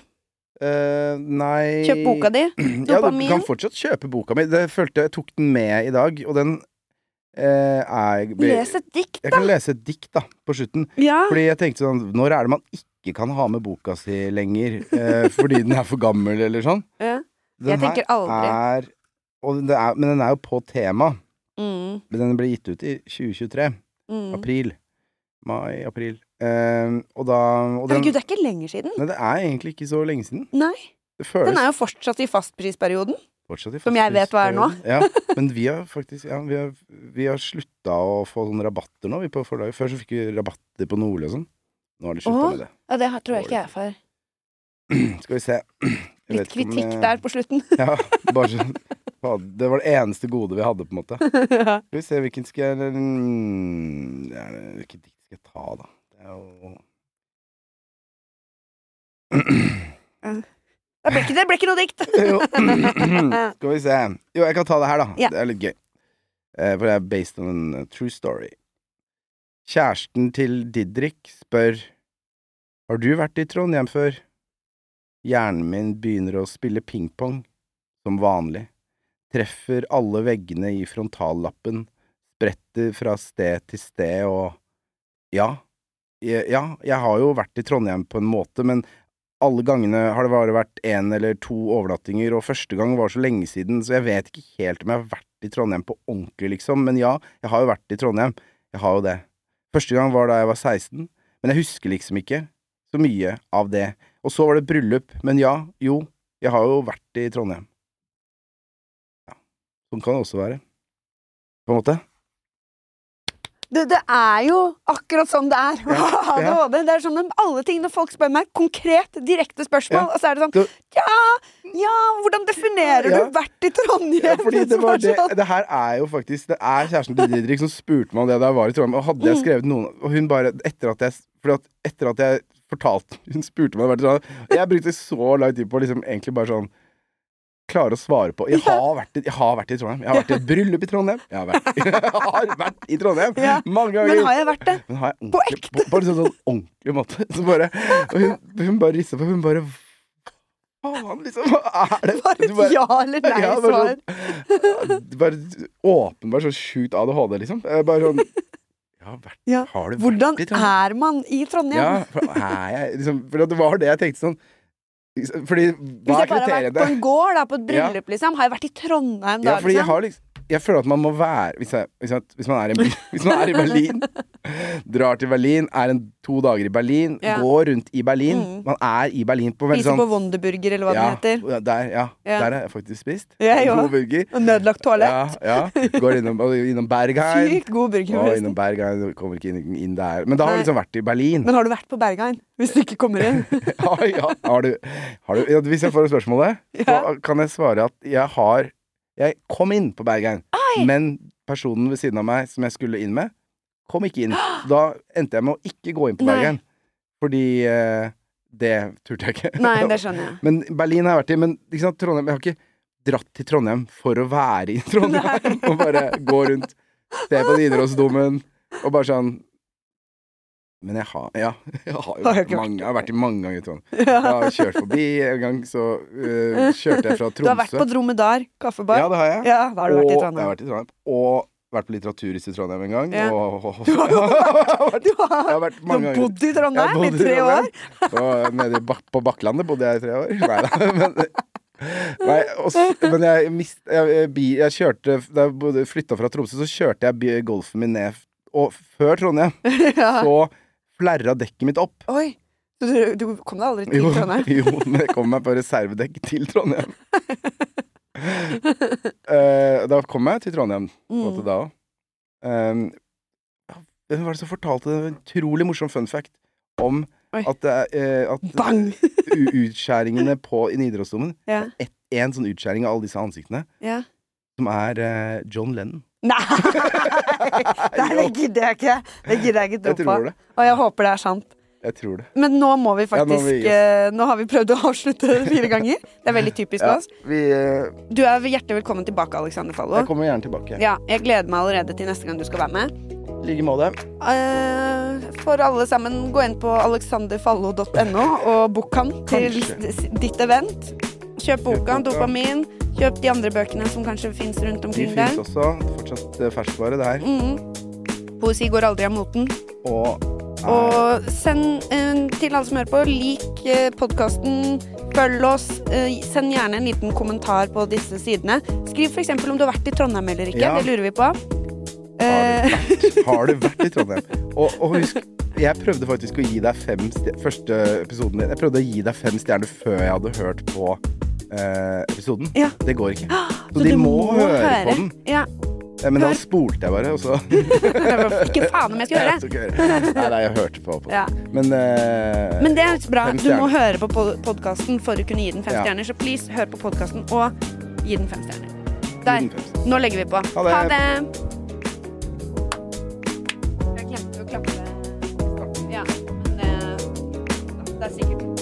[SPEAKER 2] Eh, nei
[SPEAKER 1] Kjøp boka di.
[SPEAKER 2] Ja, du
[SPEAKER 1] Dopamin.
[SPEAKER 2] kan fortsatt kjøpe boka mi. Det følte jeg tok den med i dag, og den eh, er
[SPEAKER 1] Les et dikt,
[SPEAKER 2] Jeg
[SPEAKER 1] da!
[SPEAKER 2] kan lese et dikt, da, på slutten.
[SPEAKER 1] Ja.
[SPEAKER 2] Fordi jeg tenkte sånn Når er det man ikke kan ha med boka si lenger? Eh, fordi den er for gammel, eller sånn?
[SPEAKER 1] ja.
[SPEAKER 2] Den
[SPEAKER 1] Jeg tenker
[SPEAKER 2] her
[SPEAKER 1] aldri.
[SPEAKER 2] Er, og det er, men den er jo på tema.
[SPEAKER 1] Mm,
[SPEAKER 2] Men den ble gitt ut i 2023.
[SPEAKER 1] mm.
[SPEAKER 2] April. Mai, april. Eh, og da og den,
[SPEAKER 1] Herregud, det er ikke lenger siden.
[SPEAKER 2] Nei, det er egentlig ikke så lenge siden.
[SPEAKER 1] Nei.
[SPEAKER 2] Det føles
[SPEAKER 1] Den er jo fortsatt i fastprisperioden.
[SPEAKER 2] fortsatt i
[SPEAKER 1] som jeg vet hva er nå.
[SPEAKER 2] fastprisperioden. ja, men vi har faktisk ja, Vi har, vi har slutta å få sånne rabatter nå, vi på forlaget. Før så fikk vi rabatter på Nordli og sånn. Nå har de
[SPEAKER 1] Åh.
[SPEAKER 2] slutta med det.
[SPEAKER 1] Ja, det tror jeg ikke jeg får.
[SPEAKER 2] Skal vi se Jeg
[SPEAKER 1] Litt
[SPEAKER 2] vet ikke om
[SPEAKER 1] kritikk
[SPEAKER 2] jeg-
[SPEAKER 1] der på slutten.
[SPEAKER 2] Ja, bare sånn Faen, Det var det eneste gode vi hadde, på en måte.
[SPEAKER 1] ja.
[SPEAKER 2] Skal vi se, hvilken skal jeg mm, er det- Hvilket dikt skal jeg ta, da? Det er jo
[SPEAKER 1] Det ble ikke, det ble ikke noe dikt!
[SPEAKER 2] Jo. Skal vi se. Jo, jeg kan ta det her, da.
[SPEAKER 1] Ja.
[SPEAKER 2] Det er litt gøy. Eh, For det er based on a true story. Kjæresten til Didrik spør Har du vært i Trondheim før? Hjernen min begynner å spille pingpong, som vanlig. Treffer alle veggene i frontallappen, spretter fra sted til sted og Ja, jeg- ja, jeg har jo vært i Trondheim på en måte, men alle gangene har det bare vært én eller to overnattinger, og første gang var så lenge siden, så jeg vet ikke helt om jeg har vært i Trondheim på ordentlig, liksom. Men ja, jeg har jo vært i Trondheim. Jeg har jo det. Første gang var da jeg var 16, men jeg husker liksom ikke så mye av det. Og så var det bryllup, men ja, jo, jeg har jo vært i Trondheim. Ja, sånn kan det også være. På en måte.
[SPEAKER 1] Det, det er jo akkurat sånn det er. å ha
[SPEAKER 2] Ja, ja.
[SPEAKER 1] ADHD. Det er sånn med alle ting når folk spør meg konkret, direkte spørsmål, og så er det
[SPEAKER 2] Du-
[SPEAKER 1] sånn Ja, ja, hvordan definerer
[SPEAKER 2] Ja.
[SPEAKER 1] du vært i Trondheim?
[SPEAKER 2] Ja, fordi det,
[SPEAKER 1] Så
[SPEAKER 2] var
[SPEAKER 1] bare
[SPEAKER 2] det,
[SPEAKER 1] sånn,
[SPEAKER 2] det her er jo faktisk Det er kjæresten til Didrik som spurte meg om det da jeg var i Trondheim. Og hadde
[SPEAKER 1] Mm.
[SPEAKER 2] jeg skrevet noen Og hun bare Etter at jeg Fordi at etter at jeg fortalte Hun spurte meg om jeg hadde vært i Trondheim. sånn, Jeg brukte så lang tid på å liksom egentlig bare sånn Klare å svare på Jeg har vært i, jeg har vært i Trondheim. Jeg har vært i et bryllup i Trondheim. Jeg har vært, jeg har vært i Trondheim
[SPEAKER 1] Ja,
[SPEAKER 2] mange ganger.
[SPEAKER 1] Men har jeg vært det?
[SPEAKER 2] Men har jeg
[SPEAKER 1] På
[SPEAKER 2] ordentlig, på, på en sånn, sånn ordentlig måte. Så bare, og hun, hun bare rista på. Hun bare Faen, liksom. Hva er det?
[SPEAKER 1] Bare
[SPEAKER 2] Du
[SPEAKER 1] et ja eller
[SPEAKER 2] ja, bare
[SPEAKER 1] nei-svar.
[SPEAKER 2] sånn- ja, Bare åpenbart så sjukt ADHD, liksom. Eh, Bare sånn jeg har vært,
[SPEAKER 1] Ja,
[SPEAKER 2] Har du
[SPEAKER 1] Hvordan
[SPEAKER 2] vært i Trondheim?
[SPEAKER 1] er man i Trondheim?
[SPEAKER 2] Ja, for, er jeg, liksom, for det var det jeg tenkte sånn Fordi
[SPEAKER 1] Hvis
[SPEAKER 2] hva
[SPEAKER 1] jeg bare har
[SPEAKER 2] er
[SPEAKER 1] vært på
[SPEAKER 2] kriteriene?
[SPEAKER 1] en gård, da, på et
[SPEAKER 2] Ja.
[SPEAKER 1] bryllup, liksom, har jeg vært i Trondheim da?
[SPEAKER 2] Ja, fordi jeg
[SPEAKER 1] liksom?
[SPEAKER 2] har liksom Jeg føler at man må være Hvis, jeg, hvis, jeg, hvis, man, er i, en by- hvis man er i Berlin, drar til Berlin, er en to dager i Berlin,
[SPEAKER 1] Ja.
[SPEAKER 2] går rundt i Berlin
[SPEAKER 1] Mm.
[SPEAKER 2] Man er i Berlin på veldig
[SPEAKER 1] Spiser
[SPEAKER 2] sånn
[SPEAKER 1] på Wonderburger, eller hva
[SPEAKER 2] ja,
[SPEAKER 1] den heter.
[SPEAKER 2] ja, der, ja,
[SPEAKER 1] Ja.
[SPEAKER 2] der har jeg faktisk spist.
[SPEAKER 1] Jeg
[SPEAKER 2] God
[SPEAKER 1] òg.
[SPEAKER 2] burger.
[SPEAKER 1] Og Nødlagt toalett.
[SPEAKER 2] Ja, ja. Går innom, og innom Bergheim.
[SPEAKER 1] Sykt god burger,
[SPEAKER 2] Og
[SPEAKER 1] forresten.
[SPEAKER 2] innom Bergheim, du kommer ikke inn, inn der. Men da har
[SPEAKER 1] Nei.
[SPEAKER 2] du liksom vært i Berlin.
[SPEAKER 1] Men har du vært på Bergheim? Hvis du ikke kommer inn?
[SPEAKER 2] ja, ja. Har du, har du, ja, hvis jeg får spørsmålet,
[SPEAKER 1] Ja.
[SPEAKER 2] så kan jeg svare at jeg har Jeg kom inn på Bergheim, men personen ved siden av meg som jeg skulle inn med, kom ikke inn. Så Da endte jeg med å ikke gå inn på
[SPEAKER 1] Nei.
[SPEAKER 2] Bergheim, fordi eh, det turte jeg ikke.
[SPEAKER 1] Nei, det skjønner jeg.
[SPEAKER 2] Men Berlin har jeg vært i, men ikke sant, Trondheim Jeg har ikke dratt til Trondheim for å være i Trondheim og bare gå rundt, se på Nidarosdomen og bare sånn Men jeg har Ja, jeg har jo
[SPEAKER 1] Har jeg
[SPEAKER 2] vært,
[SPEAKER 1] ikke vært
[SPEAKER 2] mange, jeg har vært i mange ganger i Trondheim. Jeg
[SPEAKER 1] Ja.
[SPEAKER 2] har kjørt forbi en gang, så øh, kjørte jeg fra Tromsø.
[SPEAKER 1] Du har vært på Dromedar kaffebar?
[SPEAKER 2] Ja, det har jeg.
[SPEAKER 1] Ja, da har du vært i
[SPEAKER 2] og, Jeg har
[SPEAKER 1] Trondheim.
[SPEAKER 2] vært i Trondheim. Og vært på Litteraturhuset i Trondheim en gang.
[SPEAKER 1] Ja.
[SPEAKER 2] Og, og,
[SPEAKER 1] Du har jo
[SPEAKER 2] vært,
[SPEAKER 1] Du har,
[SPEAKER 2] jeg har vært
[SPEAKER 1] du har
[SPEAKER 2] mange ganger.
[SPEAKER 1] bodd i Trondheim i
[SPEAKER 2] Jeg bodde
[SPEAKER 1] tre år?
[SPEAKER 2] Trondheim, Og nede i Bak- på Bakklandet bodde jeg i tre år. Nei da. Men, nei, og s- men jeg, mist, jeg, jeg, bi- jeg kjørte Da jeg flytta fra Tromsø, så kjørte jeg bi- golfen min ned. Og før Trondheim
[SPEAKER 1] Ja.
[SPEAKER 2] så flerra dekket mitt opp.
[SPEAKER 1] Oi. Så Du, du kom deg aldri til
[SPEAKER 2] Jo,
[SPEAKER 1] Trondheim?
[SPEAKER 2] jo, men jeg kom meg på reservedekk til Trondheim. Eh, da kom jeg til Trondheim på en måte
[SPEAKER 1] Mm.
[SPEAKER 2] da òg. hvem var det som fortalte en utrolig morsom fun fact om
[SPEAKER 1] Oi.
[SPEAKER 2] at, det er, eh, at
[SPEAKER 1] Mm. Bang!
[SPEAKER 2] u- utskjæringene på, i Nidarosdomen
[SPEAKER 1] Ja.
[SPEAKER 2] et, En sånn utskjæring av alle disse ansiktene,
[SPEAKER 1] ja.
[SPEAKER 2] som er eh, John Lennon.
[SPEAKER 1] Nei! Nei, det gidder jeg ikke. Det gidder jeg ikke
[SPEAKER 2] Jeg
[SPEAKER 1] tro på.
[SPEAKER 2] tror det.
[SPEAKER 1] Og jeg håper det er sant.
[SPEAKER 2] Jeg tror det.
[SPEAKER 1] Men nå må vi
[SPEAKER 2] Ja, nå
[SPEAKER 1] faktisk
[SPEAKER 2] må vi gi oss.
[SPEAKER 1] eh, Nå har vi prøvd å avslutte fire ganger. Det er veldig typisk
[SPEAKER 2] Ja,
[SPEAKER 1] oss.
[SPEAKER 2] vi, eh,
[SPEAKER 1] Du er hjertelig velkommen tilbake, Alexander Fallo.
[SPEAKER 2] jeg kommer gjerne tilbake.
[SPEAKER 1] Ja, jeg gleder meg allerede til neste gang du skal være med.
[SPEAKER 2] I like måte.
[SPEAKER 1] Eh, for alle sammen, gå inn på alexanderfallo.no og bok han til
[SPEAKER 2] Kanskje.
[SPEAKER 1] s- ditt event. Kjøp boka,
[SPEAKER 2] boka.
[SPEAKER 1] dopamin. Kjøp de andre bøkene som kanskje fins rundt
[SPEAKER 2] De
[SPEAKER 1] omkring der.
[SPEAKER 2] fins også. Fortsatt eh, ferskvare der.
[SPEAKER 1] Mm. Poesi går aldri av moten.
[SPEAKER 2] Og eh, er
[SPEAKER 1] Og send eh, til alle som hører på, lik eh, podkasten, følg oss. Eh, send gjerne en liten kommentar på disse sidene. Skriv f.eks. om du har vært i Trondheim eller ikke.
[SPEAKER 2] Ja.
[SPEAKER 1] Det lurer vi på.
[SPEAKER 2] Har
[SPEAKER 1] Eh,
[SPEAKER 2] Har du vært i Trondheim? Og, og husk, jeg prøvde faktisk å gi deg fem stjer- Første episoden din Jeg prøvde å gi deg fem stjerner før jeg hadde hørt på eh, episoden.
[SPEAKER 1] Ja.
[SPEAKER 2] Det går ikke. Så de må, høre, på den.
[SPEAKER 1] Ja.
[SPEAKER 2] Eh, Men da
[SPEAKER 1] Hør.
[SPEAKER 2] spolte jeg bare, og så
[SPEAKER 1] Ikke faen om jeg skal gjøre
[SPEAKER 2] Jeg tok høre. Nei, nei, jeg hørte på. på.
[SPEAKER 1] Ja.
[SPEAKER 2] Men, eh,
[SPEAKER 1] Men det er bra.
[SPEAKER 2] Fem
[SPEAKER 1] Du må
[SPEAKER 2] stjerner.
[SPEAKER 1] høre på podkasten for å kunne gi den fem
[SPEAKER 2] Ja.
[SPEAKER 1] stjerner. Så please, hør på podkasten og gi den fem stjerner.
[SPEAKER 2] Gi
[SPEAKER 1] Der.
[SPEAKER 2] den fem stjerner.
[SPEAKER 1] Nå legger vi på.
[SPEAKER 2] Ha det.
[SPEAKER 1] Jeg glemte å klappe. Ja, men det, det er sikkert